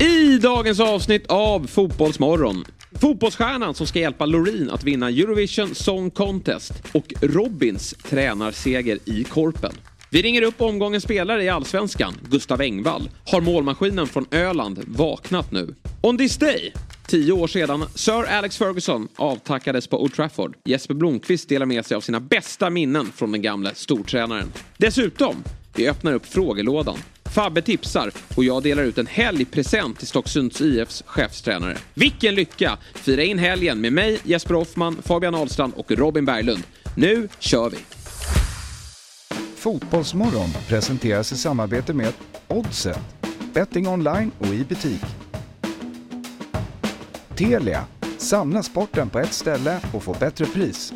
I dagens avsnitt av Fotbollsmorgon. Fotbollsstjärnan som ska hjälpa Loreen att vinna Eurovision Song Contest och Robins tränarseger i Korpen. Vi ringer upp omgångens spelare i Allsvenskan, Gustav Engvall. Har målmaskinen från Öland vaknat nu? On this day, tio år sedan, Sir Alex Ferguson avtackades på Old Trafford. Jesper Blomqvist delar med sig av sina bästa minnen från den gamle stortränaren. Dessutom, vi öppnar upp frågelådan. Fabbe tipsar och jag delar ut en helgpresent till Stocksunds IFs chefstränare. Vilken lycka! Fira in helgen med mig, Jesper Hoffman, Fabian Ahlstrand och Robin Berglund. Nu kör vi! Fotbollsmorgon presenteras i samarbete med Oddset, betting online och i butik. Telia, samla sporten på ett ställe och få bättre pris.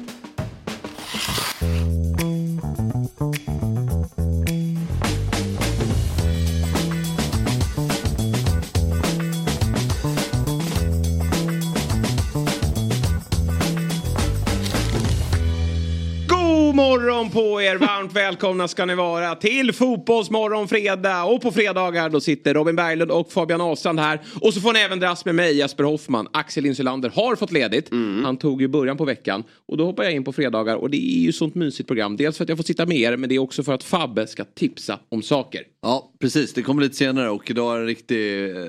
God morgon på er! Varmt välkomna ska ni vara till Fotbollsmorgon fredag. Och på fredagar då sitter Robin Berglund och Fabian Ahlstrand här. Och så får ni även dras med mig, Jesper Hoffman. Axel Insulander har fått ledigt. Han tog ju början på veckan. Och då hoppar jag in på fredagar och det är ju sånt mysigt program. Dels för att jag får sitta med er, men det är också för att Fabbe ska tipsa om saker. Ja, precis. Det kommer lite senare och idag är det en riktig... eh,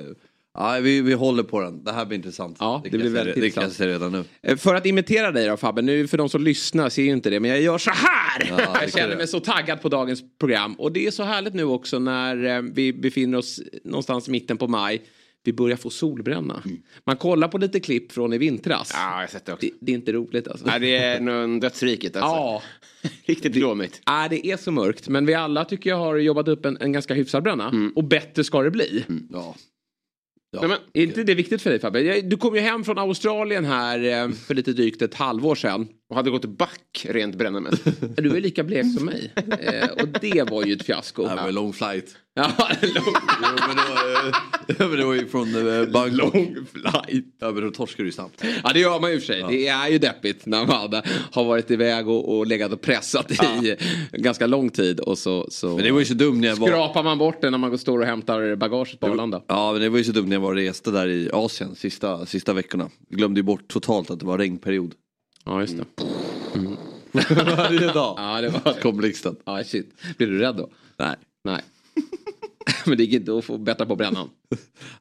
Ja, vi, vi håller på den. Det här blir intressant. Ja, det kan blir jag säga- väldigt Det kan jag intressant. säga redan nu. Eh, För att imitera dig då Fabbe, nu för de som lyssnar ser ju inte det, men jag gör så här! Ja, det jag ser känner jag. mig så taggad på dagens program. Och det är så härligt nu också när eh, vi befinner oss någonstans i mitten på maj. Vi börjar få solbränna. Man kollar på lite klipp från i vintras. Ja, jag har sett det också. Det, det är inte roligt alltså. Nej, det är nog dödsriket alltså. Ja. Riktigt glåmigt. Nej, det är så mörkt. Men vi alla tycker jag har jobbat upp en, en ganska hyfsad bränna. Och bättre ska det bli. Ja. Nej, men, Är inte det viktigt för dig Fabbe? Jag- Du kom ju hem från Australien här eh, för lite drygt ett halvår sedan. och hade gått back rent brännamässigt. Du var ju lika blek som mig. Eh, och det var ju ett fiasko. Det här var en lång flight. Ja, lång, Jo, men det var, eh, ja, men det var ju från eh, Bangkok. lång flight. Ja, men då torskar du ju snabbt. Ja, det gör man ju i och för sig. Det är ju deppigt när man har varit iväg och, och legat och pressat i ganska lång tid. Och så, så Men det var ju så dumt när jag var... skrapar man bort det när man går står och hämtar bagaget på Arlanda. Ja, men det var ju så dumt när jag var och reste där i Asien sista, sista veckorna. Glömde ju bort totalt att det var regnperiod. Ja, just det. Varje dag. Ja, det var Kom blixten. Ja, shit. Blir du rädd då? Nej. Nej. Men det gick inte att få bättre på brännan.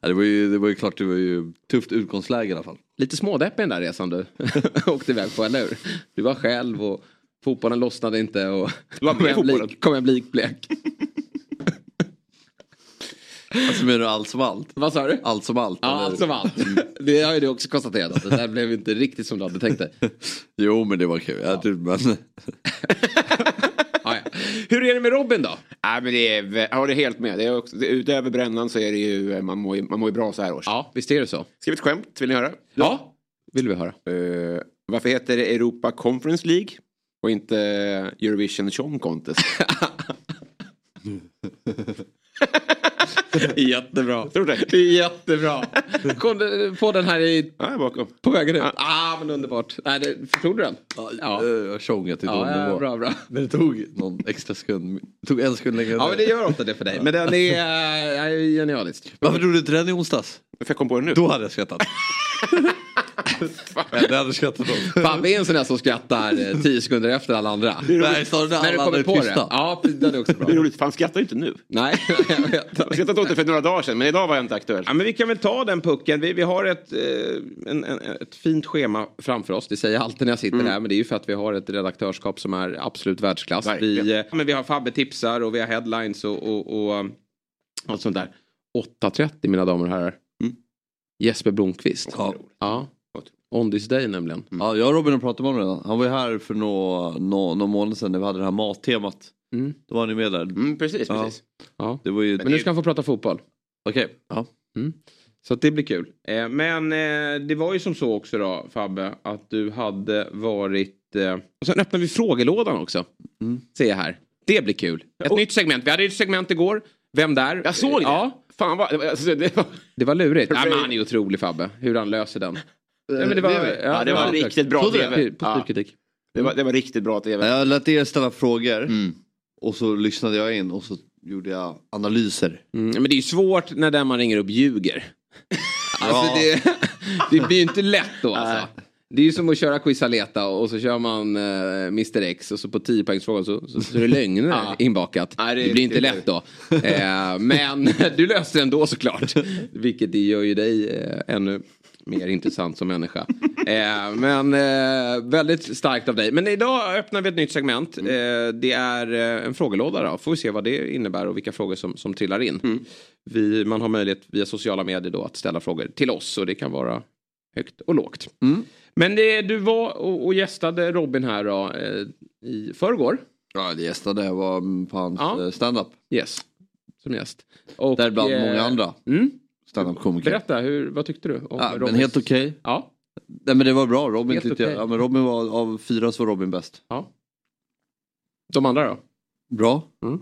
Ja, det, var ju, det var ju klart, det var ju tufft utgångsläge i alla fall. Lite smådeppig den där resan du åkte iväg på, eller hur? Du var själv och fotbollen lossnade inte och Du var med kom, i hem fotbollen. lik, kom hem likblek. Alltså menar du allt som allt? Vad sa du? Allt som allt? Ja, eller? allt som allt. Mm. Det har ju du också konstaterat. att Det där blev inte riktigt som du hade tänkt dig. Jo men det var kul. Ja. typ, men... Ja, ja. Hur är det med Robin då? Nej, men det är, vä- jag håller helt med. Det är också, det, utöver brännan så är det ju, eh, man mår ju, man mår ju bra så här års. Ja, visst är det så? Skriv ett skämt, vill ni höra? Ja, vill vi höra. Eh, varför heter det Europa Conference League och inte Eurovision Song Contest? Jättebra. Tror du det? Jättebra. Kom du på den här i, Ja, jag är bakom. på vägen ut? Ah, men underbart. Nej, det, förstod du den? ja. Jag har tjongat till dålig Ja, ja, nivå. bra, bra. Men det tog någon extra sekund. Det tog en sekund längre. än Ja, men det gör inte det för dig. Men den är, äh, är ju genialisk. Varför drog du inte den i onsdags? Varför jag kom på det nu? Då hade jag skrattat. Nej, det hade jag skrattat åt. Fabbe är en sån där som skrattar eh, tio sekunder efter alla andra. Nej, sa du när När du alla kommer hade på det. tystnat? Ja, den är också Det är bra. roligt, för han skrattar ju inte nu. Nej, jag vet. Jag skrattade åt det för några dagar sedan, men idag var jag inte aktuell. Ja, men vi kan väl ta den pucken. Vi, vi har ett, eh, en, en, ett fint schema framför oss. Det säger jag alltid när jag sitter här. Men det är ju för att vi har ett redaktörskap som är absolut världsklass. Verkligen. Vi, eh, men vi har Fabbe-tipsar och vi har headlines och, och, och allt sånt där. 8.30 mina damer och herrar. Jesper Blomqvist. Ja. Mm. ja. On this day nämligen. Ja, jag och Robin har pratat om honom redan. Han var ju här för nå nå någon månad sedan när vi hade det här mattemat. Mm. Då var ni med där. Mm, precis, Ja. precis. Ja. Det var ju... Men nu ska han få prata fotboll. Okej. Ja. Så att det blir kul. Eh, men eh, det var ju som så också då Fabbe att du hade varit... Eh... Och sen öppnar vi frågelådan också. Ser jag här. Det blir kul. Ett nytt segment. Vi hade ju ett segment igår. Vem där? Jag såg det. Ja, Fan vad... det var- Alltså, det var... det var lurigt. Ja, Hurray. men han är ju otrolig Fabbe. Hur han löser den. Nej, men det var, Ja, det var riktigt bra Trodde TV. du? På Ja. styrkritik. Det var, det var riktigt bra tv. Jag lät er ställa frågor. Mm. Och så lyssnade jag in och så gjorde jag analyser. Mm, men det är ju svårt när den man ringer upp ljuger. Alltså det, det blir ju inte lätt då alltså. Det är ju som att köra Quisaleta och så kör man eh, Mr X och så på 10-poängsfrågan så, så, så är det lögner inbakat. Nej, det det, är blir inte riktigt lätt då. Eh, men du löste det ändå såklart. Vilket det gör ju dig eh, ännu mer intressant som människa. Eh, men eh, väldigt starkt av dig. Men idag öppnar vi ett nytt segment. Eh, det är eh, en frågelåda då. Får vi se vad det innebär och vilka frågor som, som trillar in. Vi, man har möjlighet via sociala medier då att ställa frågor till oss och det kan vara högt och lågt. Men det, du var och, och gästade Robin här då, eh, i förrgår. Ja, det gästade jag var mm, på hans Ja. eh, stand-up. Yes. Som gäst. Och, Där bland eh, många andra Mm, standup-komiker. berätta, hur, vad tyckte du? Om Ja, men Robins- helt okej. Ja, Nej men det var bra, Robin Helt tyckte okej. jag. Ja, men Robin var, av fyra så var Robin bäst. ja. De andra då? Bra. Mm.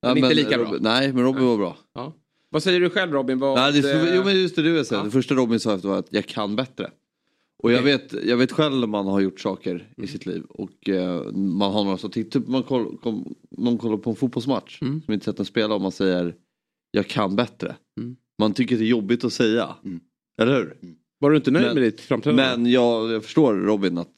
Ja, Men inte lika bra. Robin, Nej, men Robin var bra. Ja. Vad säger du själv Robin? Vad, Nej, det, eh, jo men just det du vill säga. ja. Det första Robin sa efter var att jag kan bättre. Och jag Okej. vet, jag vet själv när man har gjort saker Mm. i sitt liv och eh, man har några som tittar, typ man koll, kom, någon kollar på en fotbollsmatch Mm. som inte sett den spela och man säger jag kan bättre. Mm. Man tycker det är jobbigt att säga. Eller hur? Var du inte nöjd Men- med ditt framträdande? Men jag, jag förstår Robin att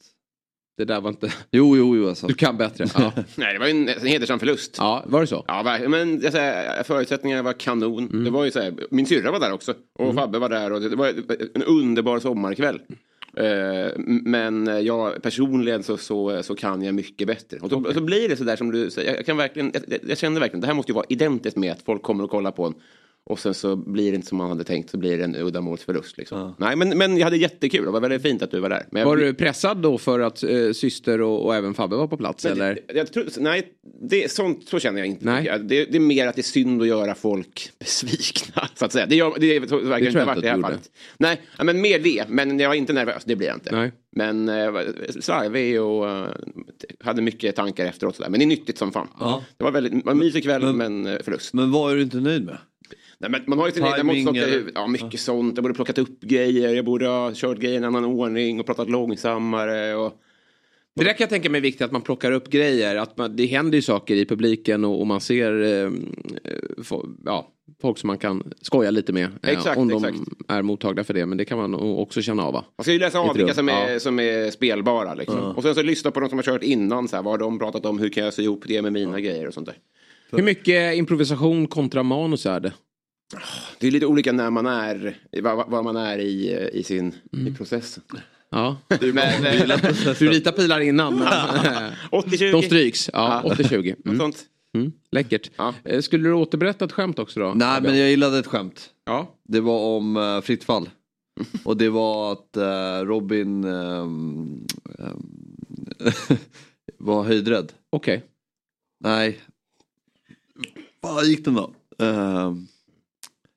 Det där var inte... jo, jo, jo alltså. Du kan bättre. Ja, Nej, det var ju en, en hedersam förlust. ja var det så? Ja, verkligen. men jag säger, förutsättningarna var kanon. Mm. Det var ju så här, min syrra var där också och Fabbe var där och det, det var en underbar sommarkväll. Eh, m- men jag personligen så, så, så kan jag mycket bättre. Och så, så blir det så där som du säger. Jag, kan verkligen, jag, jag- jag känner verkligen, det här måste ju vara identiskt med att folk kommer och kollar på en. Och sen så blir det inte som man hade tänkt, så blir det en uddamålsförlust. Liksom. Nej, men, men jag hade jättekul. Det var väldigt fint att du var där. Men jag, Var du pressad då för att eh, syster och, och även Fabbe var på plats? Nej, eller? det- Jag tror, nej, det, sånt, så känner jag inte. Nej. Jag- Det, det är mer att det är synd att göra folk besvikna. Så att säga. Det, gör, det, är- så, verkar jag inte ha inte varit att det du här gjorde. fallet. Nej, ja, men mer det. Men jag var inte nervös, det blir jag inte. Nej. Men eh, var slarvig och eh, hade mycket tankar efteråt. Så där. Men det är nyttigt som fan. Ja. Det var väldigt, det var en mysig kväll men, eh, förlust. Men vad är du inte nöjd med? Nej, men man har ju sina egna Timing måttstockar i eller- huvudet. Ja, mycket sånt. Jag borde plockat upp grejer. Jag borde ha kört grejer i en annan ordning och pratat långsammare. Och... Det där kan jag tänka mig är viktigt att man plockar upp grejer. Att man, det händer ju saker i publiken och, och man ser eh, fo, ja, folk som man kan skoja lite med. Eh, Exakt, om de exakt. är mottagliga för det. Men det kan man o- också känna av va? Man ska ju läsa av Ett vilka rum, som är, ja. som är spelbara. Liksom. Och sen så lyssna på de som har kört innan. Så här, vad har de pratat om? Hur kan jag sy ihop det med mina grejer och sånt där. Hur mycket improvisation kontra manus är det? Det är lite olika när man är, vad, vad man är i, eh, i sin i process. Ja. Men, eh, Du ritar pilar innan. men, eh, 80-20. de stryks. Ja, Ja. 80-20. Något Mm. sånt. Mm. Läckert. Ja. Eh, Skulle du återberätta ett skämt också då? Nej men jag gillade ett skämt. Ja. Det var om eh, fritt fall. Och det var att eh, Robin ehm, ehm, var höjdrädd. Okej. Nej. Vad gick den då? Ehm,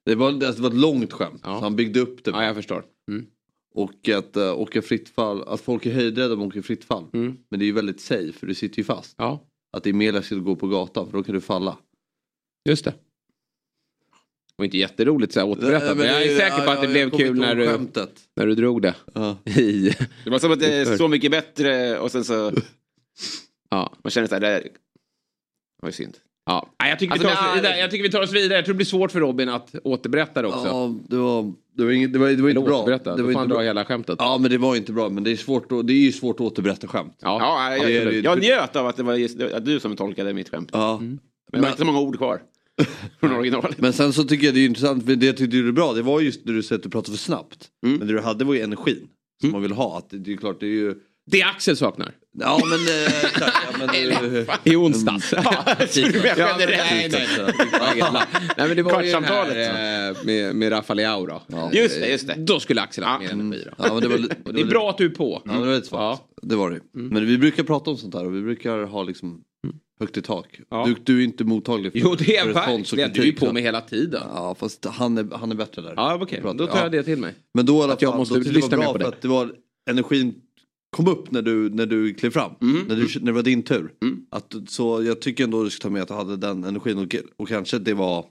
det, var, alltså, det var ett långt skämt. Ja. Så han byggde upp det. Ja, jag förstår. Mm. Och att eh, åka fritt fall. Att folk är höjdrädda om de åker fritt fall. Mm. Men det är ju väldigt safe för du sitter ju fast. Ja, Att det är mer läskigt att gå på gatan för då kan du falla. just det. Det var inte jätteroligt så här återberättat. Men Nej, men jag det är ju- säker på ja, att det jag blev kommer kul inte när ihåg du, Skämtet. när du drog det. Ja. I, Det var som att det är Varför? så mycket bättre och sen så ja, man känner så här, det här var ju synd. ja. Nej, jag, tycker Alltså, vi tar oss det är- vidare. jag tycker vi tar oss vidare. Jag tror det blir svårt för Robin att återberätta det också. Ja, det var, det var, inget, det var, det var Eller inte bra. återberätta. Det Då var får han inte dra bra. hela skämtet. Ja, men det var inte bra. Men det är, svårt att, det är ju svårt att återberätta skämt. Ja. Ja, jag, det är- jag, jag njöt av att det var just, att du som tolkade mitt skämt. Ja. Mm. Men det var inte så många ord kvar från originalet. Men sen så tycker jag det är intressant, för det jag tyckte du är bra, det var just när du sa att du pratade för snabbt. Mm. Men det du hade var ju energin som man vill ha. Att det, det är klart, det är ju... Det Axel saknar. Ja, men... Eh, exakt, ja, men eh, I onsdags. Du menar Ja, men generellt. nej, nej, nej. Det var inget lapp. nej, men det var ju den Kvartssamtalet. här eh, med, med Rafaleao då. Just det, just det. Då skulle Axel ha haft mer energi då. ja, men det, var, li- Och Det är bra Mm. att du är på. Ja, det var lite svagt. Det var det Men vi brukar prata om sånt här och vi brukar ha liksom högt i tak. Mm. Ja. Du, du är inte mottaglig för Jo, det är för respons och verkligen. Du är ju kritik, på så- mig hela tiden. Ja, fast han är, han är bättre där. Ja, okej. Pratar- Då tar ja. jag det till mig. Men då i alla Att jag fall, måste då tyckte jag lyssna det mer var på bra dig. för att det var energin kom upp när du, när du klev fram. Mm. När, du, när det var din tur. Att, så jag tycker ändå du ska ta med att du hade den energin och, och kanske det var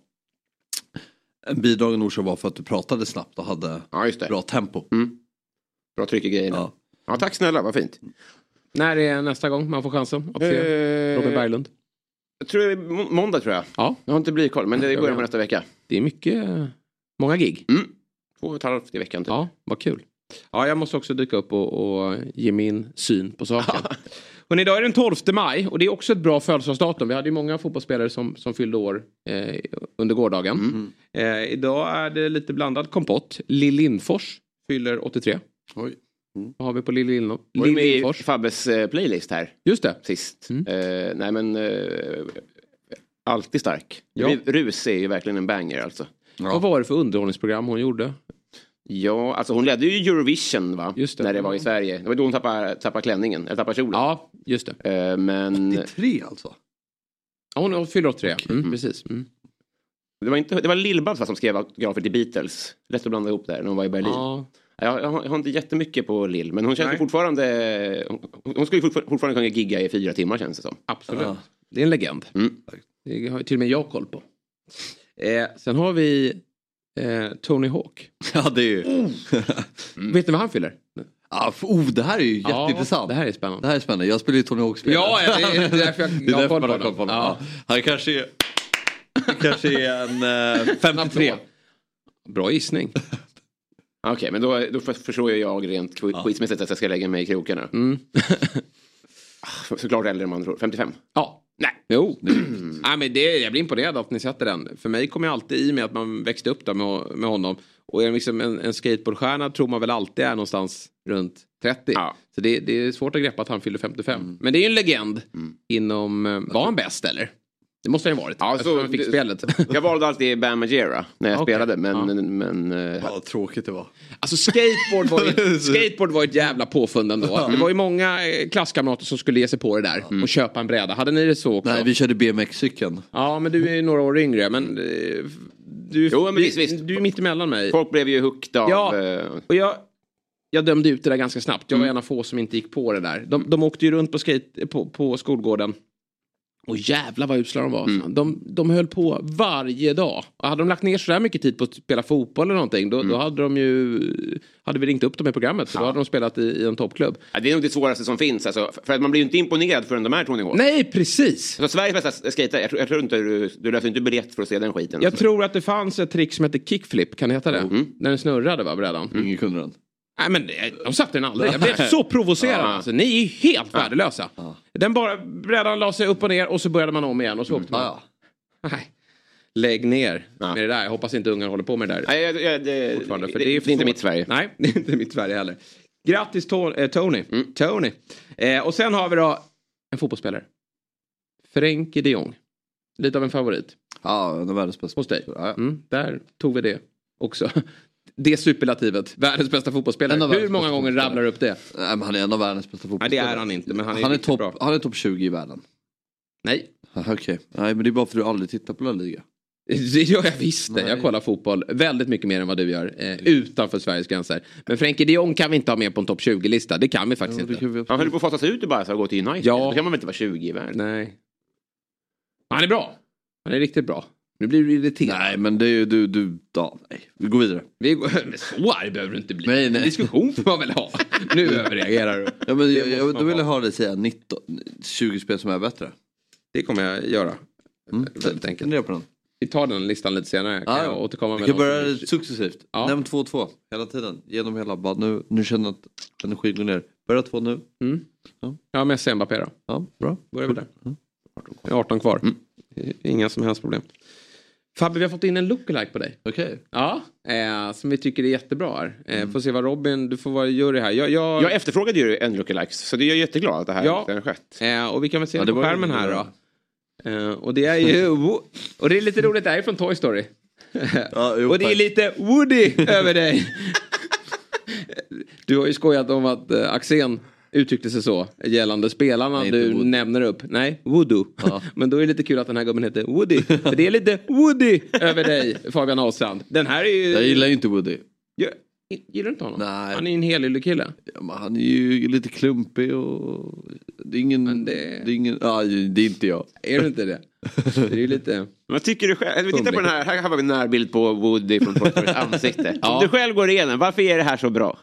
en bidragande orsak var för att du pratade snabbt och hade Ja, just det. bra tempo. Mm. Bra tryck i grejerna. Ja. Ja. tack snälla, vad fint. När är nästa gång man får chansen att se Robin Berglund? Eh, Jag tror det är må- måndag tror jag. Ja, Jag har inte blivit koll, men det är i början på nästa vecka. det är mycket eh, Många gig? Två och ett halvt i veckan typ. Ja, vad kul. Ja, jag måste också dyka upp och, och ge min syn på saken. Hörrni, idag är den 12 maj och det är också ett bra födelsedagsdatum. Vi hade ju många fotbollsspelare som, som fyllde år eh, under gårdagen. Eh, idag är det lite blandad kompott. Lill Lindfors fyller 83. Oj. Mm. Vad har vi på Lill Lindfors? Var du Lill med i Lindfors. Fabbes eh, playlist här Just det. sist? Mm. Eh, nej men... Eh, alltid stark. Ja. Ru- Rus är ju verkligen en banger alltså. Vad var det för underhållningsprogram hon gjorde? Ja, alltså hon ledde ju Eurovision va? Just det. När det var i Sverige. Det var då hon tappade, tappade klänningen, eller tappade kjolen. Ja, just det. Eh, men Det är tre alltså? Ja, Hon fyller 83, mm, precis. Mm. det var, inte, det var Lill-Babs va, som skrev autografer till Beatles. Lätt att blanda ihop där när hon var i Berlin. Ja. Jag, jag, har, jag har inte jättemycket på Lill, men hon känns ju Nej. fortfarande... Hon, hon skulle ju fortfar- fortfarande kunna gigga i fyra timmar känns det som. Absolut. Ja. Det är en legend. Mm. Det har ju till och med jag koll på. Eh, sen har vi eh, Tony Hawk. Ja, det är ju... Vet ni vad han fyller? ah, Oh! f- oh, det här är ju jätteintressant. det här är Det spännande. här är spännande. Jag spelar ju Tony Hawk-spel. Ja, det är- det är därför jag- jag har koll på man har koll på honom. honom. Ja. Han kanske är, han kanske är en eh, 53. Snabbt två. Bra gissning. Okej, men då, då för- förstår ju jag rent ja. quizmässigt att jag ska lägga mig i krokarna. Mm. Ah, Såklart äldre än man tror. 55? Ja. Nej. Jo. Nej, men det, jag blir imponerad av att ni sätter den. För mig kom jag alltid i med att man växte upp där med, med honom. Och är liksom en, en skateboardstjärna tror man väl alltid är någonstans runt 30. Ja. Mm. Så det, det är svårt att greppa att han fyller 55. Men det är ju en legend inom... eh, Var han bäst eller? Det måste han ju ha varit. Ja, eftersom så han fick det- spelet. Jag valde alltid Bam Majera när jag Okej. spelade, men... Ja. men eh, Ja, vad tråkigt det var. Alltså skateboard var, ju, skateboard var ett jävla påfund ändå. Det var ju många eh, klasskamrater som skulle ge sig på det där Mm. och köpa en bräda. Hade ni det så också? Nej, vi körde BMX-cykeln. Ja, men du är ju några år yngre. Men eh, f- du, Jo, men du, visst, visst. du är mitt emellan mig. folk blev ju hooked av... Ja. eh, Och jag, jag dömde ut det där ganska snabbt. Jag var Mm. en av få som inte gick på det där. De, de åkte ju runt på, skate, eh, på, på skolgården. Och jävla vad usla de var. Mm. alltså. De, de höll på varje dag. Och hade de lagt ner sådär mycket tid på att spela fotboll eller någonting. Då, Mm. då hade de ju... Hade vi ringt upp dem i programmet. För då hade de spelat i, i en toppklubb. Ja, det är nog det svåraste som finns. Alltså, för att man blir ju inte imponerad förrän de är Tony Hawk. Nej, precis! Så Sveriges bästa skejtare, jag, tror- jag tror inte du, du löser inte biljett för att se den skiten. Jag tror att det fanns ett trick som hette kickflip. Kan det heta det? Mm. När den snurrade va, brädan? Ingen kunde den. Nej men det- de satte den aldrig. Jag blev så provocerad. Alltså, ni är helt värdelösa. Den bara, brädan la sig upp och ner och så började man om igen och så åkte man. Ja, Nej. Lägg ner Ja. med det där. Jag hoppas inte ungarna håller på med det där. Nej, jag, jag, det, fortfarande, det, för det, är är för inte svårt. mitt Sverige. Nej, det är inte mitt Sverige heller. Grattis To- eh, Tony. Tony. Eh, och sen har vi då en fotbollsspelare. Frenkie de Jong. Lite av en favorit ja en av världens bästa. hos dig. Ja, ja. Mm, där tog vi det också. Det superlativet. Världens bästa En av fotbollsspelare. Hur världens många bästa gånger rabblar du upp det? Nej, men han är en av världens bästa Nej, det fotbollsspelare. är han inte, men han är, Han är riktigt topp bra. han är top 20 i världen. Nej, Ah, Okej, nej men det är bara för att du aldrig tittar på La Liga. det gör jag visst det. Jag Nej. kollar fotboll väldigt mycket mer än vad du gör eh, utanför Sveriges gränser. Men Frenkie de Jong kan vi inte ha med på en topp 20-lista. Det kan vi faktiskt Ja, det inte. kan vi absolut- Han höll på att fasas ut och bara så gå till United. Ja. Då kan man väl inte vara 20 i världen. Nej. Han är bra. Han är riktigt bra. Nu blir du irriterad. Nej men det är ju du, du, ja, nej. Vi går vidare. Vi går, men så arg behöver du inte bli. Nej, nej. En diskussion får man väl ha. Nu överreagerar du. Ja, men, jag, måste jag, man då vill ha. jag höra dig säga 19, 20 spel som är bättre. Det kommer jag göra. Mm. Väldigt enkelt. Fundera på den. Vi tar den listan lite senare. Kan Ja, jag ja. återkomma Vi med kan någon börja som- successivt. alltså, Ja. Nämn 2-2 hela tiden. Genom hela. Bara nu, nu känner jag att energin går ner. Börja 2 nu. Ja, Messi och Mbappé då. Mm. Ja, bra. Börjar vi där. Mm. 18 kvar. Inga som helst problem. Fabbe, vi har fått in en lookalike på dig. Okej. Ja. Eh, som vi tycker är jättebra här. Eh, Mm. Får se vad Robin, du får vara jury här. Jag, jag, Jag efterfrågade ju en lookalikes, så det är jag jätteglad att det här Ja. det har skett. eh, och vi kan väl se Ja, det det på var ju- skärmen här då. Eh, och det är ju... wo- Och det är lite roligt, det här är från Toy Story. Ja, jo, och det är tack. lite Woody över dig. du har ju skojat om att eh, Axén uttryckte sig så gällande spelarna Nej, inte du Woody. nämner upp. Nej, Voodoo. Ja. Men då är det lite kul att den här gubben heter Woody. För det är lite Woody över dig, Fabian Ahlstrand. Den här är ju... Jag gillar ju inte Woody. Gör- Gillar du inte honom? Nej. Han är ju en helylle kille. Ja, men han är ju lite klumpig och... Det är ingen... Men Det... det- är ingen... Ja, det är inte jag. Är du inte det? Det är ju lite... Vad tycker du själv? Vi tittar på den här, här har vi en närbild på Woody från Porters ansikte. Ja. Om du själv går igenom, varför är det här så bra?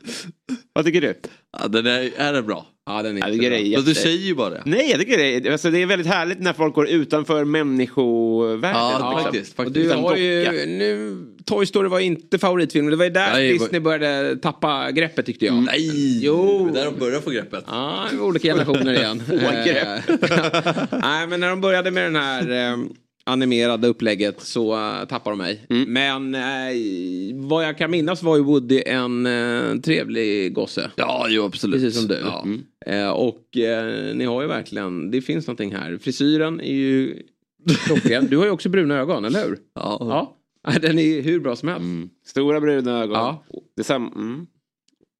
Vad tycker du? Ja, den är, är den bra? Ja, den Ja, är det gör jättebra. det. Ja, Jätte- du säger ju bara det. Nej, jag tycker det är, alltså, det är väldigt härligt när folk går utanför människovärlden. Ja, liksom. faktiskt. Och faktiskt. du Den har ju, docka. nu, Toy Story var inte favoritfilmen, det var ju där Nej, det var- Disney började tappa greppet tyckte jag. Nej! Jo. Det är där de börjar få greppet. Ja, det var olika generationer igen. grepp. Eh, Nej, men när de började med den här eh, animerade upplägget så eh, tappade de mig. Men eh, vad jag kan minnas var ju Woody en eh, trevlig gosse. Ja, jo absolut. Precis som du. Ja. Eh, och eh, ni har ju verkligen, det finns någonting här. Frisyren är ju klockren. Du har ju också bruna ögon, eller hur? Ja. Ja. Ja, Den är ju hur bra som helst. Stora bruna ögon. Ja. Det är sam- mm.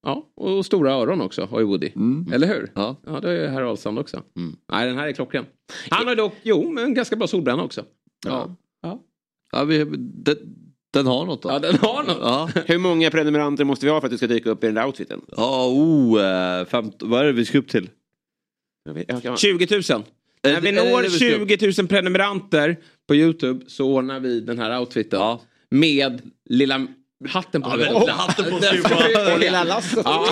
Ja, och stora öron också har ju Woody. Eller hur? Ja. ja, det har ju herr Ahlstrand också. Nej, den här är klockren. Han har dock, jo, men ganska bra solbränna också. Ja, Ja, vi, den, den har något då. ja den har något. Ja, Hur många prenumeranter måste vi ha för att du ska dyka upp i den där outfiten? ja oh, eh, femt, vad är det vi ska upp till? Jag vet- jag kan- 20 000. När vi Är det- är når det vi ska upp? 20 000 prenumeranter på YouTube så ordnar vi den här outfiten. Ja. Med lilla hatten på huvudet. lilla hatten på sig. Och lilla lasset. Ja,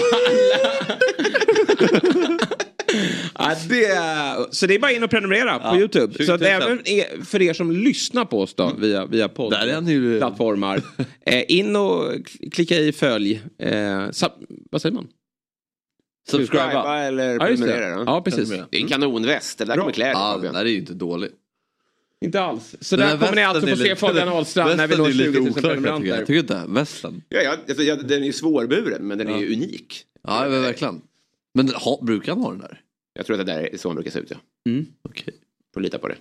alla. Ja, det, så det är bara in och prenumerera på Ja, YouTube. 20 Så 000. att även er, för er som lyssnar på oss då, via, via Där är han ju- poddplattformar. Eh, in och k- klicka i följ. Eh, sub- vad säger man? Subscriba. Subscriba eller Ja, just prenumerera. det. då. Ja, precis. Prenumerera. Det är en kanonväst. Det där kommer kläder Ja, den Fabian. där är ju inte dålig. Inte alls. Så Den där här kommer ni alltså västen är få se lite- Fabian Ahlstrand när vi västen når är lite 20 000 oklar, jag tycker. prenumeranter. Jag tycker inte västen. Ja, ja, alltså, ja, den är ju svårburen men den är ju unik. Ja, Eh, men verkligen. Men ha, brukar han ha den där? Jag tror att det där är så den brukar se ut. Ja. Mm. Okej. Får lita på det.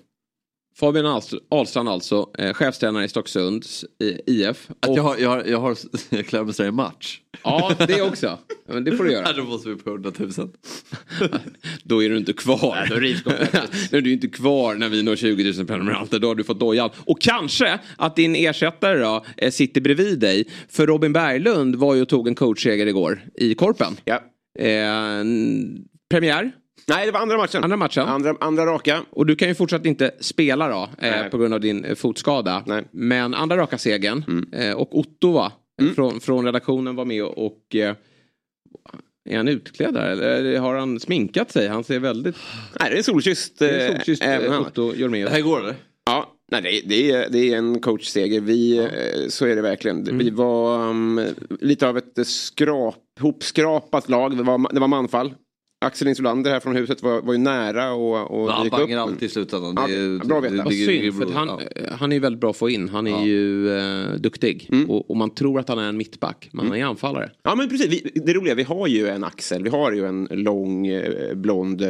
Fabian Ahlst- Ahlstrand alltså, eh, chefstränare i Stocksunds eh, IF. Att Och, jag har, jag har, jag har jag klär mig sådär i match. ja, det också. Ja, Men det får du göra. Ja, då måste vi upp på 100 000. Då är du inte kvar. Nej, då rivs Du är inte kvar när vi når 20 000 prenumeranter. Då har du fått dojan. Och kanske att din ersättare då eh, sitter bredvid dig. För Robin Berglund var ju och tog en coachseger igår i Korpen. Ja. Eh, n- premiär, Nej, det var andra matchen. andra matchen. Andra, andra raka. Och du kan ju fortsatt inte spela då eh, Nej. på grund av din eh, fotskada. Nej. Mm. Men andra raka segern. Eh, och Otto va? Från, från redaktionen var med och... Eh, är han utklädd där eller har han sminkat sig? Han ser väldigt... Nej, det är solkysst. eh, Det är solkysst, även eh, annat. Otto Jorméus. Det här går eller? Ja, nej, det, är- det, är, det är en coachseger. Vi, eh, Så är det verkligen. Mm. Vi var um, lite av ett eh, skrap, hopskrapat lag. Det var, det var manfall. Axel Insulander här från huset var, var ju nära och, och Ja, han dyka upp. bangar alltid i slutändan. Ja, Det är- bra att veta. det- det- Vad det- synd, det- för att han, ja. eh, han är ju väldigt bra att få in. Han är Ja. ju eh, duktig. Mm. Och, och man tror att han är en mittback, men han är anfallare. Ja men precis, vi, det roliga, vi har ju en Axel, vi har ju en lång eh, blond eh,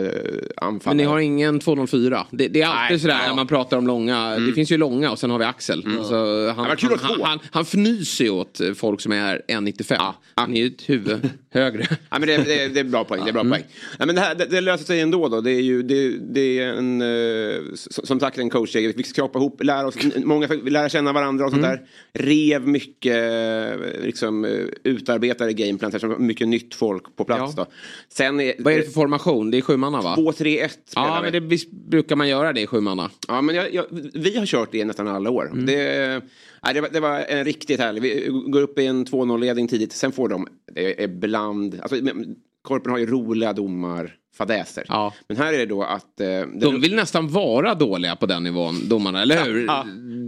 anfallare. Men ni har ingen 204. Det, det är alltid Nej, sådär ja. Mm. när man pratar om långa. Det finns ju långa och sen har vi Axel. Alltså, han, vad kul han, att få. han, han, han fnyser ju åt eh, folk som är 1,95. Han är ju ett huvud högre. Ja, men det, det, det är bra poäng. Det, är bra poäng. Ja, men det, här, det, det löser sig ändå. Då. Det är ju det, det är en, eh, s- som sagt en coachseger. Vi fick skrapa ihop, lära, oss, n- många, fick lära känna varandra och sånt Mm. där. Rev mycket eh, liksom, eh, utarbetade gameplans eftersom det var mycket nytt folk på plats. Ja. Då. Sen är, Vad är det för formation? Det är sjumanna va? 2-3-1 spelar Ja, vi. men det vis- brukar man göra det i sjumanna. Ja, men jag, jag, vi har kört det nästan alla år. Mm. Det, nej, det, var, det var en riktigt härlig. Vi går upp i en 2-0-ledning tidigt. Sen får de, det är bland, alltså, men Korpen har ju roliga domar, fadäser. Ja. Men här är det då att... Eh, det, De vill nästan vara dåliga på den nivån, domarna, eller hur? Ja.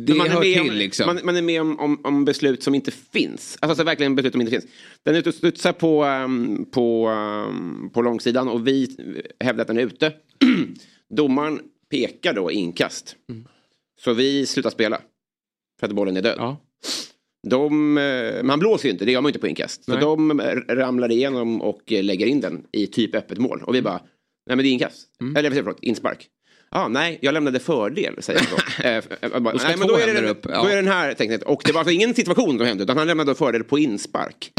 Det Men hör med till om, liksom. Man, man är med om, om, om beslut som inte finns. Alltså, alltså verkligen beslut som inte finns. Den är ute och studsar på, ehm, på, ehm, på långsidan och vi hävdar att den är ute. Domaren pekar då inkast. Mm. Så vi slutar spela. För att bollen är död. Ja. De, eh, man blåser ju inte, det gör man ju inte på inkast. Så Nej. de eh, ramlar igenom och eh, lägger in den i typ öppet mål. Och vi Mm. bara, nej men det är inkast. Eller förlåt, inspark. Ja, nej, jag lämnade fördel, säger jag då. Eh, f- jag bara, Då ska nej, men två då är, det händer den, upp, ja. då är det den här tekniken. Och det var alltså ingen situation som hände, utan han lämnade fördel på inspark.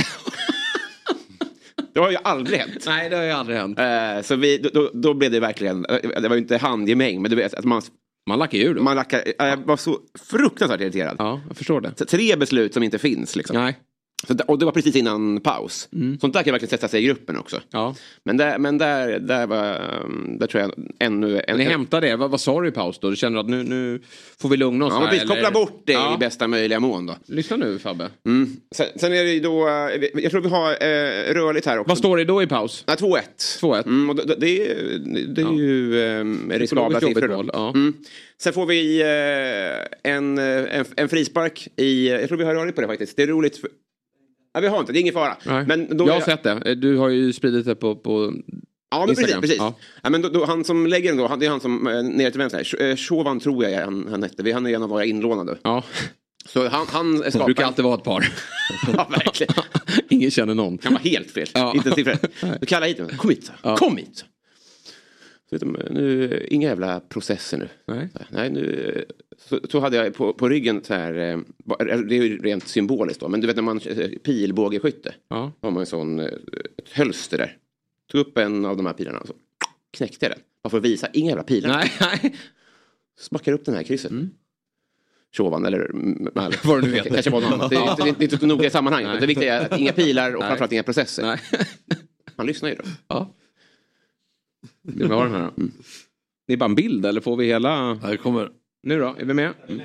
det har ju aldrig hänt. Nej, det har ju aldrig hänt. Eh, Så vi, då- då, då blev det verkligen, eh, det var ju inte handgemäng, men du vet att man, Man lackar ju ur då. man lackar, eh, jag var så fruktansvärt irriterad. Ja, jag förstår det. Tre beslut som inte finns liksom. Nej. Så, där- och det var precis innan paus. Mm. Sånt där kan verkligen sätta sig i gruppen också. Ja. Men, där, men där, där, var, um, där tror jag ännu... En, Ni hämtade det, vad, vad sa du i paus då? Du känner att nu, nu får vi lugna oss ja, men precis, eller? koppla bort det Ja. i bästa möjliga mån då. Lyssna nu Fabbe. Mm. Sen, sen är det ju då, eh, jag tror vi har eh, rörligt här också. Vad står det då i paus? Nej, 2-1. 2-1. Mm, och det, det är, ju- det är Ja. ju ehm, riskabla jobbigt siffror. mål, Då. ja. Mm. Sen får vi eh, en, eh, en, en frispark i... Jag tror vi har rörligt på det faktiskt. Det är roligt. För, nej, vi har inte, det är ingen fara. Nej. Men då jag har sett det. Du har ju spridit det på... på... Ja, men precis. Instagram. precis. Ja. Ja. men då, då, han som lägger den då, han, det är han som eh, nere till vänster. här. Sh- eh, Shovan tror jag är han, han hette. Vi- Han är en av våra inlånade. Ja. Så han, han skapar... Det brukar alltid vara ett par. Ja, verkligen. Ingen känner någon. kan vara helt fel. Ja. Inte en siffra. Du kallar hit honom. Kom hit. Ja. Kom hit. Så vet de, nu, inga jävla processer nu. Nej. Nej, nu, så, så hade jag på, på ryggen så här, eh, ba- det är ju rent symboliskt då, men du vet när man eh, pilbågeskytte, Ja. då har man en sån, eh, ett hölster där. Tog upp en av de här pilarna och så knäckte jag den. Bara för att visa, inga jävla pilar. Nej, nej. Smackar upp den här i krysset. Tjovan eller m- m- eller- Mm. Vad du nu heter. Kanske var någon annan. Det, är- det, är- det är inte så noga i sammanhanget. men Det viktiga är att inga pilar och framförallt inga processer. nej. Man lyssnar ju då. Ja. Vill vi ha den här då? Mm. Det är bara en bild eller får vi hela... Här kommer. Nu då, är vi med? Mm.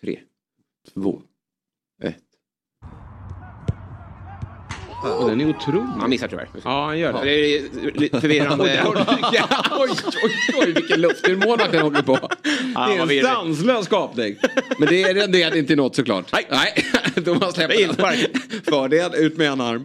Tre, två, ett. Åh, den är otrolig. Han missar tyvärr. Ja, han gör det. Det är lite förvirrande. oj, oj, oj, vilken luftturmål att den åker på. vad det är en virrig. sanslös skapning. Men det är det är inte något såklart. Nej, Nej. då har man släppt Det är inspark. Fördel, ut med en arm.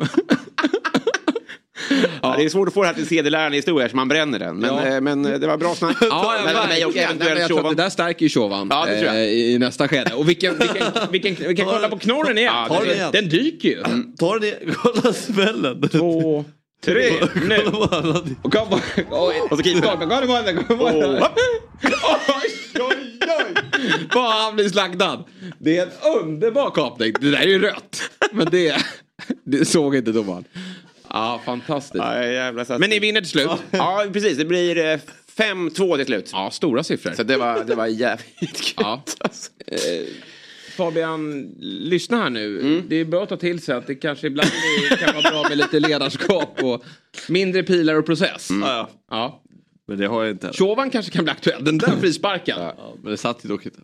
Ja, det är svårt att få det här till sedelärande historia som man bränner den. Men, Ja. eh, men eh, det var bra snack. mellan mig verkligen. och Nej, men eventuellt jag tror att Shovan. Det där stärker ju Shovan Ja, det tror jag. eh, i nästa skede. Och vilken, vilken, vilken, vi kan kolla på knorren igen. Ja, ta den igen. den dyker ju. Ta den i- kolla smällen. Två, tre, nu. Kolla vad han hade- Och kom, och, och så keepern. Kom i bollen, kom i bollen. Åh. Oj, oj, oj. Vad han blir slaktad. Det är en underbar kapning. Det där är ju rött. Men det, det såg inte domaren. Ja, fantastiskt. Ja, jävla satt. Men ni vinner till slut. Ja, precis. Det blir eh, 5-2 till slut. Ja, stora siffror. Så det var, det var jävligt kul. Ja. Eh, Fabian, lyssna här nu. Det är bra att ta till sig att det kanske ibland är- kan vara bra med lite ledarskap och mindre pilar och process. Ja, ja. Ja. Men det har jag inte. Tjovan kanske kan bli aktuell. Den där frisparken. Ja, men det satt ju dock inte.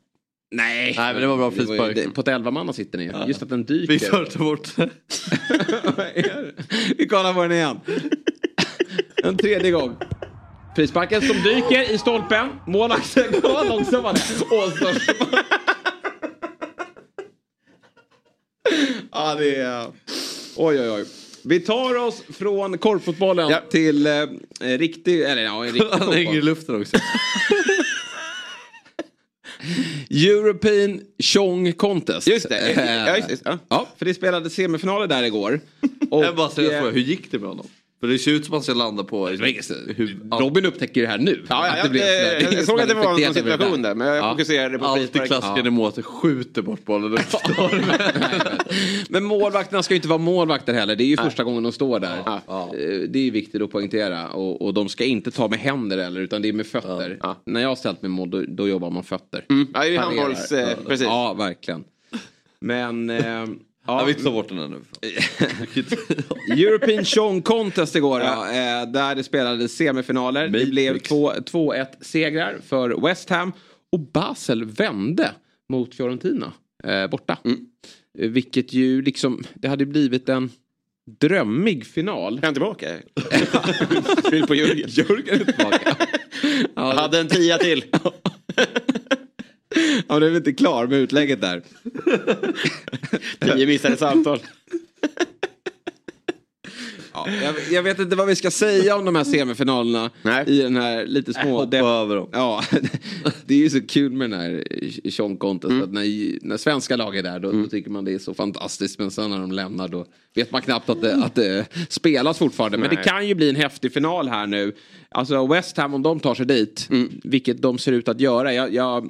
Nej. Nej, men det var bra ju- frispark. det- På ett elvamanna sitter ni ju. Just att den dyker. Vi tar inte bort det. Vad är det? Vi kollar på den igen. En tredje gång. Frisparken som dyker i stolpen. Målvakten går långsammare. Och så... Ja, det är... Oj, oj, oj. Vi tar oss från korpfotbollen Ja. till eh, riktig, eller ja, en riktig Han hänger i fotboll. luften också. European Chong Contest. Just det. Eh, Ja, just det. Ja. Ja, för det spelades semifinaler där igår. Och, Jag bara eh, säger fråga, hur gick det med honom? För det ser ut som att han ska landa på... liksom, Huvud. Robin upptäcker det här nu. Ja, ja, Att jag, blev en sån där- eh, jag såg att det var någon infekterat över det situation där, men jag fokuserade på Alltid frispark. klassiken emot att skjuter bort bollen. Men målvakterna ska ju inte vara målvakter heller. Det är ju första gången de står där. Ja. Eh, Det är ju viktigt att poängtera. Och, och de ska inte ta med händer heller, utan det är med fötter. Ja. När jag har ställt mig i mål, då, då jobbar man fötter. Ja, det är Parerar. handbolls... Eh, precis. Ja, verkligen. Men... Eh, Ja, ja. vi tar bort den här nu. European Song Contest igår, ja. eh, där det spelades semifinaler. Det Matrix. blev två- 2-1 segrar för West Ham och Basel vände mot Fiorentina eh, borta. Eh, Vilket ju liksom, det hade ju blivit en drömmig final. Är han tillbaka? Fyll på Jörgen. Jörgen är tillbaka. Jag hade en tia till. Ja, men det är väl inte klar med utlägget där. Tio missade samtal. Ja, jag, jag vet inte vad vi ska säga om de här semifinalerna Nej. i den här lite små... Hoppa depp- över dem. Ja, det är ju så kul med den här eh, Sean Contest. Att när, när svenska lag är där då, då tycker man det är så fantastiskt. Men sen när de lämnar då vet man knappt att det, att det spelas fortfarande. Men Nej. det kan ju bli en häftig final här nu. Alltså West Ham om de tar sig dit, vilket de ser ut att göra. Jag, jag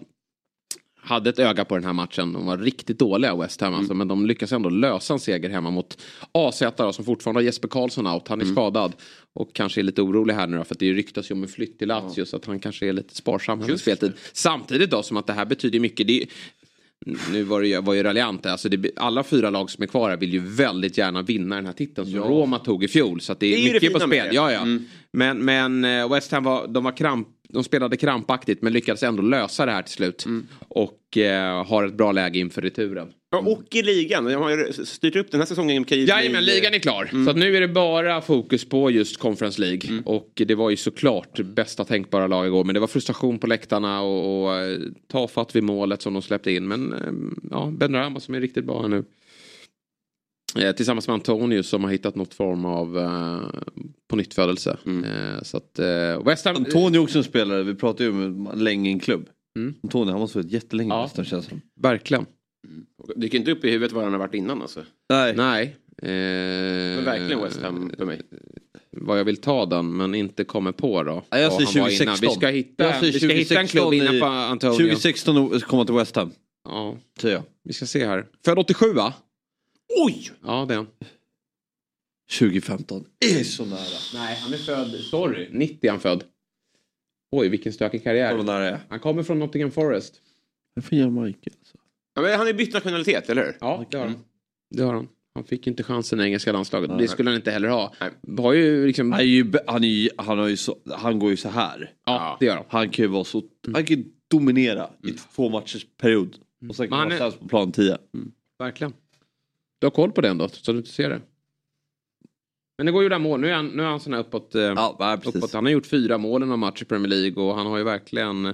hade ett öga på den här matchen. De var riktigt dåliga West Ham alltså, men de lyckas ändå lösa en seger hemma mot AZ då, som fortfarande har Jesper Karlsson out. Han är skadad och kanske är lite orolig här nu då, för att det ryktas ju om en flytt till Lazio så att han kanske är lite sparsam här med speltid. Samtidigt då som att det här betyder mycket. Det är, nu var, det, var ju raljant, alltså det, alla fyra lag som är kvar här vill ju väldigt gärna vinna den här titeln som Roma tog i fjol. Så att det är, Det är ju det mycket på fina med spel. det. Mm. Ja, ja. Men, men eh, West Ham var, de var kramp, de spelade krampaktigt men lyckades ändå lösa det här till slut. Mm. Och eh, har ett bra läge inför returen. Ja, och i ligan. De har ju styrt upp den här säsongen. genom Keyblade. Jajamän, ligan är klar. Mm. Så att nu är det bara fokus på just Conference League. Och det var ju såklart bästa tänkbara lag igår. Men det var frustration på läktarna och, och eh, tafatt vid målet som de släppte in. Men eh, ja, Ben Rama som är riktigt bra här nu. Eh, tillsammans med Antonius som har hittat något form av eh, på nytt födelse. Mm. Eh, så att eh, West Ham... Antonio är också en spelare, vi pratade ju om länge i en klubb. Antonio, han måste ha varit jättelänge Mm. Ja. i Western känns det som. Verkligen. Dyker inte upp i huvudet var han har varit innan alltså. Nej. Nej. Eh, Men verkligen West Ham för mig. vad jag vill ta den men inte kommer på då. Nej, jag Vad säger han var 2016. innan. Vi ska hitta, Jag vi säger ska hitta en klubb 2016 innan i- på Antonio. 2016 kommer till West Ham, Ja, säger jag. vi ska se här. Född 87 va? Oj! Ja det är han. 2015. Är så nära. Nej han är född, sorry, 90 är han född. Oj vilken stökig Kolla vad karriär. nära jag är. Han kommer från Nottingham Forest. Jag får ge Michael. alltså. Ja, men han har ju bytt nationalitet, eller hur? Ja det har han. Det har han. Han fick inte chansen i engelska landslaget. Det Nej. skulle han inte heller ha. Nej. Har ju liksom... Han, är ju, be- han, är ju, han, har ju så, han går ju så här. Ja det gör han. Han kan ju vara så... Mm. Han kan ju dominera i två matchers period. Och sen Men kan han han är- Mm. vara sämst på plan 10. Verkligen. Du har koll på den då, så du inte ser det. Men det går ju där mål. Nu är han, nu är han sån här uppåt... Eh, Ja, nej, Uppåt. precis. Han har gjort fyra mål i någon match i Premier League och han har ju verkligen,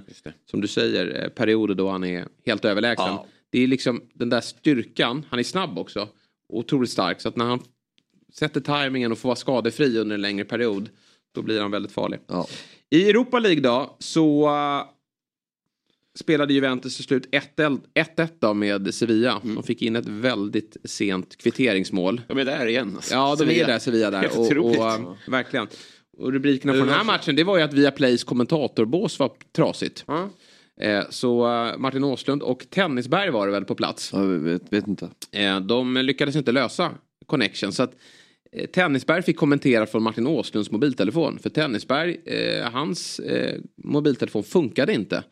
som du säger, eh, perioder då han är helt överlägsen. Ja. Det är liksom den där styrkan, han är snabb också, otroligt stark. Så att när han sätter tajmingen och får vara skadefri under en längre period, då blir han väldigt farlig. Ja. I Europa League då, så eh, spelade Juventus till slut 1-1 1-1 då med Sevilla. Mm. De fick in ett väldigt sent kvitteringsmål. De är där igen. Alltså. Ja, de Sevilla. är där, Sevilla där. Helt Och, otroligt. och, ähm, verkligen. Och rubrikerna på den här matchen, det var ju att Viaplays kommentatorbås var trasigt. Ja. Eh, Så äh, Martin Åslund och Tennisberg var det väl på plats. Jag vet, vet inte. Eh, De lyckades inte lösa connection. Så att eh, Tennisberg fick kommentera från Martin Åslunds mobiltelefon. För Tennisberg, eh, hans eh, mobiltelefon funkade inte.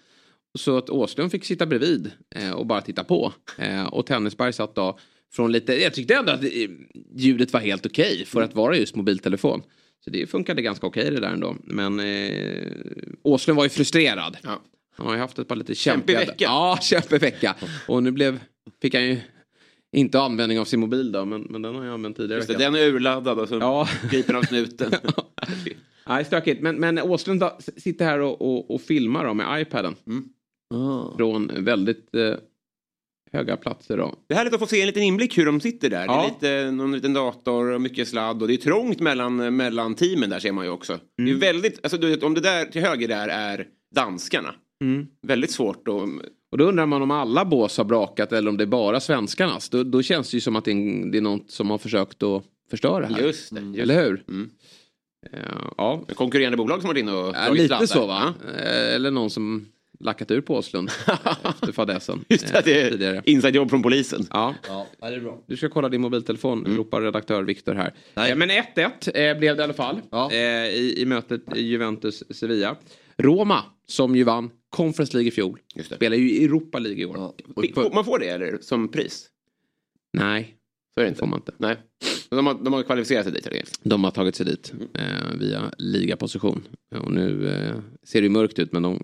Så att Åslund fick sitta bredvid eh, och bara titta på. Eh, och Tennisberg satt då från lite, jag tyckte ändå att eh, ljudet var helt okej för att vara just mobiltelefon. Så det funkade ganska okej det där ändå. Men eh, Åslund var ju frustrerad. Ja. Han har ju haft ett par lite Kämpig kämpiga... vecka. Ja, kämpig vecka. Och nu blev, fick han ju inte användning av sin mobil då, men, men den har jag använt tidigare. Just det, veckan. den är urladdad alltså. och så Ja. griper han snuten. Nej, stökigt. Men, men Åslund då, s- sitter här och, och, och filmar då med iPaden. Från väldigt eh, höga platser då. Det är härligt att få se en liten inblick hur de sitter där. Ja. Det är lite, någon liten dator och mycket sladd och det är trångt mellan, mellan teamen där ser man ju också. Det Mm. är väldigt, alltså du vet om det där till höger där är danskarna. Mm. Väldigt svårt att... Och då undrar man om alla bås har brakat eller om det är bara svenskarnas. Då, då känns det ju som att det är, en- det är något som har försökt att förstöra här. Just det. Just det. Eller hur? Mm. Eh, ja, Konkurrerande bolag som har varit inne och Ja, dragit lite sladdar. så va? Ja. Eh, Eller någon som lackat ur på Åslund efter fadäsen. Just det, det eh, tidigare. är insidejobb från polisen. Ja, Ja, det är bra. du ska kolla din mobiltelefon, Mm. ropar redaktör Viktor här. Eh, Men 1-1 eh, blev det i alla fall Ja. eh, i, i mötet Juventus-Sevilla. Roma, som ju vann Conference League i fjol, Just det. spelar ju i Europa League i år. Ja. Får Man får det eller? Som pris? Nej, Så är det det får inte. man inte. Nej. De har, de har kvalificerat sig dit. eller? De har tagit sig dit eh, via ligaposition. Och nu eh, ser det ju mörkt ut, men de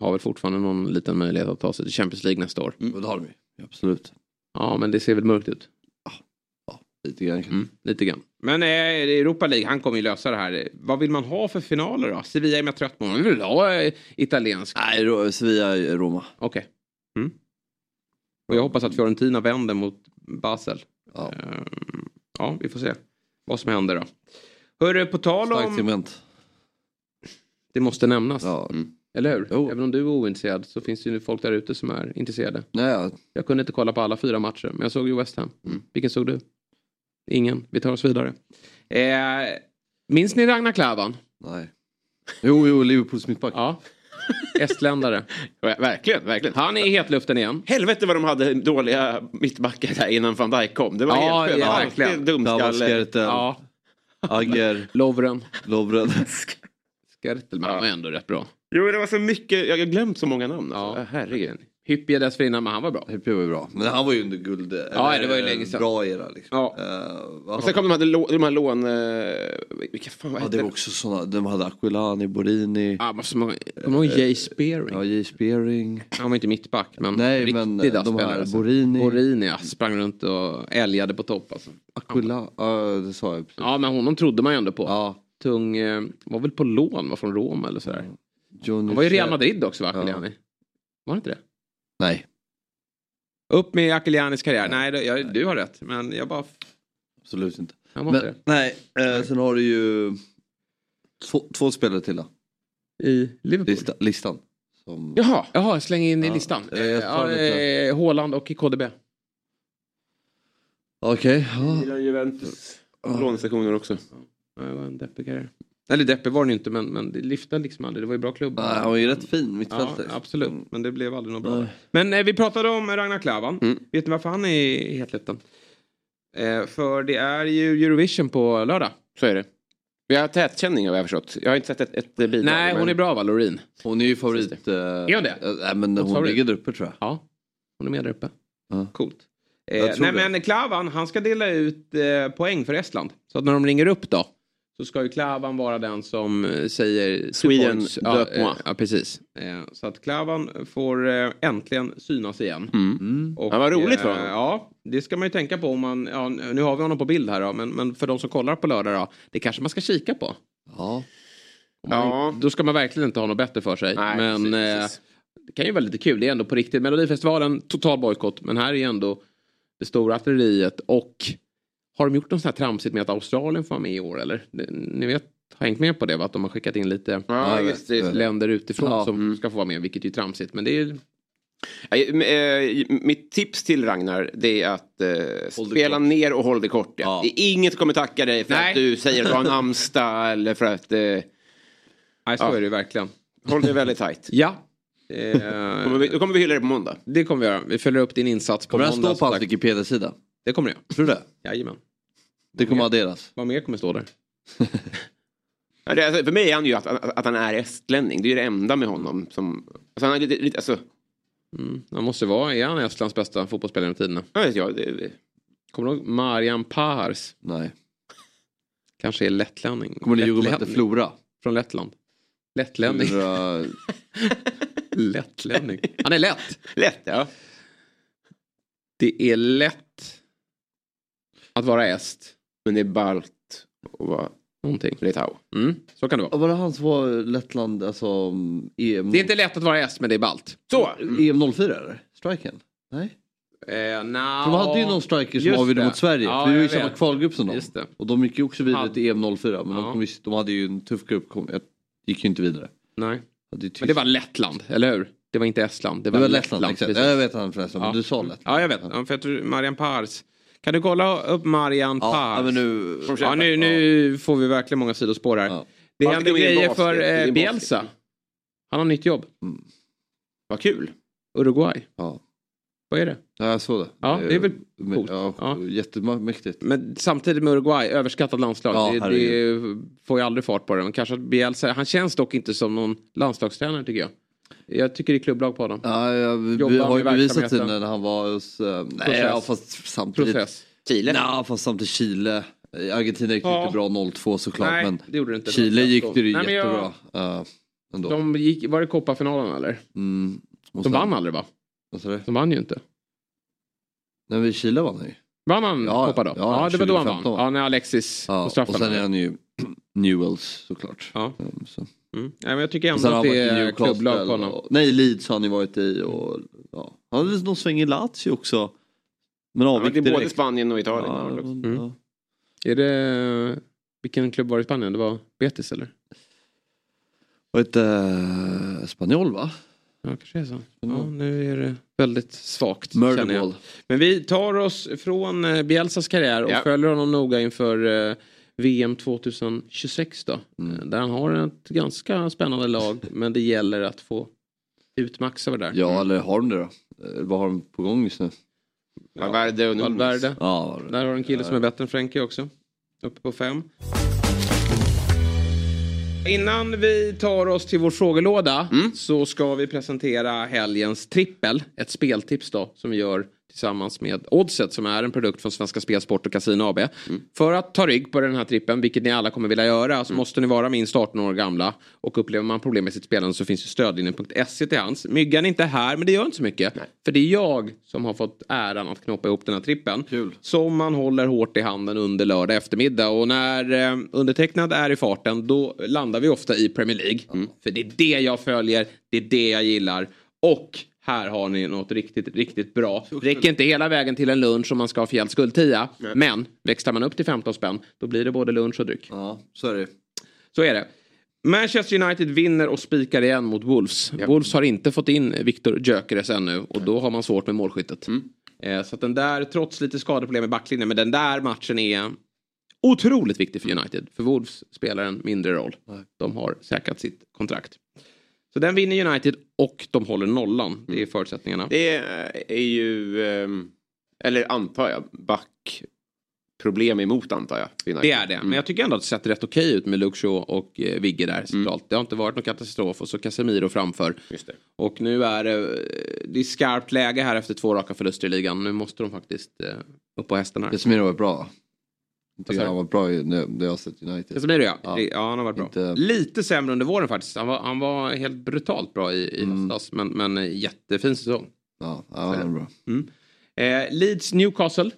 har väl fortfarande någon liten möjlighet att ta sig till Champions League nästa år. Mm. Det har de ju. Absolut. Ja, men det ser väl mörkt ut. Lite grann. kanske. Mm, lite grann. Men eh, Europa League, han kommer ju lösa det här. Eh, Vad vill man ha för finaler då? Sevilla är man trött på. Man vill ha eh, italiensk. Nej, Ro- Sevilla är Roma. Okej. Mm. Och jag hoppas att Fiorentina vänder mot Basel. Ja. Ehm, ja, vi får se vad som händer då. Hörru, på tal Starkt om... segment. Det måste nämnas, Ja. eller hur? Jo. Även om du är ointresserad så finns det ju folk där ute som är intresserade. Nej, ja. Jag kunde inte kolla på alla fyra matcher, men jag såg ju West Ham. Vilken såg du? Ingen. Vi tar oss vidare. Eh, minns ni Ragnar Klavan? Nej. Jo, jo, Liverpools mittback. Ja. Estländare. Ver- Verkligen, verkligen. Han är i hetluften igen. Helvete vad de hade dåliga mittbackar där innan van Dijk kom. Det var Ja, helt skönt. ja, Alltid verkligen. dumskalle. Damaskerten, Ja. Agger, Lovren. Lovren. Skertelman var ändå rätt bra. Jo, det var så mycket. Jag har glömt så många namn. Alltså. Ja. Herregud. Hyppie dessförinnan, men han var bra. Hyppie var ju bra. Men han var ju under guld... eh, Ja, det var ju länge sedan. Bra era liksom. Ja. Eh, vad Och sen kom de här, lå- de här lån... Eh, vilka fan vad Ja, hette det det? var också sådana, de hade Aquilani, Borini, Ah, men så många, Eh, kommer du ihåg Jay Spearing? ja, J. Spearing. Han var inte mittback, men Nej, riktig men men, eh, de här spelare. alltså. Borini, Borini, ja, sprang runt och älgade på topp alltså. Aquila, ja det sa jag precis. Ja, men honom trodde man ju ändå på. Ja, Tung, eh, var väl på lån, var från Rom eller sådär. Johnny Han var ju i Real Cher- Madrid också, va? Ja. Akiliani? Var det inte det? Nej, Upp med Akilianis karriär. Nej, det- jag, du har rätt. Men jag bara... absolut inte. Han var inte Men, nej, eh, sen har du ju två, två spelare till då. det. I Liverpool. Lista, listan. Som, Jaha, Jaha släng in i Ja, listan. eh, jag tar Ja, lite. eh, Haaland och i KDB. Okej, ja. Milan, Juventus. Lånestationer också. Ja, Det var en deppig karriär. Eller deppig var den inte, men, men det lyfte liksom aldrig. Det var ju bra klubb. Nej, Han var ju rätt fin Ja, mittfältare. absolut. Mm. Men det blev aldrig något bra. Nej. Men eh, vi pratade om Ragnar Klavan. Mm, Vet ni varför han är i hetluften? Eh, för det är ju Eurovision på lördag. Så är det. Vi har tätkänning har jag förstått. Jag har inte sett ett, ett bidrag. Nej, hon är bra va, Loreen? Hon är ju favorit. Eh, är hon det? Nej, men hon favorit? ligger där uppe tror jag. Ja, hon är med där uppe. Ja. Coolt. Jag Eh, tror nej, det. men Klavan, han ska dela ut eh, poäng för Estland. Så att när de ringer upp då, så ska ju Klavan vara den som eh, säger... two Sweden, points. deux ja, eh, points. ja, precis. Eh, så att Klavan får eh, äntligen synas igen. Och, Mm. Mm. Ja, vad roligt för eh, honom. Ja, det ska man ju tänka på om man... Ja, nu har vi honom på bild här då, men, men för de som kollar på lördag då, det kanske man ska kika på. Ja. Ja. Då ska man verkligen inte ha något bättre för sig. Nej, men precis, eh, precis. det kan ju vara lite kul. Det är ändå på riktigt. Melodifestivalen, total bojkott. Men här är ändå det stora artilleriet. Och har de gjort något sånt här tramsigt med att Australien får vara med i år? Eller? Ni vet, har hängt med på det? Va? Att de har skickat in lite Ja, Ja, just det. just det. länder utifrån Ja, som Mm. ska få vara med. Vilket är ju tramsigt. Men det är Ja, eh, Mitt tips till Ragnar det är att eh, spela ner och håll det kort. Ja. Ja. Det är inget som kommer tacka dig för Nej. att du säger att du har en namnsdag eller för att... Eh, Nej, så Ja. är det ju verkligen. håll det väldigt tajt. Ja. Kommer Eh, vi- Då kommer vi hylla dig på måndag. det kommer vi göra. Vi följer upp din insats på Kommer den måndag. stå på som hans sagt. Wikipedia-sida? Det kommer det göra. Tror du det? Jajamän. Det kommer adderas? Vad mer kommer stå där? Ja, det, alltså, för mig är han ju att, att, att han är estlänning. Det är ju det enda med honom. Som, alltså, han är lite, lite, alltså, Han Mm. måste vara, är han Estlands bästa fotbollsspelare genom tiderna? jag vet jag, det, Kommer du ihåg Marian Pahars? Nej. Kanske är lettlänning. Kommer det Djurgården hette Lettlänning. Flora? Från Lettland. Lettlänning. Flora... Mm. Lettlänning. Han är lätt. lätt. Ja. Det är lätt att vara est. Men det är balt och vara Någonting. litau. Mm, så kan det vara. Ja, Var det han som var Lettland, alltså mm, EM... Det är inte lätt att vara est, men det är balt. Så! EM 04 eller? Striken? Nej? Eh, no. För de hade ju någon striker som Just avgjorde det. mot Sverige. Ja, för vi var ju i jag samma vet. kvalgrupp som dem. Just det. Och de gick ju också vidare Hade- till EM 04. Men Ja. de, kom ju, de hade ju en tuff grupp. Kom, jag gick ju inte vidare. Nej. Hade ju Men det Tyskland- var Lettland, eller hur? Det var inte Estland. Det det var, var Lettland. exakt. precis. Ja, Jag vet han förresten. Ja. Men du sa Lettland. Ja, jag vet. Ja, För jag tror Marian Pahars. Kan du kolla upp Marian Ja, Pahrs? ja, men nu... Ja, nu, nu får vi verkligen många sidospår här. Ja. Det Ja, händer det är grejer basket, det för är eh, basket. Bielsa. Han har nytt jobb. Mm. Vad kul. Uruguay. Ja. Vad är det? ja, jag såg det. Ja, det är väl men- coolt. Ja, Ja. Jättemäktigt. Men samtidigt med Uruguay, överskattat landslag. Ja, det, det får ju aldrig fart på det. Men kanske att Bielsa, han känns dock inte som någon landslagstränare tycker jag. Jag tycker det är klubblag på honom. Ja, jag, vi, Jobbar vi har ju med bevisat det verksamheten. när han var hos... eh, nej, Process. ja, fast samtidigt... Process. Chile. Nej, fast samtidigt Chile. Eh, Argentina gick det Ja. inte bra 0-2 såklart. Nej, men det gjorde det inte. Chile gick det ju Nej, men jag- jättebra. eh, ändå. De gick, var det kopparfinalen eller? Mm. De Och sen- vann aldrig va? Vad sa du? De vann ju inte. Nej, men Chile vann han ju. Vann han Ja, koppar då? ja, Ja, det var då han vann. 2015 va? Ja, när Alexis Ja, på och straffarna. sen är han ju Newells såklart. Ja. Mm, så. Mm. Nej, men jag tycker Och ändå sen har att han varit det i är Newcastle. klubblag på honom. och, nej, Leeds har han ju varit i. Och, ja. Han hade någon sväng i Lazio också. Men Ja, men avgick det är både direkt. Spanien och Italien. Ja, Ja, men, Mm. ja. Är det... Vilken klubb var det i Spanien? Det var Betis eller? Var ett eh, spanjol va? Ja, kanske är så. Ja, Mm. nu är det väldigt svagt. känner jag. Murderball. Men vi tar oss från eh, Bielsas karriär och Ja. följer honom noga inför eh, VM 2026 då. Mm. Eh, Där han har ett ganska spännande lag men det gäller att få utmaxa det där. Ja, eller har de det då? Eh, vad har de på gång just nu? Valverde och Nunes. Valverde. Ja, Där har du en kille som är bättre än Frenkie också. Uppe på fem. Innan vi tar oss till vår frågelåda så ska vi presentera helgens trippel. Ett speltips då som vi gör tillsammans med Oddset som är en produkt från Svenska Spel, Sport och Casino AB. För att ta rygg på den här trippen, vilket ni alla kommer vilja göra, så måste ni vara minst 18 år gamla. Och upplever man problem med sitt spelande så finns ju stödlinjen.se E till hands. Myggan är inte här, men det gör inte så mycket. För det är jag som har fått äran att knåpa ihop den här trippen. Kul. Som man håller hårt i handen under lördag eftermiddag. Och när eh, undertecknad är i farten då landar vi ofta i Premier League. Mm. För det är det jag följer, det är det jag gillar. Och här har ni något riktigt, riktigt bra. Räcker inte hela vägen till en lunch om man ska ha fjällt skuldtia. Men växlar man upp till 15 spänn då blir det både lunch och dryck. Ja, så är det. Så är det. Manchester United vinner och spikar igen mot Wolves. Wolves har inte fått in Victor Gyökeres ännu och då har man svårt med målskyttet. Eh, Så att den där, trots lite skadeproblem i backlinjen, men den där matchen är otroligt viktig för United. För Wolves spelar en mindre roll. De har säkrat sitt kontrakt. Så den vinner United och de håller nollan. Det är förutsättningarna. Det är, är ju, ehm, eller antar jag, back problem emot antar jag. Mm, för United. Det är det. Men jag tycker ändå att det sett rätt okej ut med Luke Shaw och eh, Vigge där centralt. Det har inte varit någon katastrof och så Casemiro framför. Just det. Och nu är det, eh, det är skarpt läge här efter två raka förluster i ligan. Nu måste de faktiskt eh, upp på hästen här. Casemiro var bra. Jag Vad sa tycker du? han var bra i- när när jag har sett United. Casemiro ja. Ja. Det- ja, han har varit bra. Inte- Lite sämre under våren faktiskt. Han var, han var helt brutalt bra i, i Mm. höstas. Men, men eh, jättefin säsong. Ja, ja, han var bra. Eh, Leeds Newcastle.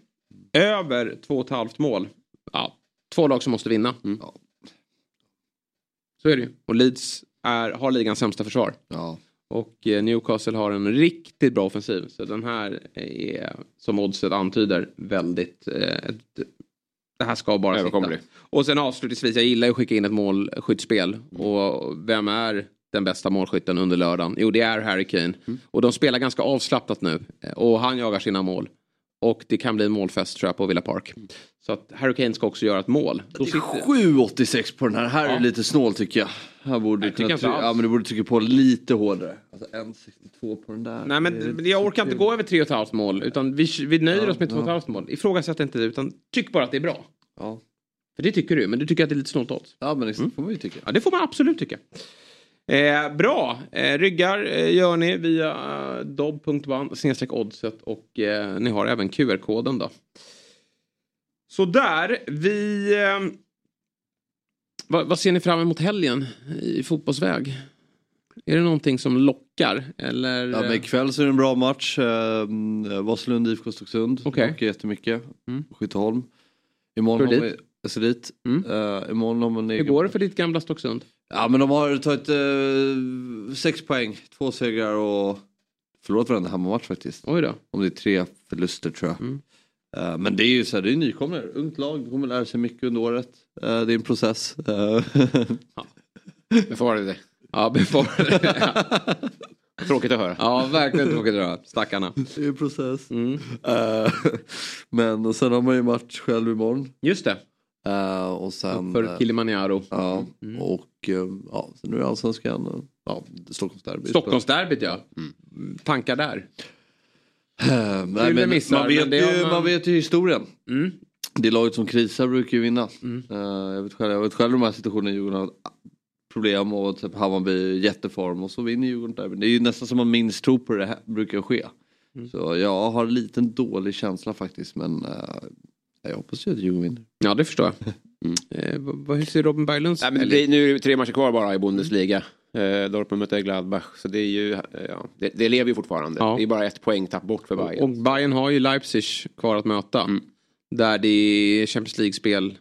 Över två och ett halvt mål. Ja, två lag som måste vinna. Ja. Så är det ju. Och Leeds är, har ligans sämsta försvar. Ja. Och eh, Newcastle har en riktigt bra offensiv. Så den här är, som oddset antyder, väldigt... Eh, ett- det här ska bara sitta. Överkomlig. Och sen avslutningsvis, jag gillar ju att skicka in ett målskyttspel. Och vem är den bästa målskytten under lördagen? Jo, det är Harry Kane. Och de spelar ganska avslappnat nu. Eh, Och han jagar sina mål. Och det kan bli en målfest tror jag på Villa Park. Så att Harry Kane ska också göra ett mål. Då sitter... 7,86 på den här. Här är lite snål tycker jag. Här borde du tycker kunna inte try- alls. ja, men du borde trycka på lite hårdare. Alltså 1,62 på den där. Nej men men jag orkar inte gå över 3,5 mål utan vi, vi nöjer oss med 2,5 mål. Ifrågasätt inte det utan tyck bara att det är bra. Ja, För det tycker du, men du tycker att det är lite snålt odds. ja men det får man ju tycka. Ja, det får man absolut tycka. Eh, bra, eh, ryggar eh, gör ni via eh, dobb.one snedstreck oddset och eh, ni har även QR-koden då. Så där, vi... Eh, vad, vad ser ni fram emot helgen i fotbollsväg? Är det någonting som lockar? Eller? Ja, men eh, ikväll så är det en bra match. Eh, Vasalund, IFK Stocksund. Okej. Lockar jättemycket. Mm. Skytteholm. Imorgon Ska du har man- Jag ska dit. Mm. Eh, imorgon har man Hur går det för ditt gamla Stocksund? Ja men de har tagit eh, sex poäng. Två segrar och förlorat varenda hemmamatch faktiskt. Oj då. Om det är tre förluster tror jag. Mm. Eh, men det är ju så här, det är nykomlingar. Ungt lag, de kommer lära sig mycket under året. Eh, det är en process. Eh, Befara det. Ja, befara det. Tråkigt att höra. ja, verkligen tråkigt att höra. Stackarna. det är en process. Mm. Eh, men och sen har man ju match själv imorgon. Just det. Eh, och sen... eh, För Kilimanjaro. Ja, Mm. och eh, ja, sen nu är det allsvenskan. och, Ja, Stockholmsderbyt. Stockholmsderbyt ja. Tankar där. Eh, nej, Kul men, missar, man, vet men det har ju, man- man vet ju historien. Mm. Det laget som krisar brukar ju vinna. Eh, jag, vet själv, jag vet själv de här situationerna Djurgården har haft problem och typ Hammarby är i jätteform och så vinner Djurgården där. Men det är ju nästan som man minns tro på det här brukar ske. Så jag har en liten dålig känsla faktiskt men eh, jag hoppas ju att Djurgården vinner. Ja det förstår jag. Eh, vad- vad- hur ser Robin Berglunds Nej, men det, är- nu är det tre matcher kvar bara i Bundesliga. Eh, Dortmund möter Gladbach. Så det, är ju, eh, ja, det, det lever ju fortfarande. Ja. Det är bara ett poängtapp bort för Bayern. Och Bayern har ju Leipzig kvar att möta. Där det är Champions League-spel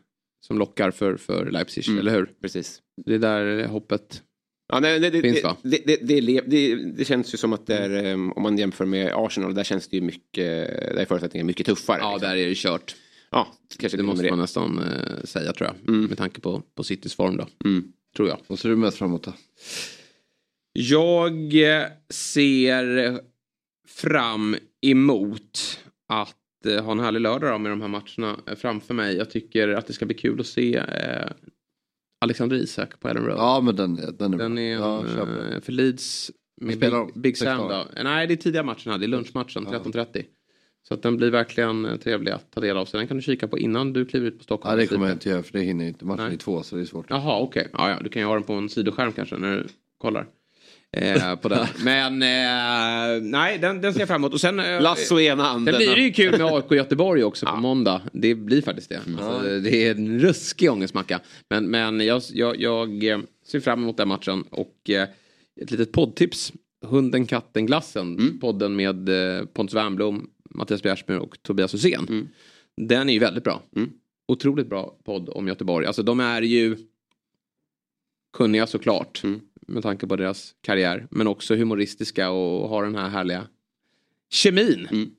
som lockar för, för Leipzig, eller hur? Precis. Det är där hoppet. Ja, nej, det, det, Finns, det, va? det, det, det, le- det, det känns ju som att det är, eh, om man jämför med Arsenal, där känns det ju mycket, där är förutsättningarna mycket tuffare. Ja, liksom. där är det kört. ja kanske Det till och måste med man nästan eh, säga tror jag. Med tanke på, på Citys form då. Mm. Tror jag. Vad ser du mest fram emot då? Jag eh, ser fram emot att eh, ha en härlig lördag då med de här matcherna eh, framför mig. Jag tycker att det ska bli kul att se eh, Alexander Isak på Ellen Road. Ja men den, är- den är Den bra. är en, ja, kör på den. eh, för Leeds med spelar de? Big, Big Sex Sam då. dagar? Eh, Nej, det är tidiga matchen här. Det är lunchmatchen 13.30. Så att den blir verkligen eh, trevlig att ta del av. Så den kan du kika på innan du kliver ut på Stockholm. Nej, det kommer jag inte göra för det hinner jag inte. Matchen Nej. är två så det är svårt. Jaha, okej. Ja, ja, du kan ju ha den på en sidoskärm kanske när du kollar. Eh, på den. Men eh, nej, den, den ser jag fram emot. Och sen, eh, Lasso i ena handen. Sen blir det ju kul med AIK Göteborg också på måndag. Det blir faktiskt det. Alltså, Det är en ruskig ångestmacka. Men, men jag, jag, jag eh, ser fram emot den matchen. Och eh, ett litet poddtips. Hunden, katten, glassen. Podden med eh, Pontus Wernbloom, Mattias Bjärsmyr och Tobias Hysén. Den är ju väldigt bra. Otroligt bra podd om Göteborg. Alltså de är ju kunniga såklart. Med tanke på deras karriär. Men också humoristiska och har den här härliga kemin.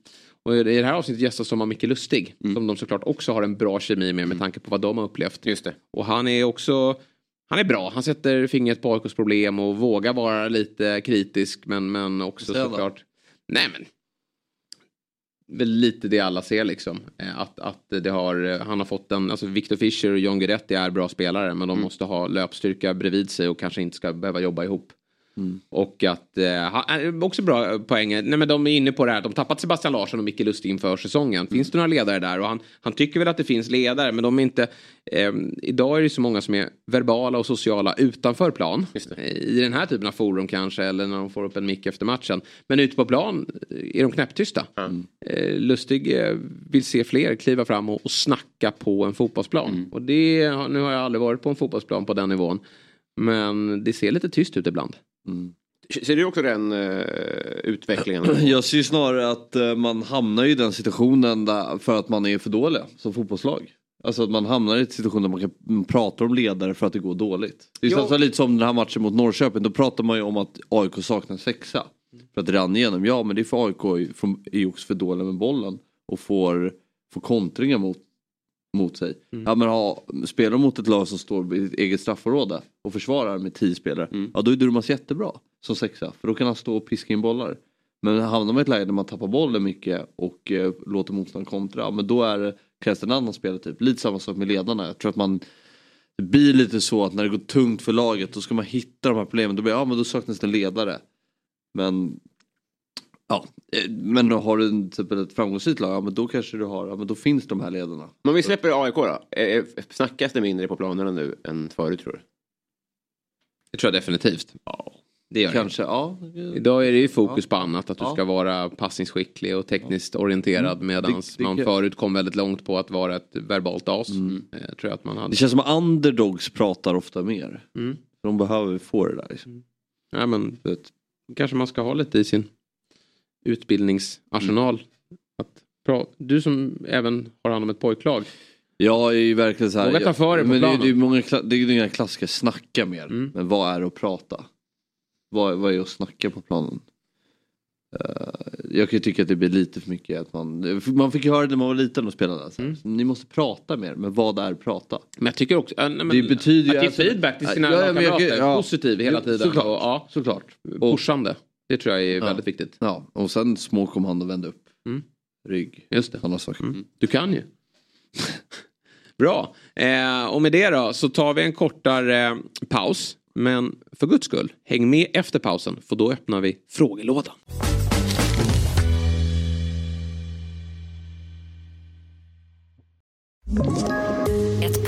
Och i det här avsnittet gästas de av Micke Lustig. Som de såklart också har en bra kemi med med tanke på vad de har upplevt. Mm. Just det. Och han är också... Han är bra. Han sätter fingret på AIKs problem och vågar vara lite kritisk. Men, men också Säg då. såklart... Nej men... Väl lite det alla ser liksom. Eh, Att, att det har, eh, han har fått en, alltså Victor Fischer och John Guidetti är bra spelare men de måste ha löpstyrka bredvid sig och kanske inte ska behöva jobba ihop. Och att, eh, ha- eh, också bra eh, poäng, nej men de är inne på det här, de tappat Sebastian Larsson och Micke Lustig inför säsongen. Finns det några ledare där? Och han, han tycker väl att det finns ledare men de är inte, ehm, idag är det så många som är verbala och sociala utanför plan. I den här typen av forum kanske eller när de får upp en mick efter matchen. Men ute på plan eh, är de knäpptysta. Eh, Lustig eh, vill se fler kliva fram och, och snacka på en fotbollsplan. Och det, har- nu har jag aldrig varit på en fotbollsplan på den nivån. Men det ser lite tyst ut ibland. Ser du också den eh, utvecklingen? Jag ser ju snarare att eh, man hamnar i den situationen där, för att man är för dåliga som fotbollslag. Alltså att man hamnar i en situation där man kan man pratar om ledare för att det går dåligt. Det är ju Jo. nästan lite som den här matchen mot Norrköping, då pratar man ju om att AIK saknar sexa. För att det rann igenom, ja men det är för AIK är från- är ju också för dåliga med bollen och får, får kontringar mot, mot sig. Ja men ha, spelar de mot ett lag som står i ett eget straffområde och försvarar med tio spelare, ja då är Durmaz jättebra som sexa. För då kan han stå och piska in bollar. Men hamnar man i ett läge där man tappar bollen mycket och eh, låter motståndaren kontra, men då är, det- krävs det en annan spelartyp. Lite samma sak med ledarna. Jag tror att man det blir lite så att när det går tungt för laget då ska man hitta de här problemen. Då blir det, ja men då saknas det en ledare. Men ja, eh, men då har du en, typ ett framgångsrikt lag, ja men då kanske du har, ja men då finns de här ledarna. Men om vi släpper AIK då. Eh, Snackas det mindre på planerna nu än förut tror du? Det tror jag definitivt. Det gör det. Kanske, ja. Idag är det ju fokus Ja. på annat. Att du Ja. ska vara passningsskicklig och tekniskt orienterad. Medan Det- det man kan- förut kom väldigt långt på att vara ett verbalt as. Eh, tror jag att man hade. Det känns som att underdogs pratar ofta mer. Mm. De behöver få det där. Liksom. Ja, men, kanske man ska ha lite i sin utbildningsarsenal. Att, pra- du som även har hand om ett pojklag. Jag är ju verkligen så här. Våga ta för dig på men det, är- planen. det är många kla- det är ju inga klassiker, snacka mer. Mm. Men vad är att prata? Vad, vad är att snacka på planen? Eh, jag kan ju tycka att det blir lite för mycket att man, man fick ju höra det när man var liten och spelade. Så här. Mm. Ni måste prata mer, men vad är prata? Men jag tycker också... äh, nej, men, Det betyder ju att ge alltså- feedback till sina Ja, ja, men jag- lagkamrater. ja. Positiv hela Jo, tiden. såklart. Och, ja, Såklart. Och, pushande. Det tror jag är väldigt viktigt. ja, och sen små kommand och vända upp. Mm. Rygg, Just det. sådana saker. Du kan ju. Bra. Eh, och med det då så tar vi en kortare eh, paus. Men för guds skull, häng med efter pausen för då öppnar vi frågelådan. Ett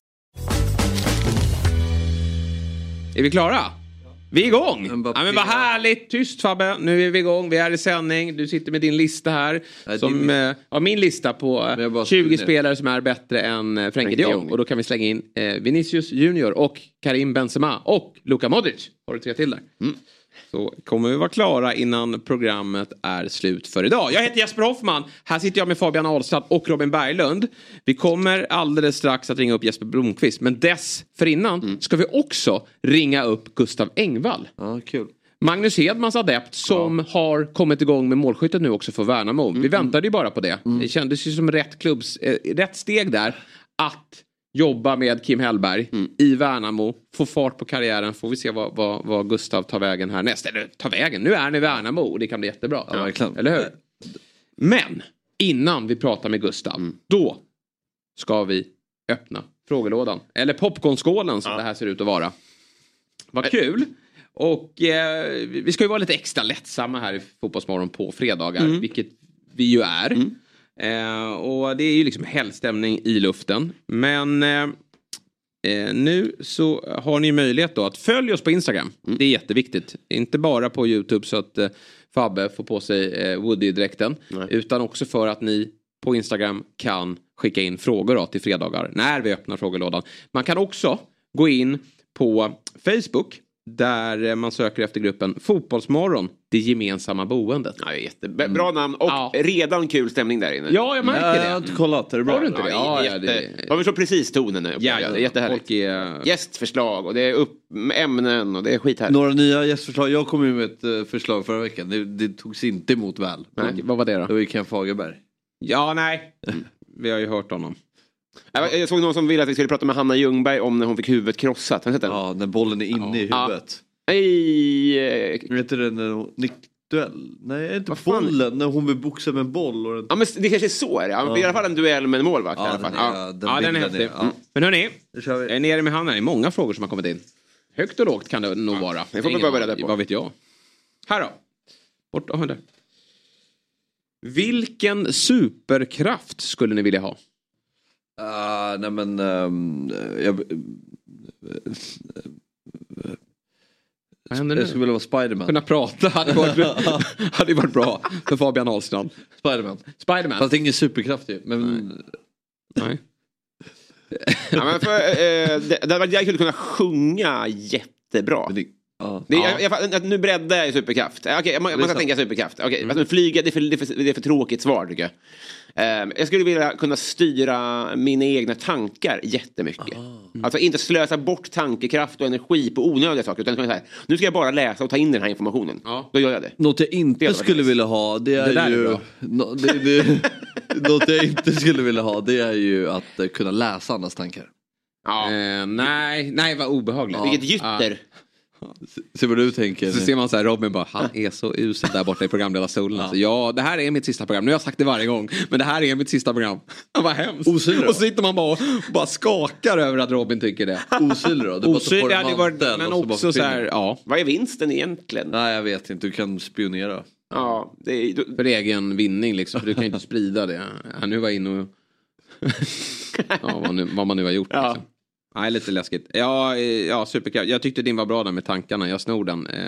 Är vi klara? Vi är igång! Mbappé. Ja, men vad härligt! Tyst Fabbe, nu är vi igång, vi är i sändning. Du sitter med din lista här. Nej, som, din eh, ja, min lista på eh, Men jag bara 20 skriver ner. spelare som är bättre än eh, Frenkie de Jong. Och då kan vi slänga in eh, Vinicius Junior och Karim Benzema och Luka Modric. Har du tre till där? Mm. Så kommer vi vara klara innan programmet är slut för idag. Jag heter Jesper Hoffman. Här sitter jag med Fabian Ahlstrand och Robin Berglund. Vi kommer alldeles strax att ringa upp Jesper Mm. Blomqvist. Men dessförinnan ska vi också ringa upp Gustav Engvall. Ja, kul. Magnus Hedmans adept som har kommit igång med målskyttet nu också för Värnamo. Vi väntade ju bara på det. Mm. Det kändes ju som rätt, klubbs, eh, rätt steg där. Att jobba med Kim Hellberg Mm. i Värnamo. Få fart på karriären. Får vi se vad, vad, vad Gustav tar vägen härnäst. Eller tar vägen. Nu är han i Värnamo och det kan bli jättebra. Ja, verkligen. Eller hur? Men innan vi pratar med Gustav. Mm. Då ska vi öppna frågelådan. Eller popcornskålen som det här ser ut att vara. Vad kul! Och eh, vi ska ju vara lite extra lättsamma här i Fotbollsmorgon på fredagar, vilket vi ju är. Eh, och det är ju liksom helgstämning i luften. Men eh, eh, nu så har ni möjlighet då att följa oss på Instagram. Det är jätteviktigt. Inte bara på YouTube så att eh, Fabbe får på sig eh, Woody-dräkten. Utan också för att ni på Instagram kan skicka in frågor då till fredagar när vi öppnar frågelådan. Man kan också gå in på Facebook där eh, man söker efter gruppen Fotbollsmorgon, det gemensamma boendet. Ja, det är jätte... b- Bra namn och Mm. Ja. redan kul stämning där inne. Ja, jag märker Jag har det. inte kollat, är det bra? Har du inte det? Ja, Ja, ja, jätte... det- Har vi så precis tonen nu? Ja, ja, det är jättehärligt. Folk är... Gästförslag och det är upp ämnen och det är skithärligt. Några nya gästförslag. Jag kom ju med ett eh, förslag förra veckan. Det, det togs inte emot väl. Och, vad var det då? Det var ju Ken Fagerberg. Ja, nej. Vi har ju hört honom. Jag, jag såg någon som ville att vi skulle prata med Hanna Ljungberg om när hon fick huvudet krossat. Har ni sett den? Ja, när bollen är inne i Ja. huvudet. I, eh, Vet du det när hon... Nickduell? Nej, inte fan? bollen. När hon vill boxa med en boll och den... ja, men det kanske är så det är. ja. I alla fall en duell med en målvakt. i alla fall. ja. ja, den är bilden häftig. Mm. Ja. Men hörni, Nu kör vi. jag är nere med handen. Det är många frågor som har kommit in. Högt och lågt kan det nog vara. det får vi Ingen vara beredda aning, på. Vad vet jag. Här då. Bort, oh, där. Vilken superkraft skulle ni vilja ha? Ah, nej men... ehm, jag, Vad händer jag skulle nu? vilja vara Spiderman. Kunna prata hade varit, hade varit bra för Fabian Ahlstrand. Spiderman. Spiderman? Fast ingen superkraft ju. Men Nej. Ja, men för, eh, det, det hade varit jäkligt kul att kunna sjunga jättebra. Men det- ja. Det är, jag, jag, fatt- nu breddar jag ju superkraft. Eh, Okej, man, man ska sant. Mm. tänka superkraft. Okej, fast men flyga, det är, för, det, är för, det är för tråkigt svar tycker jag. Eh, jag skulle vilja kunna styra mina egna tankar jättemycket. Ah. Alltså inte slösa bort tankekraft och energi på onödiga saker. Utan kunna säga, nu ska jag bara läsa och ta in den här informationen. Ja. Då gör jag det. Något jag Det inte hade varit skulle nice. vilja ha det är, där är ju... bra. Nå- det, det, något jag inte skulle vilja ha det är ju att eh, kunna läsa andras tankar. Ja. Eh, nej, nej vad obehagligt. Vilket gytter. Se vad du tänker. Så ser man så här, Robin bara, han är så usel där borta i programledarstolen. Alltså, ja, det här är mitt sista program. Nu har jag sagt det varje gång, men det här är mitt sista program. Vad hemskt. Osynlig då? och så sitter man bara och bara skakar över att Robin tycker det. Osynlig då? Du bara tar på Osynlig dig hade ju varit, manteln men och bara också så försvinner. här, ja, Vad är vinsten egentligen? Nej jag vet inte, du kan spionera. Ja, det är, då, för egen vinning liksom. För du kan ju inte sprida det. Ja, nu var jag inne och... ja, vad, nu, vad man nu har gjort. Ja. Liksom. Nej, lite läskigt. Ja, eh, ja, superkraft. Jag tyckte din var bra där med tankarna. Jag snor den. Eh,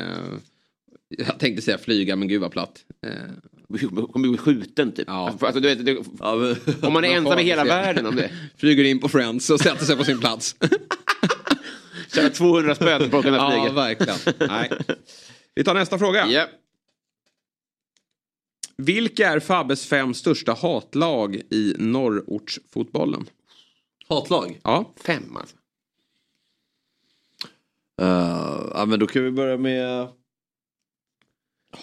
jag tänkte säga flyga, men gud vad platt. Eh, kommer bli skjuten typ. Ja. Alltså, du vet, du, Ja, men, Om man är Man ensam får i hela se. världen om det. Flyger in på Friends och sätter sig på sin plats. Tjäna 200 spänn på att kunna ja, flyga. verkligen. Nej. Vi tar nästa fråga. Ja. Vilka är Fabbes fem största hatlag i norrortsfotbollen? hatlag? Ja. Fem alltså. Eh, ja men då kan vi börja med...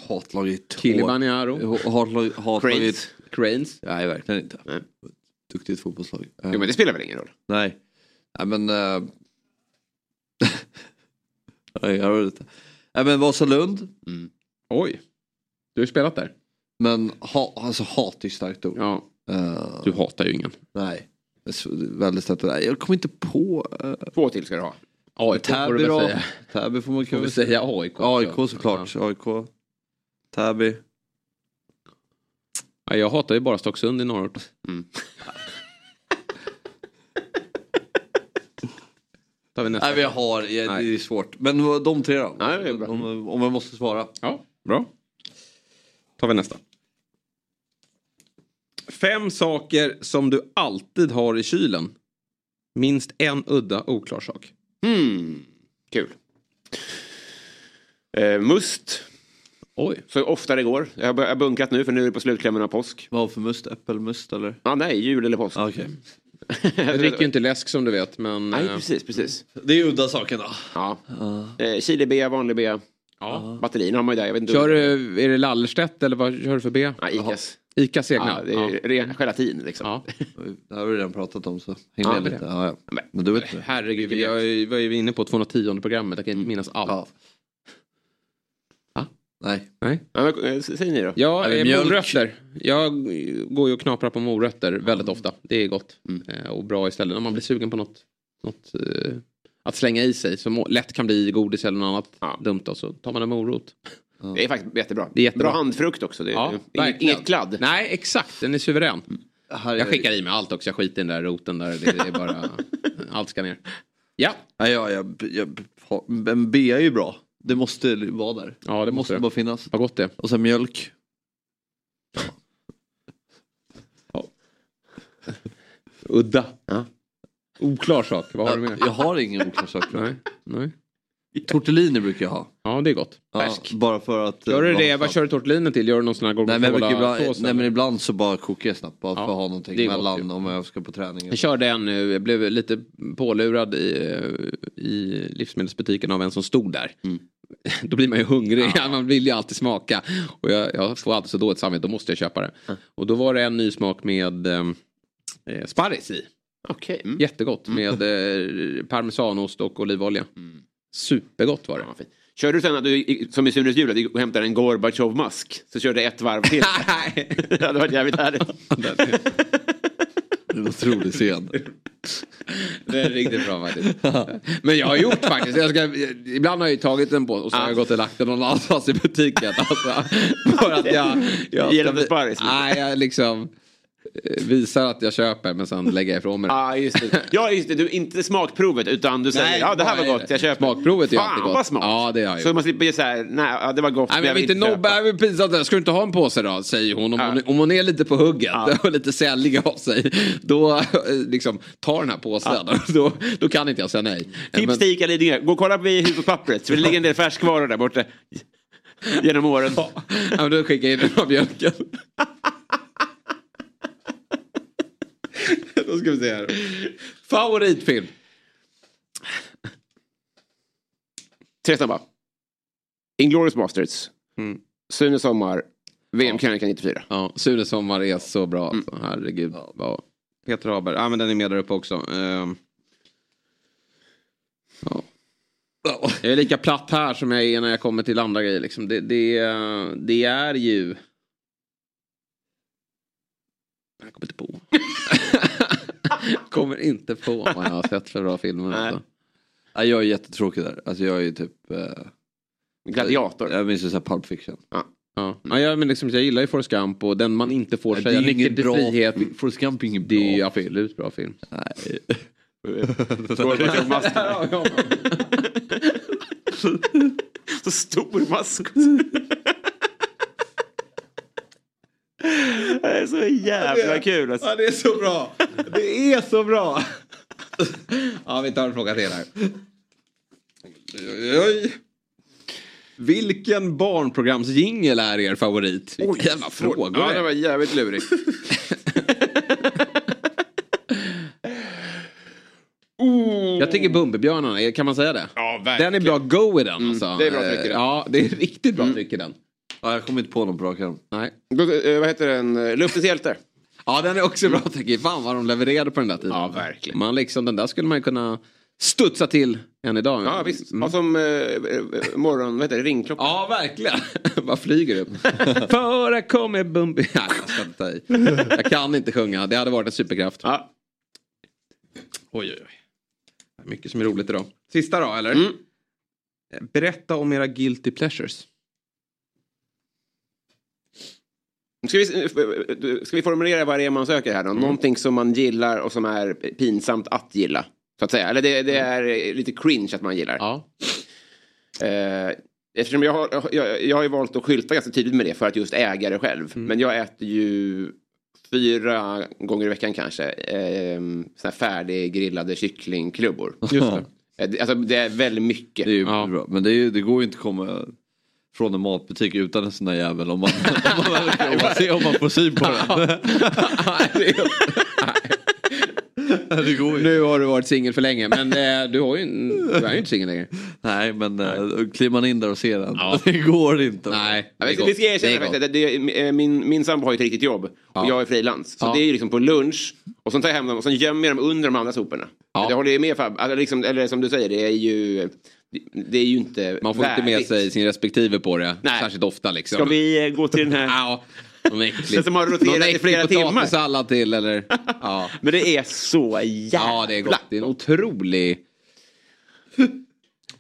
Hatlag i tå. Kilimanjaro. Hatlag, hatlag i... Cranes. Cranes. Nej verkligen inte. Nej. Duktigt fotbollslag. Eh, Jo men det spelar väl ingen roll. Nej. Nej men... eh, Nej, jag hör inte. Nej men Vasalund. Oj. Du har ju spelat där. Men ha, alltså hat är ju starkt ord. Ja. Eh, Du hatar ju ingen. nej. Det är så- det är Väldigt starkt ord. Nej, Jag kommer inte på... Uh, Två till ska du ha. AIK får du Täby väl då? säga. Täby får man Kan kan vi väl säga. säga AIK? också? AIK såklart. AIK. Täby. Ja, jag hatar ju bara Stocksund i norrort. tar vi nästa. Nej vi har, ja, det är Nej. svårt. Men vad- de tre då? Nej, det är bra. Om, om jag måste svara. Ja, bra. tar vi nästa. Fem saker som du alltid har i kylen. Minst en udda oklar sak. Hmm. Kul. Eh, must. Oj. Så ofta det går. Jag har bör- jag har bunkat nu för nu är det på slutklämmen av påsk. Vad för must? Äppelmust eller? Ah, nej, jul eller påsk. Ah, Okej. Jag dricker ju inte läsk som du vet, men... Nej, eh, precis, precis. Det är udda saken då. Ja. Eh, Chili bea, vanlig bea. Ja. Batterierna har man ju där. Jag vet inte Kör du, är det Lallerstedt eller vad kör du för B? Nej, Icas. Icas egna? Ja, det är ren gelatin liksom. Ja. Det har vi redan pratat om så häng Ja, med det är lite. Ja, ja. Men du vet nu. Herregud, jag var ju inne på 210 programmet, jag kan inte minnas allt. Ja. Va? Nej. Nej. Ja, men, eh, s- säg ni då. Ja, Eller eh, mjölk. morötter. Jag går ju och knaprar på morötter väldigt ofta. Det är gott eh, och bra istället. Om man blir sugen på något, något eh, att slänga i sig som må- lätt kan bli godis eller något annat Ja. dumt då, så tar man en morot. Det är faktiskt jättebra. Det är jättebra. Bra handfrukt också. Det är, Ja, inget, verkligen. inget kladd. Nej, exakt. Den är suverän. Här är... Jag skickar i mig allt också. Jag skiter i den där roten där. Det är bara... allt ska ner. Ja. Nej, ja, jag, jag, en B är ju bra. Det måste vara där. Ja, det Det måste måste bara det. finnas. Vad gott det är. Och sen mjölk. Udda. Oklar sak. Vad har du med? Jag har ingen oklar sak. Nej. Nej. Tortellini brukar jag ha. Ja, det är gott. Ja, Färsk. bara för att... eh, Gör du vara det? Vad snabb. kör du tortellinen till? Gör du någon sån här Nej men, jag brukar gorgonzola-sås? ibland, nej men eller? ibland så bara kokar jag snabbt bara för Ja, att ha det är någonting gott mellan ju. om jag ska på träning. Jag körde en nu, jag blev lite pålurad i, eh, i livsmedelsbutiken av en som stod där. Då blir man ju hungrig, man vill ju alltid smaka. Och jag, jag får alltid så dåligt samvete, då måste jag köpa det. Och då var det en ny smak med ehm, eh, sparris i. Okej. Mm. Jättegott med eh, parmesanost och olivolja. Supergott var det. Ja, fint. Kör du sen att du, i- som i Sunes jul, att du går och hämtar en Gorbatjov-mask? Så kör du ett varv till. Nej. det hade varit jävligt härligt. En otrolig scen. Det är riktigt bra faktiskt. Men jag har gjort faktiskt. Jag ska, ibland har jag ju tagit den på och så har jag gått och lagt den någon annanstans i butiken. Alltså, för att jag... jag Gillar du sparris? Nej, jag liksom eh, visar att jag köper men sen lägger jag ifrån mig Ja, den. ah, just det. Ja, just det. Du, inte smakprovet, utan du säger Nej, ja, det här bara var är gott, det. jag köper. Smakprovet är Fan, alltid gott. vad smart. Ja, det har jag Så gjort. man slipper ju så här, nej, ja, det var gott, Nej, men jag vill inte nobba, jag vill pinsa att jag ska du inte ha en påse då? Säger hon. Om, hon, om hon är lite på hugget och lite sällig av sig. Då eh, liksom, ta den här påsen. Då, då kan inte jag säga nej. Tips till ICA Lidingö, gå och kolla vid hushållspappret, för det ligger en del färskvaror där borta. Genom åren. Ja, men då skickar jag in den av mjölken. då ska vi se här. Favoritfilm. Tre snabba. Inglourious Basterds. Mm. Sune Sommar. VM-krönikan 94. Ja, Sune Sommar är så bra. alltså. Herregud. vad- Peter Haber. Ja, men den är med där uppe också. Ehm. Ja. Jag är lika platt här som jag är när jag kommer till andra grejer. Liksom. Det, det, eh, det är ju... Jag kommer inte på. kommer inte på vad jag har sett för bra filmer. Alltså. Nej, jag är jättetråkig där. Alltså jag är ju typ... Eh, Gladiator. jag minns ju såhär Pulp Fiction. Ja. Ja, jag, men liksom, jag gillar ju Forrest Gump och den man inte får Nej, säga nyckeln till frihet. fi- Forrest Gump är ingen bra. Det är ju absolut bra film. Nej. Gorbatjov-masken. Så stor mask. Det är så jävla kul. Alltså. det är så bra. Det är så bra. ja, vi tar en fråga till här. Oj, oj. Vilken barnprogramsjingel är er favorit? Oj, jävla frågor. Ja, det var jävligt lurigt. Jag tycker Bumbibjörnarna, är- kan man säga det? Ja, Den är bra go i den alltså. Mm, det är bra tryck i den. Mm. Ja, det är riktigt bra tryck i den. Ja, jag kommer inte på någon på rak arm. Nej. Vad heter den? Eh, Luftens hjälte. Ja, den är också bra tycker jag. Fan vad de levererade på den där tiden. Ja, verkligen. Man liksom, den där skulle man ju kunna studsa till än idag. Ja, visst. Mm. Ja, som eh, eh, morgon... Vad heter det? Ringklocka. Ja, verkligen. Vad flyger upp. Före kommer Bumbi... Nej, jag ska inte ta i. Jag kan inte sjunga. Det hade varit en superkraft. Ja. Oj, oj, oj. Det är Mycket som är roligt idag. Sista då, eller? Mm. Berätta om era guilty pleasures. Ska vi, eh, ska vi formulera vad det är man söker här då? Mm. Någonting som man gillar och som är pinsamt att gilla. Så att säga. Eller det, det Mm. är eh, lite cringe att man gillar. Ja. Eh, eftersom jag har, jag, jag har ju valt att skylta ganska tydligt med det för att just äga det själv. Mm. Men jag äter ju fyra gånger i veckan kanske eh, såna här färdiggrillade kycklingklubbor. Just det. Eh, det- Alltså det är väldigt mycket. Det är ju Ja. bra. Men det, är, ju- det går ju inte att komma från en matbutik utan en sån där jävel. Om man, om man, om man, ser, om man får syn på den. Nej, det är- Nej. det går ju. Nu har du varit singel för länge men eh, du, har ju, en- du är ju inte singel längre. Nej, men eh, kliver man in där och ser den. Det går inte. Nej, Ja, det är vi, gott. vi ska Det är erkänna gott. faktiskt att det, eh, min, min sambo har ju ett riktigt jobb och jag är frilans. Så det är ju liksom på lunch och sen tar jag hem dem och sen gömmer jag dem under de andra soporna. Ja. Det håller jag med Fab. Alltså, liksom, eller som du säger, det är ju, det är ju inte Man får inte med värdigt. sig sin respektive på det. Nej. Särskilt ofta liksom. Ska vi eh, gå till den här? Ja, någon äcklig. Den som har roterat någon i äcklig flera timmar. potatissallad till eller. Ja. Men det är så jävla... ja, det är gott. Det är en otrolig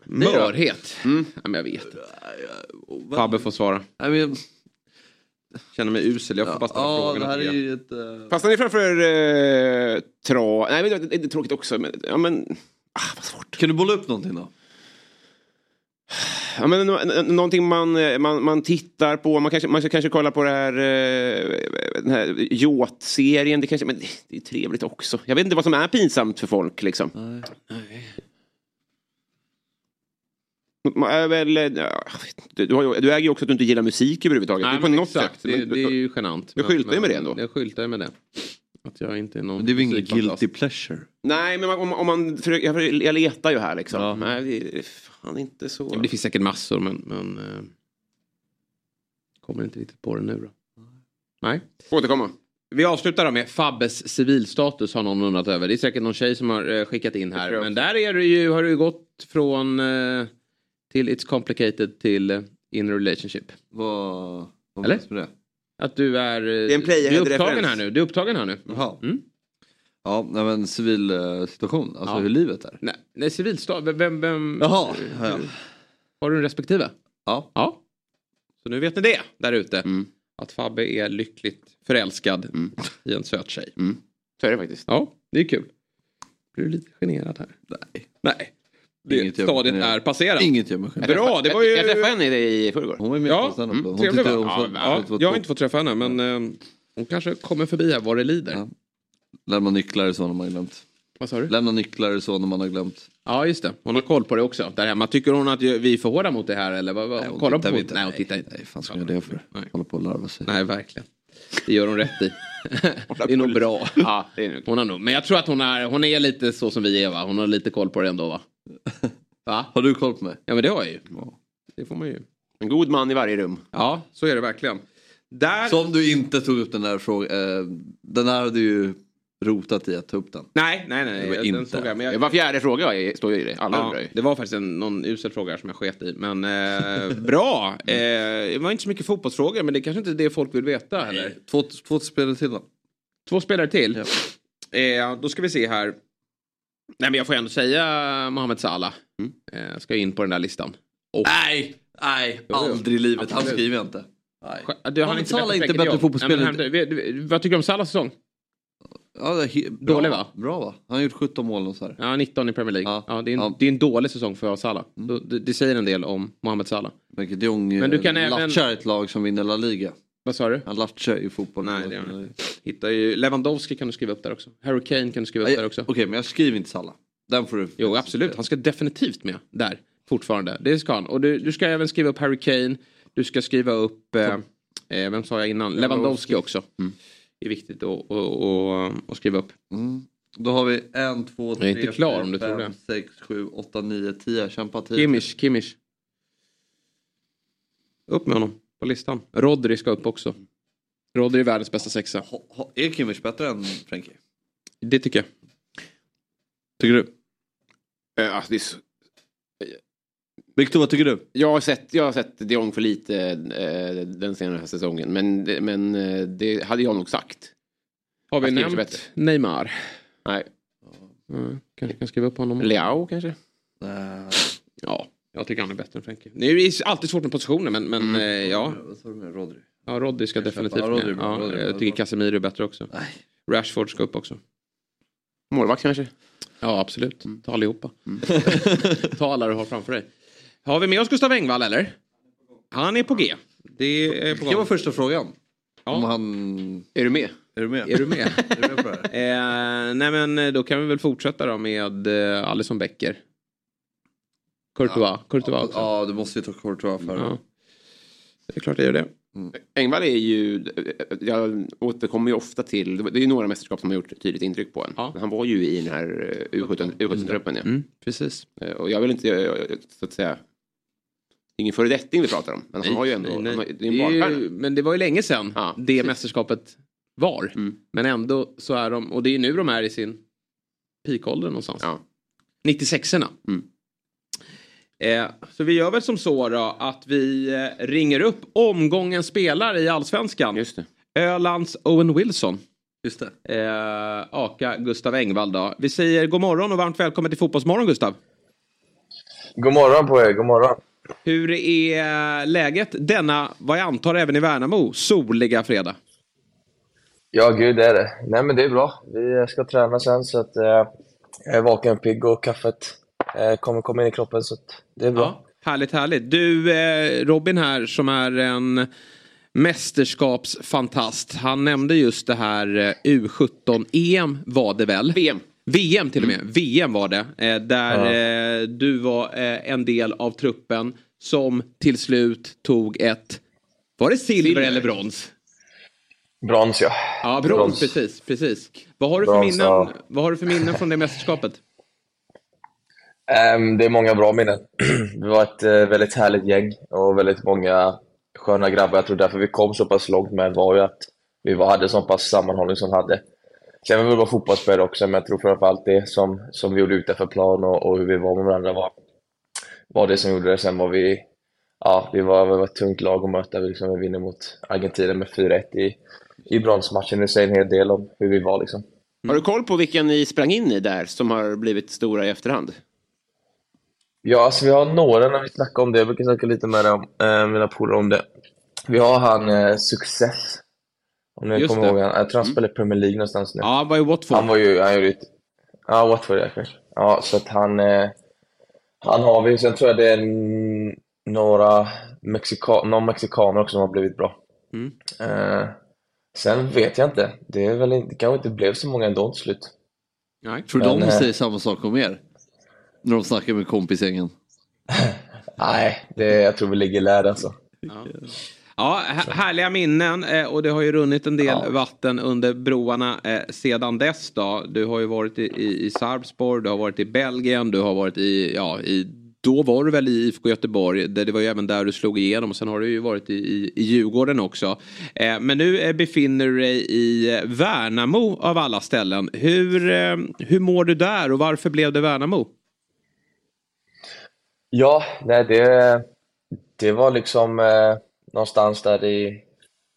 mörhet. Mm. Ja, men jag vet inte. Fabbe får svara. Nej, men, Känner mig usel. Jag får bara ställa ja, det frågorna. här är igen. ju ett... eh, Passar ni framför eh, tra... Nej, men det, det är tråkigt också. Men, ja, men... Ah, vad svårt. Kan du bolla upp någonting då? Ja, men, nå- nå- någonting man, eh, man, man tittar på. Man kanske, man ska kanske kolla på det här, eh, den här Jåt-serien. Det, kanske- men det- det är trevligt också. Jag vet inte vad som är pinsamt för folk. Liksom. Man är väl, eh, ja, jag vet inte. du, har ju- du äger ju också att du inte gillar musik överhuvudtaget. Nej, det är på men något exakt. sätt. men Det, du- det är ju genant. Jag Men- skyltar ju med det men- ändå. Jag skyltar ju med det. Att jag inte är någon Men det är väl ingen musikfantast. guilty pleasure? Nej, men man- om, om man, för jag, jag letar ju här liksom. Nej, det är fan inte så. Ja, men det finns säkert massor men... men eh, kommer inte riktigt på det nu då. Nej. Återkomma. Vi avslutar då med Fabbes civilstatus har någon undrat över. Det är säkert någon tjej som har eh, skickat in här. Men där är det ju, har du ju gått från eh, till It's complicated till eh, in a relationship. Vad... vad Eller? menas med det? Att du är... eh, är en du är upptagen Playhead-referens. här nu. Du är upptagen här nu. Jaha. Mm. Ja, nej, men civil eh, situation, alltså Ja. hur livet är. Nej, nej civilstatus. Vem, vem, vem, Jaha. Ja. har du en respektive? ja. Ja. Så nu vet ni det där ute. Mm. Att Fabbe är lyckligt förälskad i en söt tjej. Mm. Så är det faktiskt. Ja, det är kul. Blir du lite generad här? Nej. Nej. Inget Det jag- stadiet nej. är passerat. Inget gör mig generad. Bra, det var ju... Jag träffade henne i i förrgår. Hon var ju med Ja, på standup. mm, Hon trevlig tyckte va? hon Ja, såg- ja, såg- jag har inte fått träffa henne men eh, hon kanske kommer förbi här vad det lider. Ja. Lämna nycklar och så när man har glömt. Vad sa du? Lämna nycklar och så när man har glömt. Ja just det, hon har koll på det också. Där hemma. Tycker hon att vi är för hårda mot det här eller? Vad, vad, Nej, hon kollar tittar på inte. Nej hon tittar inte. Nej, fan ska jag göra det för? Nej. Hålla på och larva sig. Nej verkligen. Det gör hon rätt i. det är nog bra. Ja, det är nog. Hon har nog, men jag tror att hon är, hon är lite så som vi är va? Hon har lite koll på det ändå va? Va? Har du koll på mig? Ja men det har jag ju. Det får man ju. En god man i varje rum. Ja, så är det verkligen. Där... Som du inte tog upp den där frågan. Eh, den här hade ju rotat i att ta upp den. Nej, nej, nej. Det var den inte. såg jag, men jag... Det var fjärde fråga, jag står ju i det. Alla Ja, undrar ju. det var faktiskt en, någon usel fråga som jag sket i. Men eh, bra. Eh, det var inte så mycket fotbollsfrågor men det är kanske inte är det folk vill veta heller. Två, två spelare till då. Två spelare till. Eh, då ska vi se här. Nej men jag får ändå säga Mohamed Salah. Eh, ska in på den där listan. Och... Mm. Nej, nej. Aldrig i livet. Han skriver jag inte. Nej. Sj- Du, han är Mohamed inte Salah är bättre inte än bättre jag. fotbollsspelare. Nej, men han- du- du- Vad tycker du om Salahs säsong? Ja, det är he- bra, Dålig, va? Bra va? Han har gjort 17 mål och så här. Ja, 19 i Premier League. Ja. Mm. Ja. det, är en, Ja. det är en dålig säsong för Salah. Då- Det, det säger en del om Mohamed Salah. Michael de Jong Men men du du kan även- latchar ett lag som vinner La Liga. Vad sa du? Han latchar ju fotboll. Nej, det gör han inte. Hittar ju, Lewandowski kan du skriva upp där också. Harry Kane kan du skriva upp Nej, där Okej, också. men jag skriver inte Salla. Den får du... Jo, absolut. Han ska definitivt med där. Fortfarande. Det ska han. Och du, du ska även skriva upp Harry Kane. Du ska skriva upp... Eh, eh, vem sa jag innan? Lewandowski också. Det är viktigt att, att, att, att skriva upp. Mm. Då har vi en, två, Jag är tre, inte klar om du tror fem, det. sex, sju, åtta, nio, tio. Kämpa tio. Kimmich, Kimmich. Upp med honom på listan. Rodri ska upp också. Rodri är världens bästa sexa. Ha, ha, är Kimmich bättre än Frenkie? Det tycker jag. Tycker du? Eh, Alltså, det är så... Viktor, vad tycker du? jag, har sett, jag har sett de Jong för lite eh, den senare säsongen. Men, det- men eh, det hade jag nog sagt. Har vi Han skriver sig nämnt Neymar? Nej. Mm, kanske kan skriva upp honom. Leao kanske? Ja, jag tycker han är bättre än Frenkie. Det är ju alltid svårt med positioner men, men eh, ja. Vad sa du med Rodri? ja, Rodri ska definitivt Ja, Rodri är med. bra, Ja, Rodri är jag bra. tycker Casemiro är bättre också. Nej. Rashford ska upp också. Målvakt kanske? Mm. Ja, absolut. Ta allihopa. Ta alla du har framför dig. Har vi med oss Gustav Engvall eller? Han är på G. Det är på Det var gång. första frågan. Ja. Om han... Är du med? Är du med? Är du med? Är du med på det här? eh, nej men eh, då kan vi väl fortsätta då med eh, Alisson Becker. Courtois. Courtois också. Ja, du måste ju ta Courtois för. Ja. Det är klart jag gör det. Engvall är ju, eh, jag återkommer ju ofta till, det är ju några mästerskap som har gjort ett tydligt intryck på en. Ja. Han var ju i den här eh, U17 U17-truppen. Ja. Mm, precis. Eh, Och jag vill inte, jag- jag- så att säga, det är ingen föredetting vi pratar om. Men han har ju ändå, Han har, det är en Det är barnstjärna. ju, men det var ju länge sedan Ja, det precis. mästerskapet var. Men ändå så är de, och det är nu de är i sin peakålder någonstans. Ja. 96orna. Eh, så vi gör väl som så då att vi eh, ringer upp omgången spelare i allsvenskan. Just det. Ölands Owen Wilson. Just det. Eh, Aka Gustav Engvall då. Vi säger god morgon och varmt välkommen till Fotbollsmorgon Gustav. God morgon på er, god morgon. Hur är eh, läget denna, vad jag antar även i Värnamo, soliga fredag? Ja, gud det är det. Nej, men det är bra. Vi eh, ska träna sen så att eh, jag är vaken och pigg och kaffet eh, kommer komma in i kroppen så att det är bra. Ja, härligt, härligt. Du, eh, Robin här som är en mästerskapsfantast. Han nämnde just det här eh, U17-EM var det väl? VM. VM till och med. VM var det. Eh, Där eh, du var eh, en del av truppen som till slut tog ett... Var det silver, Silver. eller brons? Brons ja. Ja, brons. Precis, precis. Vad har, du för Brons, minnen, ja. vad har du för minnen från det mästerskapet? Ehm, det är många bra minnen. vi var ett eh, väldigt härligt gäng och väldigt många sköna grabbar. Jag tror därför vi kom så pass långt med var ju att vi var, hade så pass sammanhållning som vi hade. Sen var vi bra fotbollsspelare också, men jag tror framförallt det som, som vi gjorde utanför plan och, och hur vi var med varandra var, var det som gjorde det. Sen var vi, ja, vi var, vi var ett tungt lag att möta. Vi, liksom, vi vinner mot Argentina med 4-1 i, i bronsmatchen. Det säger en hel del om hur vi var liksom. Har du koll på vilka ni sprang in i där som har blivit stora i efterhand? Ja, alltså vi har några när vi snackar om det. Jag brukar snacka lite med dem, eh, mina polare om det. Vi har han eh, Success. Om ni Just kommer det. Mm. ihåg han. Jag tror han spelar i Premier League någonstans nu. Ja, han var i Watford. Han var ju, han gjorde ju ett... Ja, Watford ja, kanske. Ja, så att han... Eh, han har vi. Sen tror jag det är n- några mexika, någon mexikaner också som har blivit bra. Mm. Eh, sen vet jag inte. Det, är väl, inte- det kanske inte blev så många ändå till slut. Nej. Tror Men, de eh, säger samma sak om er? När de snackar med kompisgängen. Nej, det, jag tror vi ligger lärda alltså. Ja, här- härliga minnen eh, och det har ju runnit en del vatten under broarna eh, sedan dess då. Du har ju varit i, i, i Sarpsborg, du har varit i Belgien, du har varit i, ja, i då var du väl i IFK Göteborg, där det var ju även där du slog igenom och sen har du ju varit i, i, i Djurgården också. Eh, men nu eh, befinner du dig i eh, Värnamo av alla ställen. Hur, eh, hur mår du där och varför blev det Värnamo? Ja, nej, det, det var liksom eh, någonstans där i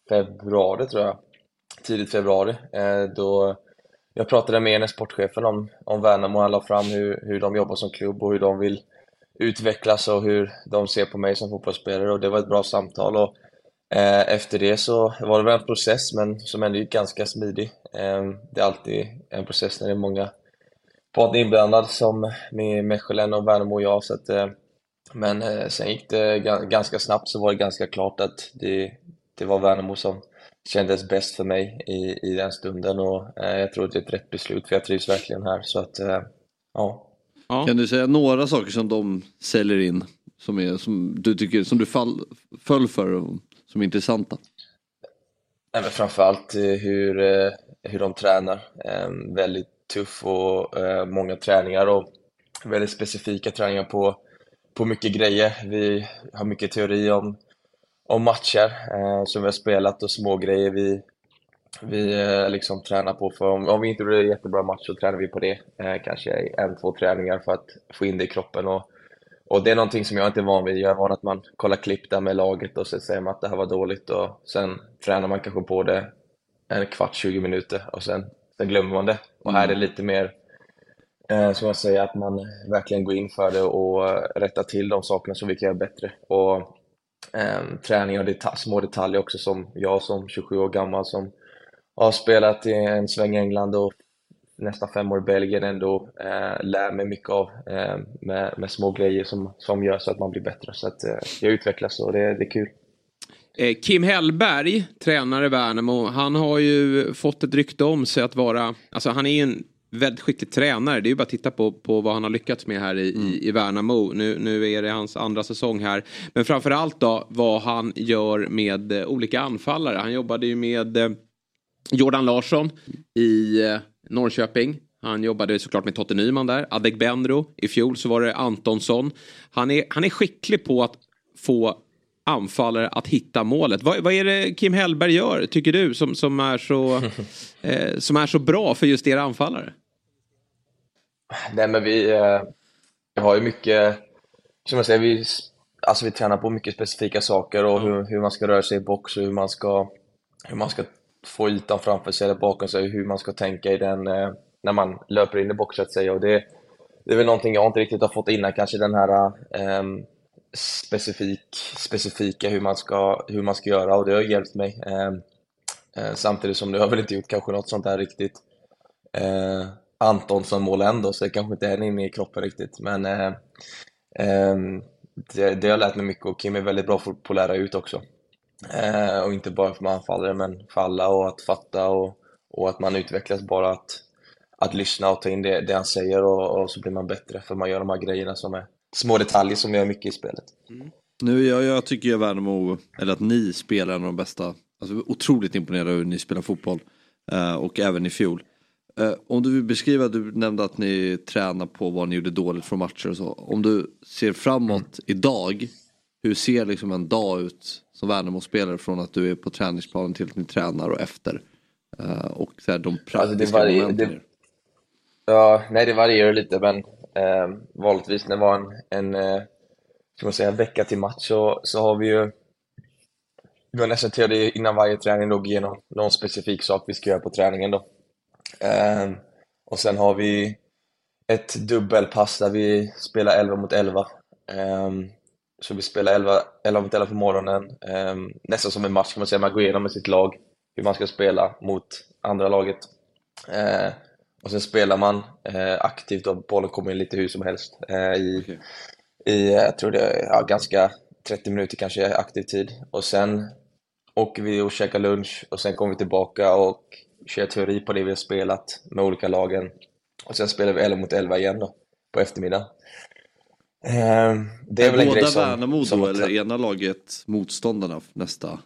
februari, tror jag. Tidigt februari. Eh, då jag pratade med ene sportchefen om, om Värnamo. Han la fram hur, hur de jobbar som klubb och hur de vill utvecklas och hur de ser på mig som fotbollsspelare. Och det var ett bra samtal. Och, eh, efter det så var det väl en process, men som ändå gick ganska smidig. Eh, det är alltid en process när det är många parter inblandade, som med Mechelen och Värnamo och jag. Så att, eh, men eh, sen gick det ga- ganska snabbt så var det ganska klart att det, det var Värnamo som kändes bäst för mig i, i den stunden och eh, jag tror det är ett rätt beslut för jag trivs verkligen här så att eh, ja. Ja. Kan du säga några saker som de säljer in? Som, är, som du, tycker, som du fall, föll för och som är intressanta? Nej, men framförallt eh, hur, eh, hur de tränar. Eh, Väldigt tuff och eh, många träningar och väldigt specifika träningar på, på mycket grejer. Vi har mycket teori om, om matcher eh, som vi har spelat och små grejer vi, vi eh, liksom tränar på. För om, om vi inte blir en jättebra match så tränar vi på det. Eh, Kanske en, två träningar för att få in det i kroppen. och och det är någonting som jag inte är van vid. Jag är van att man kollar klipp där med laget och så säger man att det här var dåligt och sen tränar man kanske på det en kvart, 20 minuter och sen, sen glömmer man det. Och här är det lite mer, eh, som jag säger, att man verkligen går in för det och eh, rättar till de sakerna som vi kan göra bättre. Och eh, träning och deta- små detaljer också som jag som 27 år gammal som har spelat i en sväng i England och nästan fem år i Belgien ändå eh, lär mig mycket av eh, med, med små grejer som, som gör så att man blir bättre. Så att eh, jag utvecklas och det, det är kul. Eh, Kim Hellberg, tränare i Värnamo, han har ju fått ett rykte om sig att vara, alltså han är ju en väldigt skicklig tränare. Det är ju bara att titta på, på vad han har lyckats med här i, i, i Värnamo. Nu, nu är det hans andra säsong här. Men framförallt då vad han gör med eh, olika anfallare. Han jobbade ju med eh, Jordan Larsson i eh, Norrköping. Han jobbade såklart med Totte Nyman där. Adegbenro. I fjol så var det Antonsson. Han är, han är skicklig på att få anfallare att hitta målet. Vad, vad är det Kim Hellberg gör, tycker du, som, som, är så, eh, som är så bra för just era anfallare? Nej, men vi, eh, vi har ju mycket, som jag säger, vi, s- alltså vi tränar på mycket specifika saker och hur, hur man ska röra sig i box och hur man ska, hur man ska få ytan framför sig eller bakom sig, hur man ska tänka i den eh, när man löper in i box så att säga. Och det, det är väl någonting jag inte riktigt har fått innan, kanske den här ehm, specifik, specifika hur man, ska, hur man ska göra och det har hjälpt mig. Ehm, eh, samtidigt som nu har jag väl inte gjort kanske något sånt där riktigt eh, Antonsson-mål ändå, så det kanske inte är inne i kroppen riktigt. Men eh, ehm, det, det har lärt mig mycket och Kim är väldigt bra på att lära ut också. Eh, och inte bara för man anfallare, men för alla och att fatta och, och att man utvecklas bara att, att lyssna och ta in det, det han säger och, och så blir man bättre för man gör de här grejerna som är små detaljer som gör mycket i spelet. Nu, jag, jag tycker ju Värnamo, eller att ni spelar en av de bästa, alltså jag är otroligt imponerad över hur ni spelar fotboll. eh, Och även i fjol. Eh, Om du vill beskriva, du nämnde att ni tränar på vad ni gjorde dåligt från matcher och så. Om du ser framåt Mm. idag, hur ser liksom en dag ut som Värnamo-spelare från att du är på träningsplanen till att ni tränar och efter? Eh, Och så här, de praktiska Alltså, det varie- momenten. det- i det... Ja, nej, det varierar lite, men eh, vanligtvis när det var en, en, eh, ska man säga, en vecka till match så, så har vi ju vi har nästan till det innan varje träning då gå igenom någon specifik sak vi ska göra på träningen då. Eh, och sen har vi ett dubbelpass där vi spelar 11 mot 11. Eh, så vi spelar 11, 11 mot 11 på morgonen, eh, nästan som en match kan man säga. Man går igenom med sitt lag hur man ska spela mot andra laget. Eh, och sen spelar man eh, aktivt och bollen kommer in lite hur som helst. Eh, i, i, eh, jag tror det är ja, ganska 30 minuter kanske är aktiv tid. Och sen åker vi och käkar lunch och sen kommer vi tillbaka och kör teori på det vi har spelat med olika lagen. Och sen spelar vi 11 mot 11 igen då, på eftermiddagen. Eh, det är väl en grej Båda som... Värnamo som då, har eller ena laget motståndarna nästa?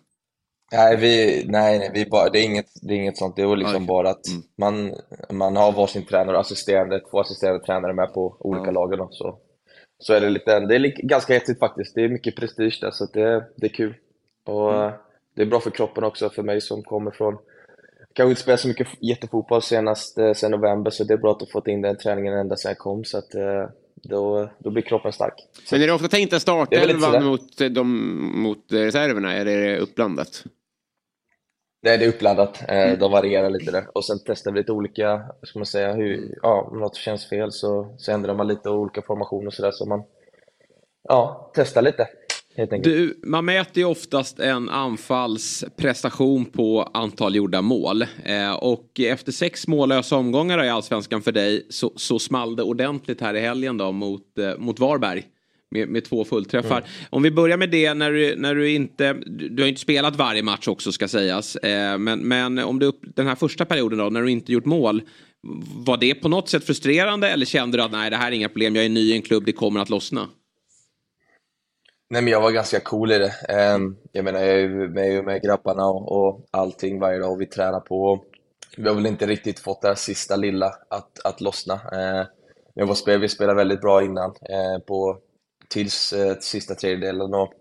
Nej, vi, nej, nej vi bara, det, är inget, det är inget sånt. Det är liksom Okej. Mm. bara att man, man har varsin tränare och assisterande, två assisterande tränare med på olika Ja. lagen. Också. Så, så är det lite, det är li- ganska hetsigt faktiskt. Det är mycket prestige där, så att det, det är kul. Och Mm. eh, det är bra för kroppen också, för mig som kommer från, kanske inte spelat så mycket f- jättefotboll senast, eh, sen november, så det är bra att ha fått in den träningen ända sedan jag kom, så att eh, då, då blir kroppen stark. Men är det ofta tänkt att Det är väl lite startelvan sådär. mot, eh, de, mot eh, reserverna eller är det uppblandat? Nej, det är uppladdat. Eh, De varierar lite där. Och sen testar vi lite olika, ska man säga, hur, ja, om något känns fel så, så ändrar man lite och olika formationer och sådär. Så man ja, testar lite, helt enkelt. Du, man mäter ju oftast en anfallsprestation på antal gjorda mål. Eh, och efter sex mållösa omgångar då i allsvenskan för dig så, så small det ordentligt här i helgen då mot, eh, mot Varberg. Med, med två fullträffar. Om vi börjar med det när du, när du inte, du, du har ju inte spelat varje match också ska sägas. Eh, men, men om du, upp- den här första perioden då när du inte gjort mål. Var det på något sätt frustrerande eller kände du att nej det här är inga problem, jag är ny i en klubb, det kommer att lossna? Nej, men jag var ganska cool i det. Ehm, jag menar, jag är ju med, jag är ju med grabbarna och, och allting varje dag och vi tränar på. Vi har väl inte riktigt fått det här sista lilla att, att lossna. Uh, jag var spel, vi spelade väldigt bra innan, eh, på, tills eh, sista tredjedelen och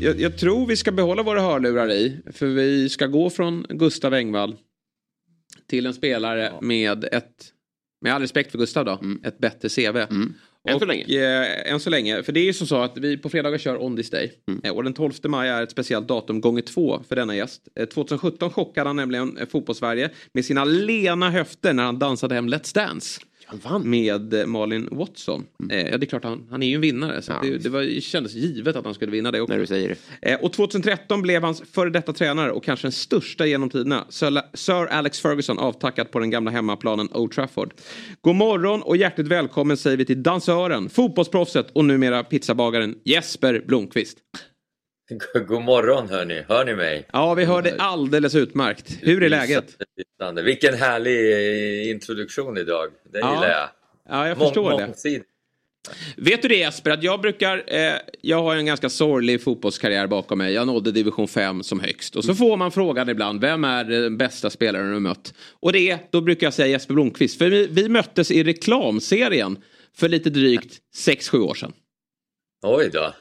Jag, jag tror vi ska behålla våra hörlurar i. För vi ska gå från Gustav Engvall till en spelare med ett, med all respekt för Gustav då, ett bättre CV. Mm. Än så Och, länge. Eh, än så länge. För det är ju som så att vi på fredagar kör On This Day. Mm. Eh, och den 12 maj är ett speciellt datum gånger två för denna gäst. Eh, 2017 chockade han nämligen eh, fotbollssverige med sina lena höfter när han dansade hem Let's Dance. Han vann. Mm. Med eh, Malin Watson. Eh, ja, det är klart, han, han är ju en vinnare. Så Ja, det, visst. det var, det kändes givet att han skulle vinna det också. När du säger det. Eh, och 2013 blev hans före detta tränare och kanske den största genom tiderna, Sir Sir Alex Ferguson, avtackad på den gamla hemmaplanen Old Trafford. God morgon och hjärtligt välkommen säger vi till dansören, fotbollsproffset och numera pizzabagaren Jesper Blomqvist. God morgon hörni, hör ni mig? Ja, vi hör dig alldeles utmärkt. Hur är läget? Lysande. Vilken härlig eh, introduktion idag, det Ja, gillar jag. Ja, jag Mång- förstår det. mångsidig. Vet du det Jesper, att jag brukar, eh, jag har en ganska sorglig fotbollskarriär bakom mig. Jag nådde division 5 som högst. Och så får man frågan ibland, vem är den bästa spelaren du mött? Och det är, då brukar jag säga Jesper Blomqvist. För vi, vi möttes i reklamserien för lite drygt 6-7 år sedan. Oj då.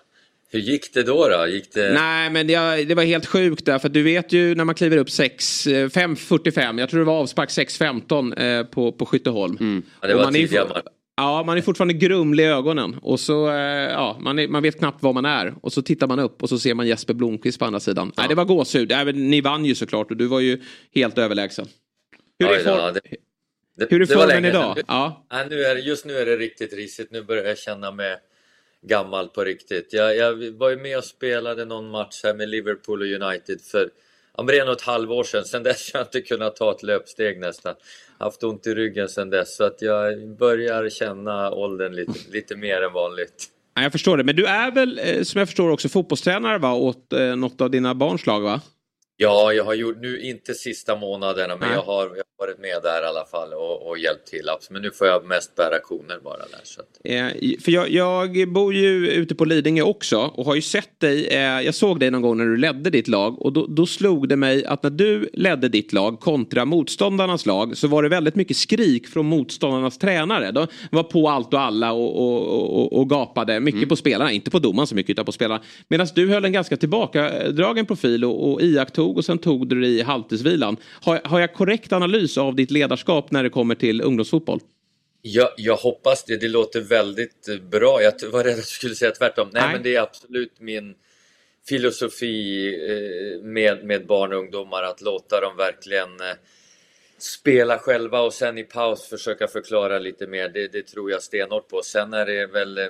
Hur gick det då? då? Gick det... Nej, men det, det var helt sjukt där. För att du vet ju när man kliver upp 6, eh, 5.45, jag tror det var avspark 6.15 eh, på, på Skytteholm. Mm. Ja, det Och var man är ju tidiga for- matcher. Ja, man är fortfarande grumlig i ögonen. Och så, eh, ja, man, är, man vet knappt var man är. Och så tittar man upp och så ser man Jesper Blomqvist på andra sidan. Nej, det var gåshud. Nej, men ni vann ju såklart och du var ju helt överlägsen. Hur är, Oj då, for- det, det, hur är det var formen länge idag? sedan. Ja. Ja, nu är, det- just nu är det riktigt risigt, nu börjar jag känna mig gammal på riktigt. Jag, jag var ju med och spelade någon match här med Liverpool och United för ja, men det är nog ett halvår sedan. Sedan dess har jag inte kunnat ta ett löpsteg nästan. Haft ont i ryggen sedan dess så att jag börjar känna åldern lite, lite mer än vanligt. Nej, jag förstår det. Men du är väl, eh, som jag förstår också, fotbollstränare va? åt eh, något av dina barns lag? Va? Ja, jag har gjort, nu inte sista månaderna, men Nej. jag har, jag har varit med där i alla fall och, och hjälpt till. abs- Men nu får jag mest bära koner bara där. Så att, Eh, för jag, jag bor ju ute på Lidingö också och har ju sett dig. Eh, jag såg dig någon gång när du ledde ditt lag och då, då slog det mig att när du ledde ditt lag kontra motståndarnas lag så var det väldigt mycket skrik från motståndarnas tränare. De var på allt och alla och, och, och, och gapade mycket på spelarna, inte på domaren så mycket utan på spelarna. Medan du höll en ganska tillbakadragen profil och, och iakttog och sen tog du dig i halvtidsvilan. Har, har jag korrekt analys av ditt ledarskap när det kommer till ungdomsfotboll? jag, jag hoppas det, det låter väldigt eh, bra. Jag t- var rädd att du skulle säga tvärtom. Nej, Nej. men det är absolut min filosofi eh, med, med barn och ungdomar, att låta dem verkligen eh, spela själva och sen i paus försöka förklara lite mer. Det, det tror jag stenhårt på. Sen är det väl eh,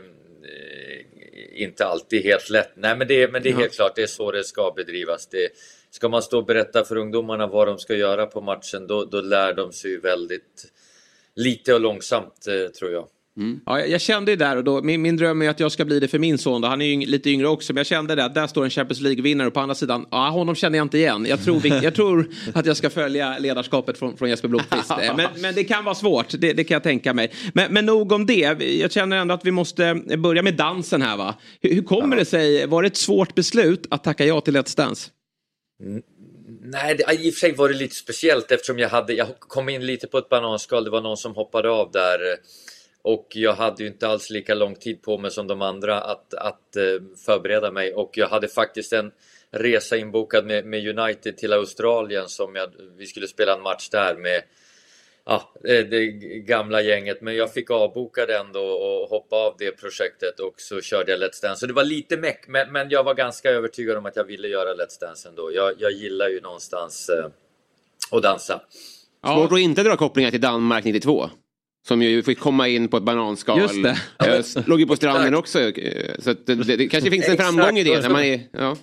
inte alltid helt lätt. Nej, men det, är- men det är helt klart, det är så det ska bedrivas. Det, ska man stå och berätta för ungdomarna vad de ska göra på matchen, då, då lär de sig ju väldigt lite och långsamt, eh, tror jag. Ja, jag jag kände ju där och då, min, min dröm är att jag ska bli det för min son då. Han är ju yng- lite yngre också, men jag kände det att där står en Champions League-vinnare och på andra sidan, ja, honom känner jag inte igen. Jag tror, vi, jag tror att jag ska följa ledarskapet från, från Jesper Blomqvist. Eh, Men, men det kan vara svårt, det, det kan jag tänka mig. Men, men nog om det, Vi- jag känner ändå att vi måste börja med dansen här va. Hur, hur kommer det sig, var det ett svårt beslut att tacka ja till Let's Dance? Nej, det, ah, i och för sig var det lite speciellt eftersom jag hade, jag kom in lite på ett bananskal, det var någon som hoppade av där eh, och jag hade ju inte alls lika lång tid på mig som de andra att, att eh, förbereda mig och jag hade faktiskt en resa inbokad med, med United till Australien som jag, vi skulle spela en match där med ja, eh, det gamla gänget, men jag fick avboka den då och hoppa av det projektet och så körde jag Let's Dance. Så det var lite meck, men, men jag var ganska övertygad om att jag ville göra Let's Dance ändå. Jag, jag gillar ju någonstans eh, att dansa. Svårt att inte dra kopplingar till Danmark 92. Som ju fick komma in på ett bananskal. Just det. Eh, s- Låg ju på stranden också. eh, Så att det, det, det kanske finns en Exakt. framgång i det. När man är, ja.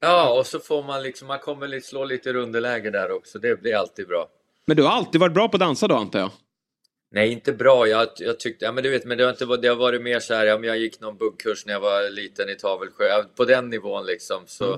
Ja, och så får man liksom, man kommer lite, slå lite i underläge där också. Det blir alltid bra. Men du har alltid varit bra på att dansa då antar jag? Nej, inte bra. Jag, jag tyckte, ja, men du vet, men det har, inte, varit- det har varit mer så här, ja, men jag gick någon buggkurs när jag var liten i Tavelsjö, Ja, på den nivån liksom. Så,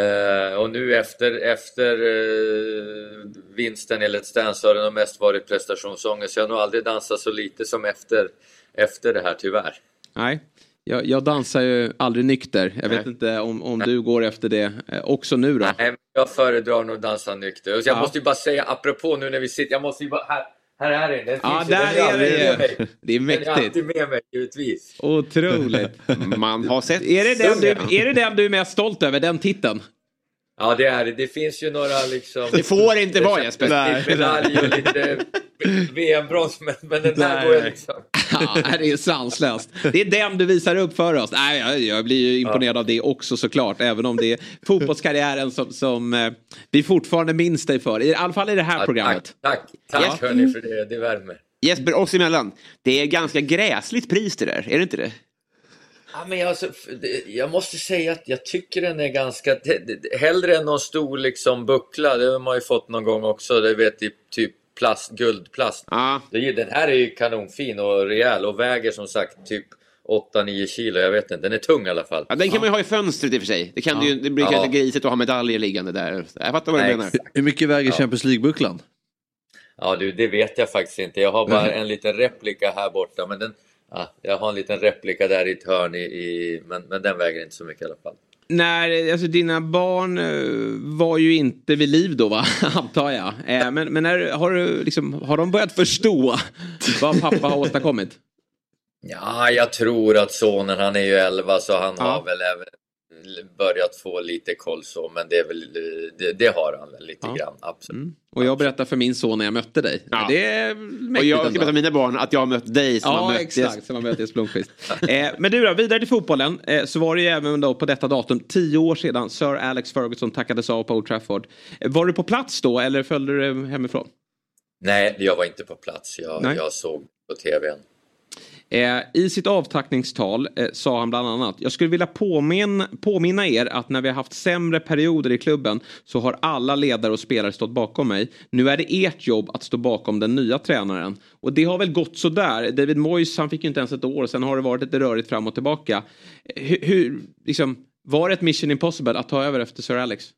eh, och nu efter, efter eh, vinsten i Let's Dance så har det nog mest varit prestationsångest. Så jag har nog aldrig dansat så lite som efter, efter det här, tyvärr. Nej. Jag, jag dansar ju aldrig nykter. Jag vet inte om, om du går efter det eh, också nu då. Nej, men jag föredrar nog att dansa nykter. Och Jag Ja. måste ju bara säga, apropå nu när vi sitter, jag måste ju bara, här, här är den. Den Ja, finns ju, den där är alltid med det ju. mig. Det är Den är alltid mäktigt. med mig, givetvis. Otroligt. Man har sett Är det, den Sundgren. du, är det den du är mest stolt över, den titeln? Ja, det är det. Det finns ju några liksom... Det får inte vara Jesper. Lite medalj och lite VM-brons, men, men den här Nej. går jag liksom... Ja, det är sanslöst. Det är den du visar upp för oss. Nej, jag, jag blir ju imponerad av det också såklart. Även om det är fotbollskarriären som, som eh, vi fortfarande minns dig för. I alla fall i det här programmet. Tack, tack, tack hörni för det. Det värmer. Jesper, oss emellan. Det är ganska gräsligt pris det där, är det inte det? Ja, men jag, alltså, det- jag måste säga att jag tycker den är ganska... det- det- Hellre än någon stor liksom buckla, det har man ju fått någon gång också, det vet i typ plast, guldplast. Ja. Det är- Den här är ju kanonfin och rejäl och väger som sagt typ 8-9 kilo, jag vet inte. Den är tung i alla fall. Ja, den kan man ju ha i fönstret i och för sig. Det, kan du ju, det blir Ja. kanske grisigt att ha medaljer liggande där. Jag fattar vad du Nej, menar. Hur mycket väger Champions League-bucklan? Ja du, det vet jag faktiskt inte. Jag har Mm. bara en liten replika här borta. Men den, ja, jag har en liten replika där i ett hörn, i, i, men, men den väger inte så mycket i alla fall. När, alltså, dina barn eh, var ju inte vid liv då, va? antar jag. Eh, men men när, har, du, liksom, har de börjat förstå vad pappa har åstadkommit? Ja, jag tror att sonen, han är ju 11 så han Ja. har väl även börjat få lite koll så. Men det, är väl, det, det har han väl lite Ja. Mm. grann, absolut. Och jag berättar för min son när jag mötte dig. Ja. Det är mäktigt Och jag ska ändå. berätta för mina barn att jag har mött dig som har Ja, mött exakt. Jesper. Som man möter Jesper Blomqvist. eh, men du då, vidare till fotbollen. Eh, så var det ju även då på detta datum, tio år sedan, Sir Alex Ferguson tackades av på Old Trafford. Eh, var du på plats då eller följde du det hemifrån? Nej, jag var inte på plats. Jag, Nej. jag såg på tvn. Eh, I sitt avtackningstal eh, sa han bland annat, jag skulle vilja påminna, påminna er att när vi har haft sämre perioder i klubben så har alla ledare och spelare stått bakom mig. Nu är det ert jobb att stå bakom den nya tränaren. Och det har väl gått så där. David Moyes, han fick ju inte ens ett år och sen har det varit lite rörigt fram och tillbaka. Eh, Hur, hur liksom, var det ett mission impossible att ta över efter Sir Alex?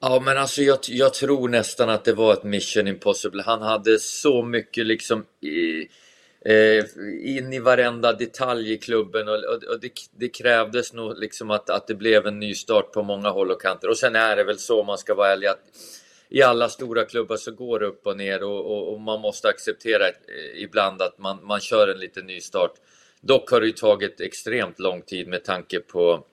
Ja, men alltså jag, jag tror nästan att det var ett mission impossible. Han hade så mycket liksom i, eh, in i varenda detalj i klubben och, och, och det, det krävdes nog liksom att, att det blev en ny start på många håll och kanter. Och sen är det väl så om man ska vara ärlig att i alla stora klubbar så går det upp och ner och, och, och man måste acceptera eh, ibland att man, man kör en liten ny start. Dock har det ju tagit extremt lång tid med tanke på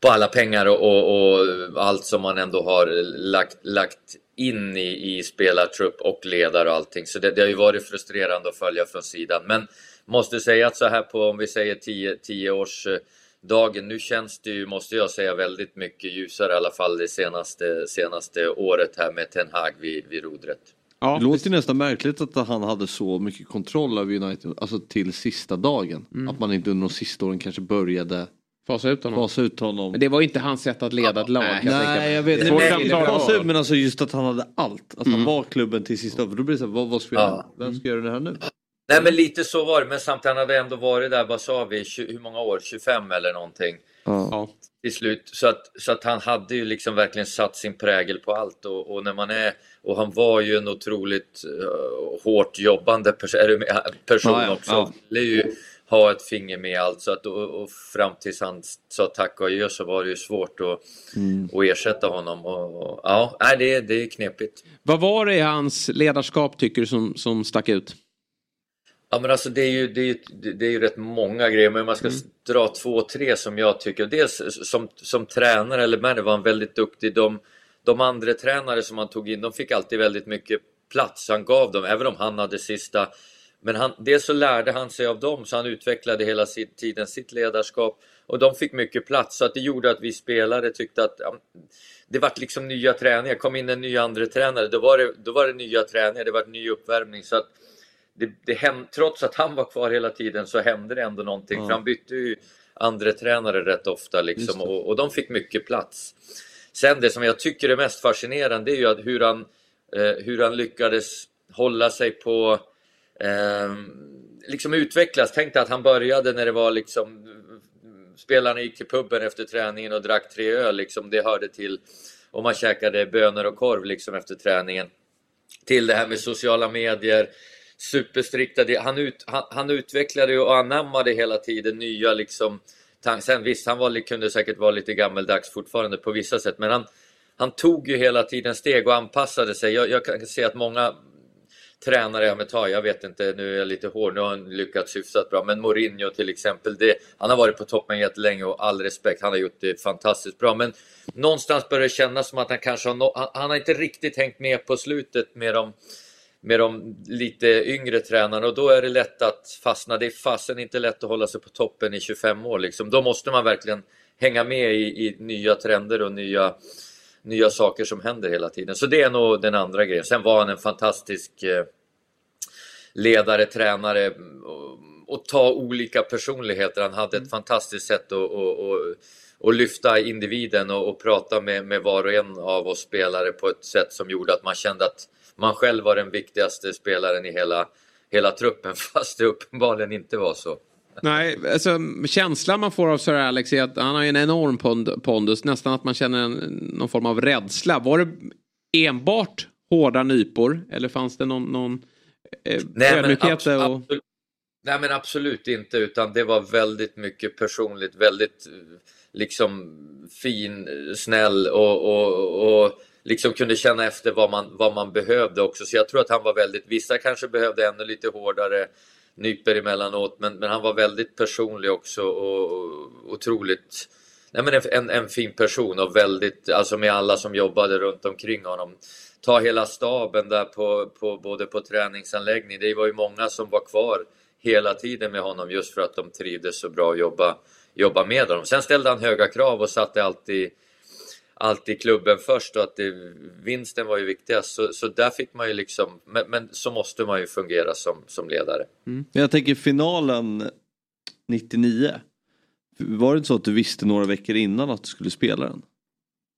på alla pengar och, och, och allt som man ändå har lagt, lagt in i, i spelartrupp och ledare och allting. Så det, det har ju varit frustrerande att följa från sidan. Men måste säga att så här på, om vi säger 10 10 års eh, dagen nu känns det ju, måste jag säga, väldigt mycket ljusare i alla fall det senaste, senaste året här med Ten Hag vid, vid rodret. Ja, Det låter ju nästan märkligt att han hade så mycket kontroll över United, alltså till sista dagen. Att man inte under de sista åren kanske började Mm. fasa ut honom. fasa ut honom. Men det var ju inte hans sätt att leda ett lag. kan jag tänka mig. Nej, jag vet Det inte. är Mm. svårt Nej, inte att klara fasa av. ut, men alltså just att han hade allt. Att han var klubben till sista. För då blir det så här, vad, vad ska jag göra? Ja. Vem ska göra det här nu? Nej Mm. men lite så var det, men samtidigt hade ändå varit där, vad sa vi, 20, hur många år? 25 eller någonting? Ja. till slut. Så att, så att han hade ju liksom verkligen satt sin prägel på allt och, och när man är och han var ju en otroligt eh, hårt jobbande pers är du med, eh, person Ja, ja, också. ja. Ville ju ha ett finger med i allt så att och, och fram tills han sa tack och adjö så var det ju svårt att, Mm. att ersätta honom. Och, och, ja, nej, det, är- det är knepigt. Vad var det i hans ledarskap tycker du som, som stack ut? Ja, men alltså det är ju, det är ju, det är ju rätt många grejer, men man ska dra två, tre som jag tycker. Dels som, som tränare eller manager var han väldigt duktig. De, de andra tränare som han tog in, de fick alltid väldigt mycket plats han gav dem, även om han hade sista. Men han, dels så lärde han sig av dem, så han utvecklade hela sin, tiden sitt ledarskap och de fick mycket plats, så att det gjorde att vi spelare tyckte att ja, det vart liksom nya träningar. Kom in en ny andra tränare, då var det, då var det nya träningar, det var ny uppvärmning. Så att, det, det hem, trots att han var kvar hela tiden så hände det ändå någonting. För han bytte ju andra tränare rätt ofta liksom, och, och de fick mycket plats. Sen det som jag tycker är mest fascinerande är ju att hur han, eh, hur han lyckades hålla sig på eh, liksom utvecklas. Tänk dig att han började när det var liksom spelarna gick till puben efter träningen och drack tre öl liksom. Det hörde till och man käkade bönor och korv liksom efter träningen. Till det här med sociala medier, superstrikta. det- Han, ut, han, han utvecklade ju och anammade hela tiden nya liksom tan- Sen visst, han var, li- kunde säkert vara lite gammeldags fortfarande på vissa sätt, men han, han tog ju hela tiden steg och anpassade sig. Jag, jag kan se att många tränare, ja men ta, jag vet inte, nu är jag lite hård, nu har han lyckats hyfsat bra, men Mourinho till exempel, det, han har varit på toppen jättelänge och all respekt, han har gjort det fantastiskt bra, men någonstans börjar det kännas som att han kanske har, nå- han, han har inte riktigt hängt med på slutet med de med de lite yngre tränarna och då är det lätt att fastna. Det är fasen inte lätt att hålla sig på toppen i 25 år liksom. Då måste man verkligen hänga med i, i nya trender och nya, nya saker som händer hela tiden. Så det är nog den andra grejen. Sen var han en fantastisk eh, ledare, tränare och, och ta olika personligheter. Han hade ett fantastiskt sätt att, att, att, att lyfta individen och, och prata med, med var och en av oss spelare på ett sätt som gjorde att man kände att man själv var den viktigaste spelaren i hela, hela truppen, fast det uppenbarligen inte var så. Nej, alltså känslan man får av Sir Alex är att han har ju en enorm pond- pondus. Nästan att man känner en, någon form av rädsla. Var det enbart hårda nypor? Eller fanns det någon, någon eh, ödmjukhet? abs- Och... absolut, nej men absolut inte, utan det var väldigt mycket personligt, väldigt eh, liksom fin, eh, snäll och, och, och liksom kunde känna efter vad man, vad man behövde också. Så jag tror att han var väldigt, vissa kanske behövde ännu lite hårdare nyper emellanåt, men, men han var väldigt personlig också och, och otroligt Nej, men en, en, en fin person och väldigt, alltså med alla som jobbade runt omkring honom. Ta hela staben där på, på, både på träningsanläggning. Det var ju många som var kvar hela tiden med honom just för att de trivdes så bra att jobba, jobba med honom. Sen ställde han höga krav och satte alltid, alltid klubben först och att det, vinsten var ju viktigast. Så, så där fick man ju liksom, men, men så måste man ju fungera som, som ledare. Men jag tänker finalen 99. Var det inte så att du visste några veckor innan att du skulle spela den?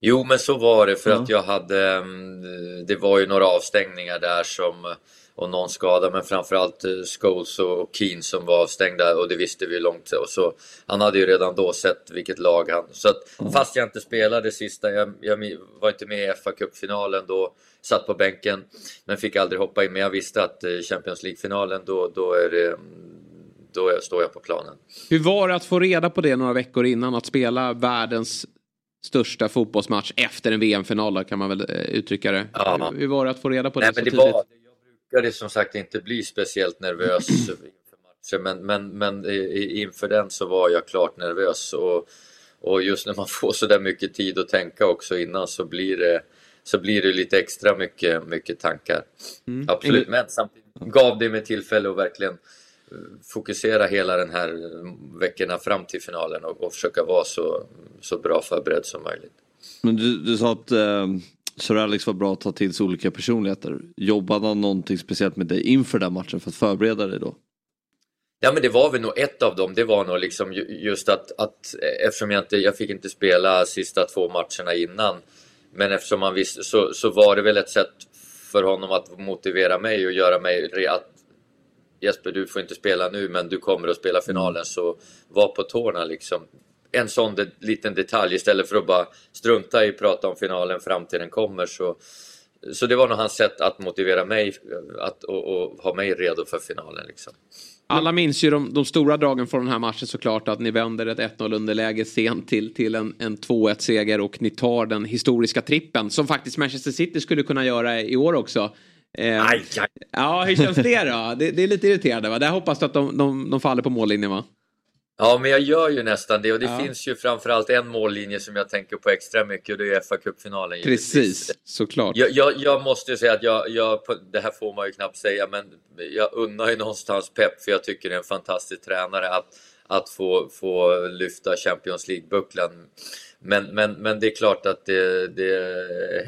Jo, men så var det för Ja. att jag hade, mm, det var ju några avstängningar där som, och någon skada, men framförallt eh, Scholes och Keane som var avstängda och det visste vi långt. Och så, han hade ju redan då sett vilket lag han... Så att, fast jag inte spelade sista, jag, jag mi- var inte med i fa Cup-finalen då, satt på bänken, men fick aldrig hoppa in. Men jag visste att eh, Champions League-finalen, då, då, är det, mm, då är, står jag på planen. Hur var det att få reda på det några veckor innan? Att spela världens största fotbollsmatch efter en VM-final då, kan man väl eh, uttrycka det. Ja. Hur var det att få reda på det Nej, så men det tidigt? var, jag brukade som sagt inte bli speciellt nervös inför matcher, men, men, men i- i- inför den så var jag klart nervös. Och, och just när man får så där mycket tid att tänka också innan så blir det, så blir det lite extra mycket, mycket tankar. Mm. Absolut, men samtidigt gav det mig tillfälle att verkligen eh, fokusera hela den här eh, veckorna fram till finalen och, och försöka vara så, så bra förberedd som möjligt. Men du, du sa att eh, Sir Alex var bra att ta till sig olika personligheter. Jobbade han någonting speciellt med dig inför den matchen för att förbereda dig då? Ja men det var väl nog ett av dem, det var nog liksom ju- just att, att eh, eftersom jag inte, jag fick inte spela sista två matcherna innan men eftersom han visste så, så var det väl ett sätt för honom att motivera mig och göra mig re- att Jesper du får inte spela nu men du kommer att spela finalen så var på tårna liksom. En sån de- liten detalj istället för att bara strunta i att prata om finalen fram till den kommer så så det var nog hans sätt att motivera mig eh, att, och, och ha mig redo för finalen. Liksom. Alla minns ju de, de stora dragen från den här matchen såklart. Att ni vänder ett 1-0 underläge sent till, till en, en 2-1 seger och ni tar den historiska trippen Som faktiskt Manchester City skulle kunna göra i år också. Eh, Aj, aj, Ja, hur känns det då? Det, det är lite irriterande va? Där hoppas du att de, de, de faller på mållinjen va? Ja, men jag gör ju nästan det och det Ja. finns ju framförallt en mållinje som jag tänker på extra mycket och det är FA-cupfinalen. givetvis. Precis, såklart. Jag, jag, jag måste ju säga att jag, jag, på- det här får man ju knappt säga, men jag unnar ju någonstans Pep för jag tycker det är en fantastisk tränare att, att få, få lyfta Champions League-bucklan. Men, men, men det är klart att det, det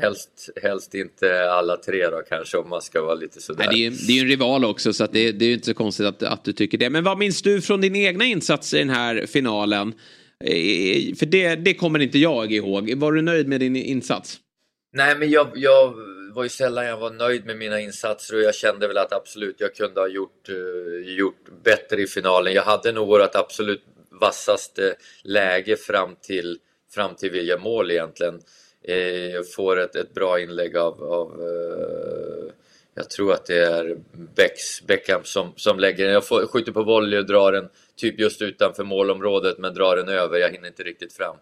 helst, helst inte alla tre då kanske om man ska vara lite sådär. Nej, det, är, ju- det är ju en rival också så att det, det är ju inte så konstigt att, att du tycker det. Men vad minns du från din egna insats i den här finalen? Eh, För det, det kommer inte jag ihåg. Var du nöjd med din insats? Nej, men jag, jag var ju sällan jag var nöjd med mina insatser och jag kände väl att absolut jag kunde ha gjort, eh, gjort bättre i finalen. Jag hade nog vårt absolut vassaste läge fram till, fram till vi gör mål egentligen. Eh, jag får ett, ett bra inlägg av, av eh, jag tror att det är Becks, Beckham som, som lägger den. Jag får, skjuter på volley och drar den typ just utanför målområdet men drar den över. Jag hinner inte riktigt fram.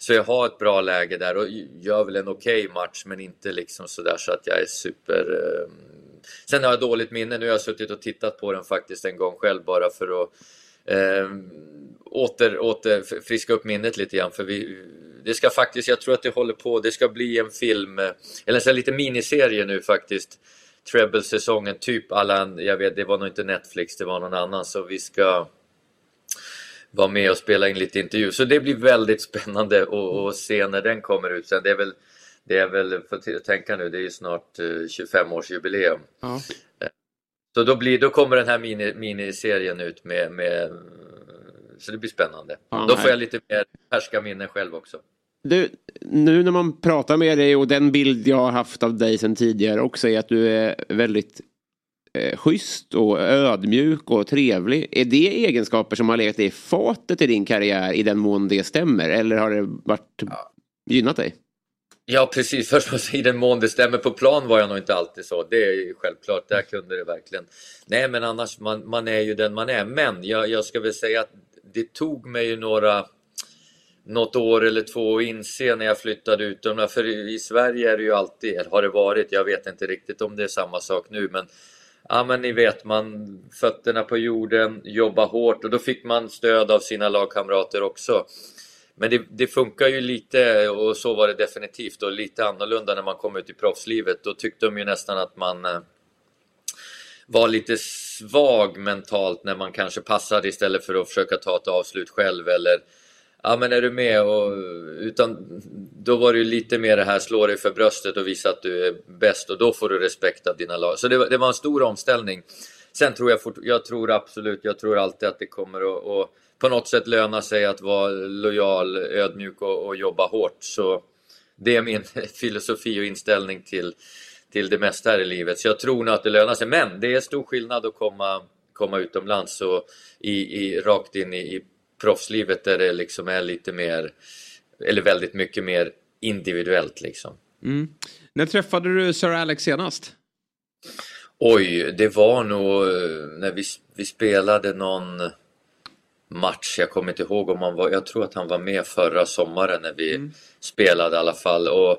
Så jag har ett bra läge där och gör väl en okej match men inte liksom sådär så att jag är super... eh, Sen har jag dåligt minne. Nu har jag suttit och tittat på den faktiskt en gång själv bara för att eh, åter, åter f- friska upp minnet lite grann. För vi, det ska faktiskt, jag tror att det håller på, det ska bli en film, eh, eller så här lite miniserie nu faktiskt. Treble-säsongen, typ alla, jag vet, det var nog inte Netflix, det var någon annan. Så vi ska vara med och spela in lite intervju. Så det blir väldigt spännande att att se när den kommer ut sen. Det är väl, det är väl får t- tänka nu, det är ju snart eh, 25-årsjubileum. Ja. Så då, blir, då kommer den här mini, miniserien ut med, med... Så det blir spännande. Fan, då här- får jag lite mer färska minnen själv också. Du, nu när man pratar med dig och den bild jag har haft av dig sedan tidigare också är att du är väldigt eh, schysst och ödmjuk och trevlig. Är det egenskaper som har legat i fatet i din karriär i den mån det stämmer? Eller har det varit gynnat dig? Ja precis, först måste jag i den mån det stämmer. På plan var jag nog inte alltid så, det är ju självklart, där kunde det verkligen. Nej men annars, man, man är ju den man är. Men jag, jag ska väl säga att det tog mig ju några, något år eller två att inse när jag flyttade utomlands. För i i Sverige är det ju alltid, eller har det varit, jag vet inte riktigt om det är samma sak nu men Ja men ni vet man, fötterna på jorden, jobba hårt och då fick man stöd av sina lagkamrater också. Men det, det funkar ju lite, och så var det definitivt, och lite annorlunda när man kom ut i proffslivet. Då tyckte de ju nästan att man eh, var lite svag mentalt när man kanske passade istället för att försöka ta ett avslut själv eller Ja men är du med? Och, utan, då var det ju lite mer det här slå dig för bröstet och visa att du är bäst och då får du respekt av dina lag. Så det, var- det var en stor omställning. Sen tror jag, fort, jag tror absolut, jag tror alltid att det kommer att, att på något sätt löna sig att vara lojal, ödmjuk och, och jobba hårt. Så det är min filosofi och inställning till, till det mesta här i livet. Så jag tror nog att det lönar sig. Men det är stor skillnad att komma, komma utomlands och i, i, rakt in i, i proffslivet där det liksom är lite mer, eller väldigt mycket mer individuellt liksom. När träffade du Sir Alex senast? Oj, det var nog eh, när vi, vi spelade någon match, jag kommer inte ihåg om han var, jag tror att han var med förra sommaren när vi spelade i alla fall. Och,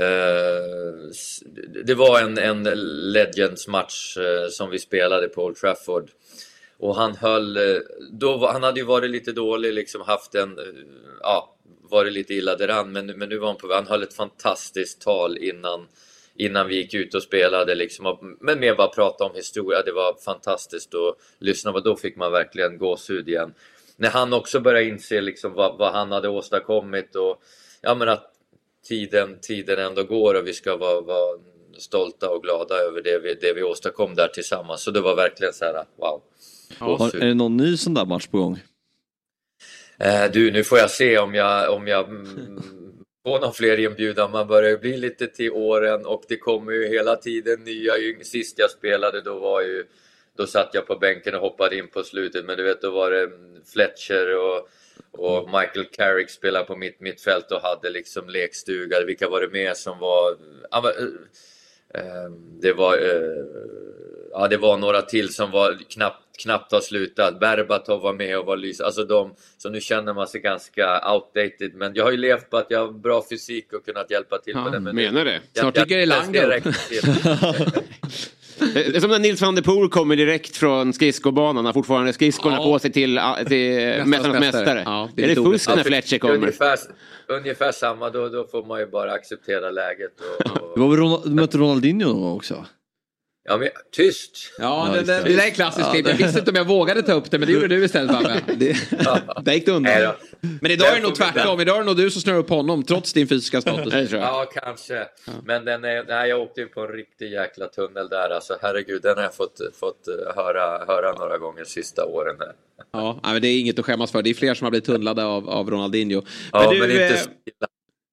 eh, s- det var en, en Legends-match eh, som vi spelade på Old Trafford. Och han höll, eh, då, var- han hade ju varit lite dålig, liksom haft en, eh, ja, varit lite illa däran, men, men nu var han på Han höll ett fantastiskt tal innan, innan vi gick ut och spelade, liksom, och, men mer bara prata om historia. Det var fantastiskt att lyssna på. Då fick man verkligen gåshud igen. När han också började inse liksom, vad, vad han hade åstadkommit och ja, men att tiden, tiden ändå går och vi ska vara, vara stolta och glada över det vi, det vi åstadkom där tillsammans. Så det var verkligen så här, wow. Har, eh, är det någon ny sån där match på gång? Eh, du, nu får jag se om jag, om jag mm, får någon fler inbjudan. Man börjar ju bli lite till åren och det kommer ju hela tiden nya yng. Sist jag spelade då var ju, då satt jag på bänken och hoppade in på slutet. Men du vet, då var det mm, Fletcher och, och Michael Carrick spelade på mitt mittfält och hade liksom lekstuga. Vilka var det mer som var... mm, Ja, men, eh, eh, det var... eh, ja, det var några till som var knappt, knappt har slutat. Berbatov var med och var lys. Alltså de, så nu känner man sig ganska outdated. Men jag har ju levt på att jag har bra fysik och kunnat hjälpa till Ja, med det. Men menar det. jag- Snart jag- tycker jag det är det Lange. räcker till. Det är som när Nils van der Poel kommer direkt från skridskobanan, har fortfarande skridskorna Ja. på sig till, till Mästarnas ah, mästare. Mästare. Ja, det det är är, lite det fusk orättvist. när Fletcher kommer? Ungefär, ungefär samma, då, då får man ju bara acceptera läget. Och, Det och, var väl Ronald, du mötte Ronaldinho någon gång också? ja, men, tyst! Ja, Ja, det, just det, det. det där är klassiskt klipp. Jag visste inte om jag vågade ta upp det, men det gjorde du istället Babben. Där gick det Nej då. Men idag är det Där nog får vi tvärtom. Idag är det nog du som snurrar upp honom, trots din fysiska status. Det tror jag. Ja, kanske. Men den är, nej, jag åkte ju på en riktig jäkla tunnel där. Alltså, herregud, den har jag fått, fått eh, höra, höra några gånger sista åren. Där. Ja, nej, men det är inget att skämmas för. Det är fler som har blivit tunnlade av, av Ronaldinho. Ja, men, du, inte eh, så illa.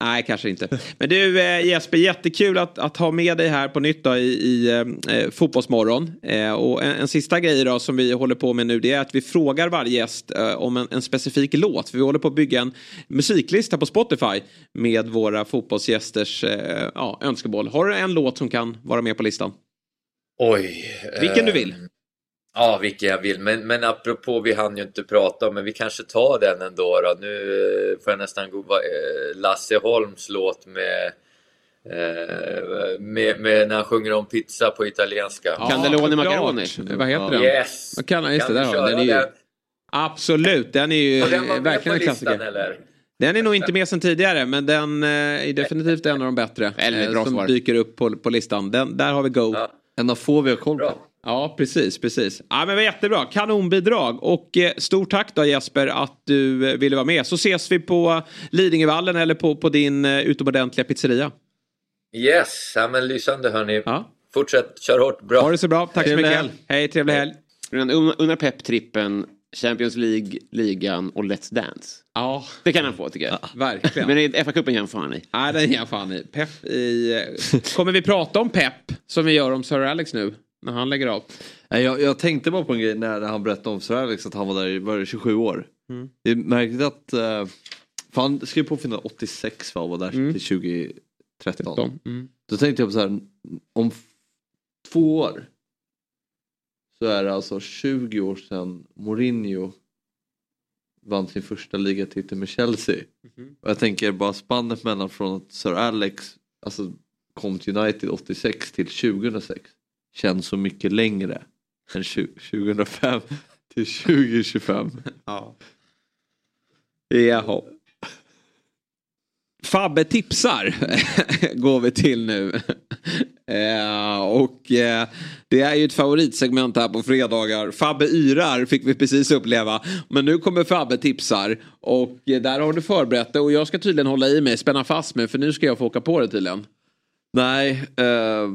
Nej, kanske inte. Men du eh, Jesper, jättekul att, att ha med dig här på nytt då, i, i eh, Fotbollsmorgon. Eh, och en, en sista grej då, som vi håller på med nu det är att vi frågar varje gäst eh, om en, en specifik låt. För vi håller på att bygga en musiklista på Spotify med våra fotbollsgästers eh, ja, önskemål. Har du en låt som kan vara med på listan? Oj. eh, Vilken du vill. Ja, vilken jag vill. Men, men apropå, vi hann ju inte prata om, men vi kanske tar den ändå. Då. Nu eh, får jag nästan gå... va- eh, Lasse Holms låt med, eh, med, med... När han sjunger om pizza på italienska. Candeloni såklart. macaroni. Vad heter den? Yes! Vad kan han? Just det, Kan där vi har köra den. Den är ju, den? absolut, den är ju Och den var eh, med på verkligen en klassiker. listan eller? Den är nog inte med sen tidigare, men den eh, är definitivt en av de bättre. Väldigt eh, bra som svar. dyker upp på, på listan. Den, där har vi Go. Ja. Ja. En av få vi har koll på. Bra. precis, precis. Ja, men vad jättebra. Kanonbidrag. Och eh, stort tack då Jesper att du eh, ville vara med. Så ses vi på Lidingövallen eller på, på din eh, utomordentliga pizzeria. Yes, ja, men lysande hörni. Ja. Fortsätt, kör hårt, bra. Ha det så bra. Tack Trevlig så mycket. helg. Hej, trevlig helg. Den Un- Unna Pep-trippen, Champions League, ligan och Let's Dance. Ja, Det kan han få tycker jag. verkligen. Men FA-cupen ger han fan i. Nej, den ger jag fan i. Pep i... eh, Kommer vi prata om Pep som vi gör om Sir Alex nu? När han lägger av. Nej, Jag, jag tänkte bara på en grej när han berättade om Sir Alex att han var där i var det 27 år. Mm. Det är märkligt att, eh, för han skrev på finna 86 va, och var där till 2013. Mm. Då tänkte jag på så här, om f- två år så är det alltså 20 år sedan Mourinho vann sin första ligatitel med Chelsea. Mhm. Och jag tänker bara spannet mellan från att Sir Alex alltså, kom till United 86 till 2006 känns så mycket längre än 20, 2005 till 2025. Jaha. Fabbe tipsar går vi till nu. Eh, och eh, det är ju ett favoritsegment här på fredagar. Fabbe yrar fick vi precis uppleva. Men nu kommer Fabbe tipsar. Och eh, där har du förberett det. Och jag ska tydligen hålla i mig, spänna fast mig. För nu ska jag få åka på det tydligen. Nej, eh,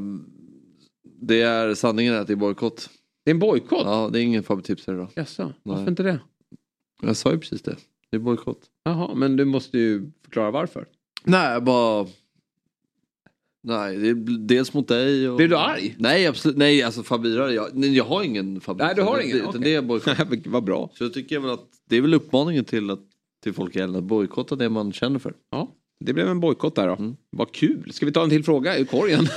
det är sanningen är att det är bojkott. Det är en bojkott. Ja, det är ingen fabbtipsare idag. Jaså, varför Nej. inte det? Jag sa ju precis det. Det är bojkott. Jaha, men du måste ju förklara varför. Nej, bara... Nej, det är dels mot dig och... Blir du arg? Nej, absolut. Nej, alltså Fabira, jag, nej, jag har ingen Fabira. Nej, du har ingen? Det, Okej. utan det är bojkott. Vad bra. Så jag tycker väl att det är väl uppmaningen till, att, till folk i Ellen att bojkotta det man känner för. Ja, det blev en bojkott där då. Vad kul. Ska vi ta en till fråga ur korgen?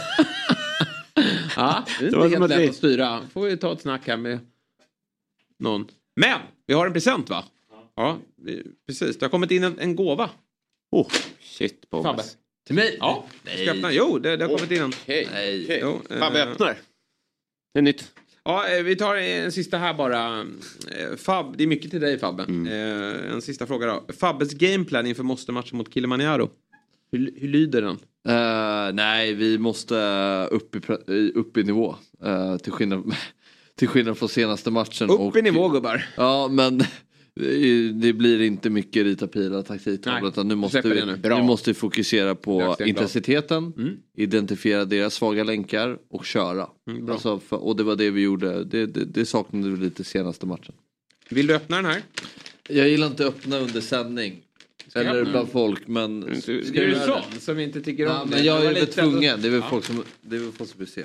ja, det är Det var inte som helt att lätt vi- att styra. Får vi ta ett snack här med någon. Men, vi har en present va? Ja, vi- precis. Det har kommit in en, en gåva. Oh, shit Bobbes. Fabbe. Till mig? Ja, ska jag öppna? Jo, det, det har kommit in en. Okej. okej. Jo, eh, Fabbe öppnar. Det är nytt. Ja, eh, vi tar en sista här bara. Eh, Fab, det är mycket till dig Fabbe. Eh, En sista fråga då. Fabbes gameplan inför måste-matchen mot Kilimanjaro. Hur, hur lyder den? Eh, nej, vi måste eh, upp i, pre- i- upp i nivå. Eh, till, skillnad, till skillnad från senaste matchen. Upp i och- nivå gubbar. Ja, men det blir inte mycket rita pilar taktiktavla Nej, utan nu måste släpper vi, det nu. nu. Bra. måste vi fokusera på Löksten, bra. intensiteten, Mm. identifiera deras svaga länkar och köra. Mm, bra. alltså, för, och det var det vi gjorde, det, det, det saknade vi lite senaste matchen. Vill du öppna den här? Jag gillar inte öppna under sändning. jag Eller öppna Mm. bland folk, men... Ska du göra det? sån som inte tycker om Ja, det? men jag Det var är väl lite- tvungen, det är väl folk som, det är väl folk som vill se.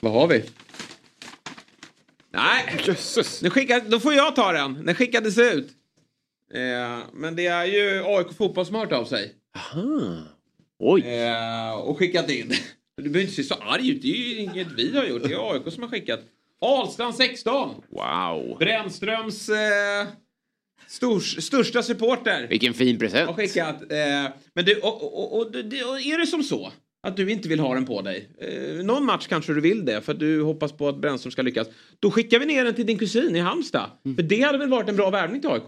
Vad har vi? Nej! Jösses! Nu skickade, då får jag ta den. Den skickades ut. Eh, men det är ju AIK Fotbollsmart av sig. Oj. Eh, och skickat in. Du behöver inte se så arg ut. Det är ju inget vi har gjort. Det är AIK som har skickat. Ahlstrand 16! Wow. Brännströms eh, stors, största supporter. Vilken fin present. har skickat. Eh, men du, och, och, och, och, det- och är det som så att du inte vill ha den på dig? Eh, någon match kanske du vill det för att du hoppas på att Brännström ska lyckas. Då skickar vi ner den till din kusin i Halmstad. Mm. För det hade väl varit en bra värvning till AIK?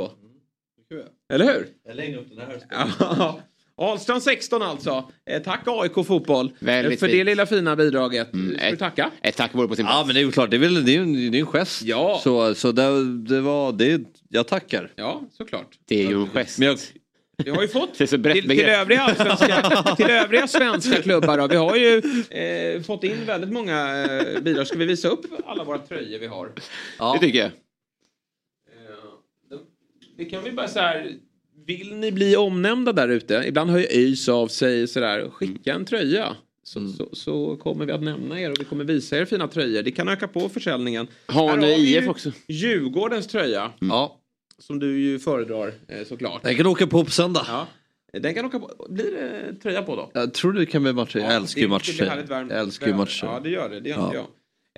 Eller hur? Jag lägger upp den här. Ja. Ahlstrand 16 alltså. Eh, tack AIK Fotboll Väldigt eh, för det fint. lilla fina bidraget. Mm, Ska du ett- tacka? Ett tack vore på sin Ja plats. men det är ju klart, det är väl det är ju en, det är en gest. Ja. Så, så det, det var, det, jag tackar. Ja, såklart. Det är ju en gest. Men jag, Vi har ju fått Det är så brett till, till, begrepp. övriga allsvenska, till övriga svenska klubbar då. Vi har ju eh, fått in väldigt många eh, bidrag. Eh, Ska vi visa upp alla våra tröjor vi har? Det tycker jag. Eh, de- Det kan vi bara så här... Vill ni bli omnämnda där ute? Ibland hör ju ÖIS av sig sådär. Skicka en tröja. Så, Mm. så, så kommer vi att nämna er och vi kommer visa er fina tröjor. Det kan öka på försäljningen. Här Hanö har vi IF ju också. Djurgårdens tröja. Mm. Ja. Som du ju föredrar eh, såklart. Den kan åka på på söndag. Ja. Den kan åka på. Blir det tröja på då? Jag tror det kan bli matcher. Jag älskar ju det- det blir matcher. härligt varmt. Jag älskar ju Ja, matcher. det gör det. Det gör Ja. inte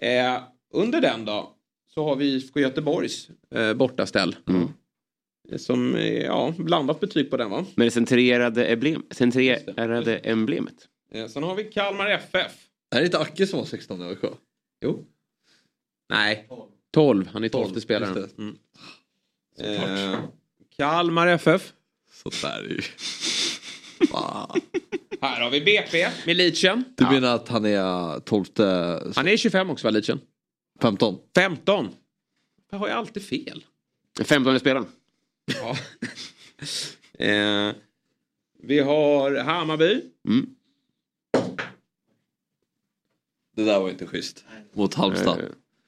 jag. Eh, under den då så har vi IFK Göteborgs eh, bortaställ. Mm. Eh, Som, eh, ja, blandat betyg på den va? Med det centrerade, emblem, centrerade emblemet. Eh, sen har vi Kalmar FF. Är det inte Acke som var 16 i AIK? Jo. Nej. 12. Han är 12 Tolv, spelaren. just Mm. Mm. Såklart. Eh, Kalmar FF. Sådär ju. Fan. Här har vi BP med Leachen. Du menar att han är 12, Han är 25 också va, Leachen? 15? 15. Jag har ju alltid fel. 15 spelaren. Ja. eh, vi har Hammarby. Det där var inte schysst. Mot Halmstad.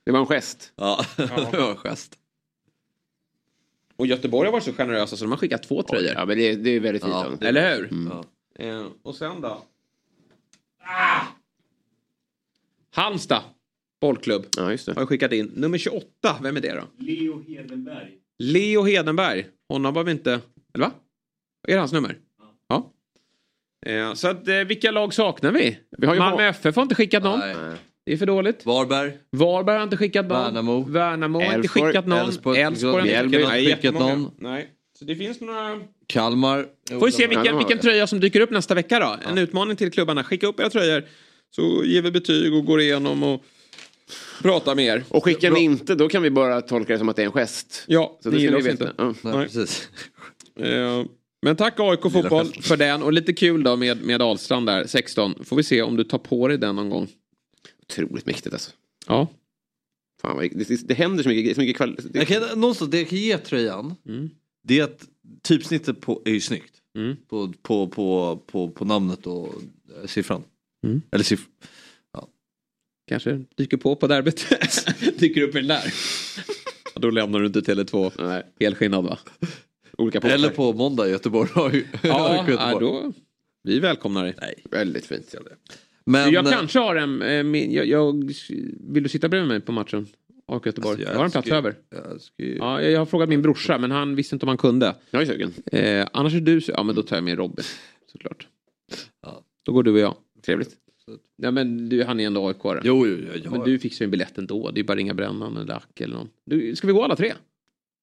Det var en gest. Ja, det var en gest. Och Göteborg har varit så generösa så de har skickat två tröjor. Ja, men det, det är väldigt fint Ja. av honom. Eller hur? Ja. Eh, och sen då? Ah! Halmstad bollklubb Ja, just har det. jag skickat in. Nummer 28, vem är det då? Leo Hedenberg. Leo Hedenberg. Honom var vi inte... Eller va? Är det hans nummer? Ja. Eh, så att, eh, vilka lag saknar vi? Vi har ju Malmö FF har inte skickat någon. Nej. Det är för dåligt. Varberg. Varberg har inte skickat någon. Värnamo. Värnamo har inte Elfsborg. skickat någon. Elfsborg. Elfsborg har inte Mjällby skickat har någon. inte skickat Jättemånga. någon. Nej. Så det finns några... Kalmar. Får vi se Ja, de vilken, har vilken det. tröja som dyker upp nästa vecka då. En utmaning till klubbarna. Skicka upp era tröjor. Så ger vi betyg och går igenom och pratar med er. Och skickar ni inte, då kan vi bara tolka det som att det är en gest. Ja, Så ni det ska gillar ni oss veta. inte. Ja. Nej, Nej. precis. Eh, Men tack AIK Fotboll för den. Och lite kul då med, med Ahlstrand där, 16. Får vi se om du tar på dig den någon gång. Otroligt mäktigt alltså. Ja. Fan, vad, det, det, det händer så mycket. Så mycket kval- det, Jag kan, någonstans, det jag kan ge tröjan. Mm. Det är att typsnittet på, är ju snyggt. Mm. På, på, på, på, på namnet och eh, siffran. Mm. Eller siff Kanske dyker på på derbyt. dyker upp i den där. Ja, då lämnar du inte Tele2 Nej. helskinnad va? Olika poster. Eller på måndag i Göteborg. har ju- Ja, Göteborg. ja då. Vi välkomnar dig. Väldigt fint. Men, jag eh, kanske har en... eh, min- Jag, jag, vill du sitta bredvid mig på matchen? AIK Göteborg. Alltså, jag jag, har en plats älskar- över. jag ska ju- Ja, jag, jag har frågat min brorsa men han visste inte om han kunde. Jag är sugen. Eh, annars är du... su- Ja men då tar jag med Robin. Såklart. Ja. Då går du och jag. Trevligt. Ja men du, han är ändå AIK-are. Jo, jo, jo, jo. Men du fixar ju en biljett ändå. Det är bara att ringa Brännan eller Ack eller någon. Du, ska vi gå alla tre?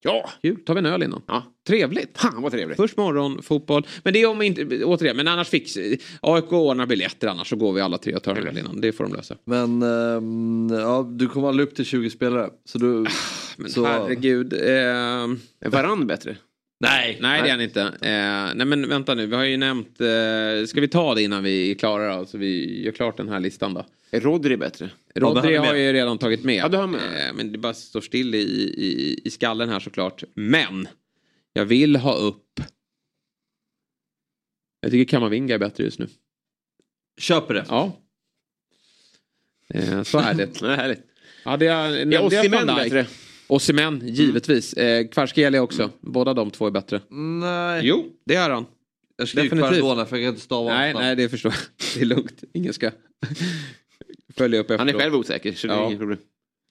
Ja! Kul. Tar vi en öl innan? Ja. Trevligt. Fan vad trevligt. Först morgon, fotboll. Men det är om inte... Återigen, men annars fix... AIK ordnar biljetter annars så går vi alla tre och tar en öl innan. Det får de lösa. Men ehm, ja, du kommer aldrig upp till 20 spelare. Så du... Ah, Men Så- herregud. ehm, Är Varann bättre? Nej, nej det är han inte. Eh, nej men vänta nu, vi har ju nämnt... Eh, ska vi ta det innan vi är klara då? Så vi gör klart den här listan då. Är Rodri bättre? Rodri han är har med. ju redan tagit med. Ja, du har med. Eh, men det bara står still i, i, i skallen här såklart. Men! Jag vill ha upp... Jag tycker Kamavinga är bättre just nu. Köper det. Ja. Eh, så är det. Nej, härligt. Hade jag, nämnde Ja, jag Osimhen Van Dijk? bättre. Osimhen, givetvis. Eh, Kvaratskhelia också. Båda de två är bättre. Mm. Nej. Jo, det är han. jag skriver definitivt. Maradona för jag kan inte stava Nej, hans namn. nej, det förstår jag. Det är lugnt. Ingen ska följa upp efteråt. Han är själv osäker, så det är Ja. inget problem.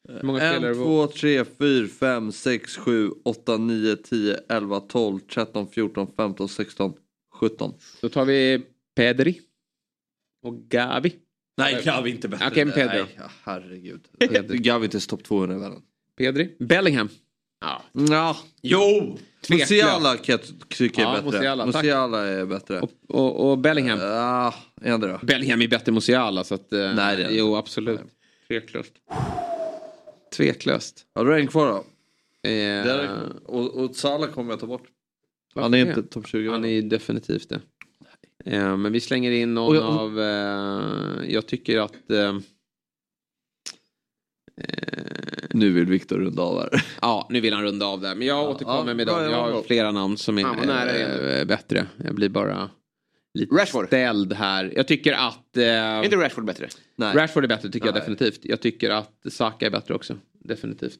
Hur många spelare En, var- två, tre, fyra, fem, sex, sju, åtta, nio, tio, elva, tolv, tretton, fjorton, femton, sexton, sjutton. Då tar vi Pedri. Och Gavi. Nej, Gavi inte bättre. Okej, men Pedro. Nej, ja, herregud. Gavi inte ens topp 200 i världen. Pedri. Bellingham. Ja. Jo! Tveklöst. Musiala kan jag tycka är Ja, bättre. Musiala, tack. Musiala är bättre. Och, och, och Bellingham. Eh. Ja, är han det då? Bellingham är bättre än Musiala. Så att, eh, Nej, det är- Jo, absolut. Tveklöst. Tveklöst. Ja, då är en kvar då. Eh, Där, och, och Salah kommer jag ta bort. Han varför är det? inte topp 20. Han är ju definitivt det. Eh, men vi slänger in någon Och jag- av... Eh, jag tycker att... Eh, Nu vill Viktor runda av här. Ja, nu vill han runda av där. Men jag återkommer ja, med bra, dem. Jag ja, har bra. flera namn som Fan, vad nära det är är eh, bättre. Jag blir bara lite Rashford. ställd här. Jag tycker att... Eh, Är inte Rashford bättre? Nej. Rashford är bättre tycker jag Nej. definitivt. Jag tycker att Saka är bättre också. Definitivt.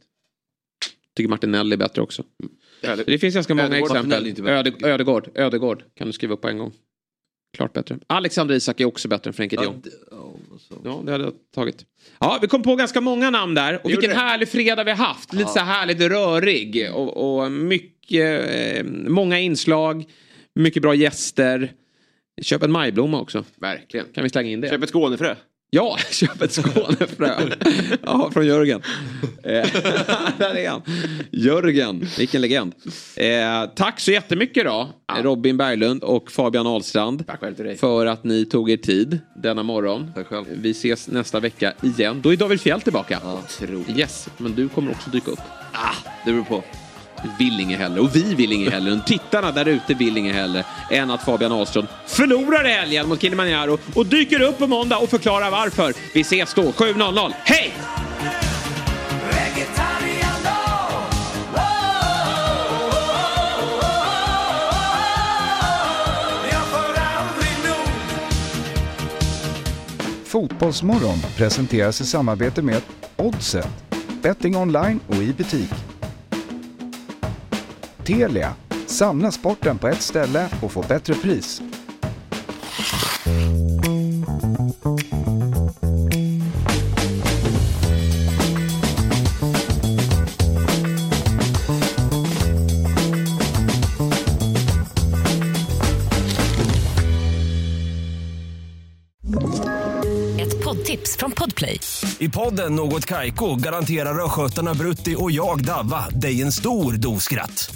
Tycker Martinelli är bättre också. Härligt. Det finns ganska många Ödegård, exempel. Martinelli inte bättre. Öde, Ödegård, Ödegård kan du skriva upp på en gång. Klart bättre. Alexander Isak är också bättre än Frenkie de Ja, Jong. det- ja, så. Ja, det hade jag tagit. Ja, vi kom på ganska många namn där. Och vilken gjorde det. härlig fredag vi har haft. Lite så här härligt rörig. Och, och mycket, eh, många inslag. Mycket bra gäster. Köp en majblomma också. Verkligen. Kan vi slänga in det? Köp ett Skånefrö. Ja, köp ett Skånefrö. ja, från Jörgen. Eh, där är han. Jörgen, vilken legend. Eh, tack så jättemycket då, Robin Berglund och Fabian Ahlstrand. Tack själv till dig. För att ni tog er tid denna morgon. Tack själv. Vi ses nästa vecka igen. Då är David Fjäll tillbaka. Otroligt. Yes, men du kommer också dyka upp. Det beror på. Du vill inget hellre, och vi vill inget hellre, och tittarna där ute vill inget hellre än att Fabian Ahlström förlorar i helgen mot Kilimanjaro och dyker upp på måndag och förklarar varför. Vi ses då, 7.00. Hej! Fotbollsmorgon presenteras i samarbete med Oddset, betting online och i butik. Telia, samla sporten på ett ställe och få bättre pris. Ett poddtips från Podplay. I podden Något Kaiko garanterar östgötarna Brutti och jag, Davva, dig en stor dos skratt.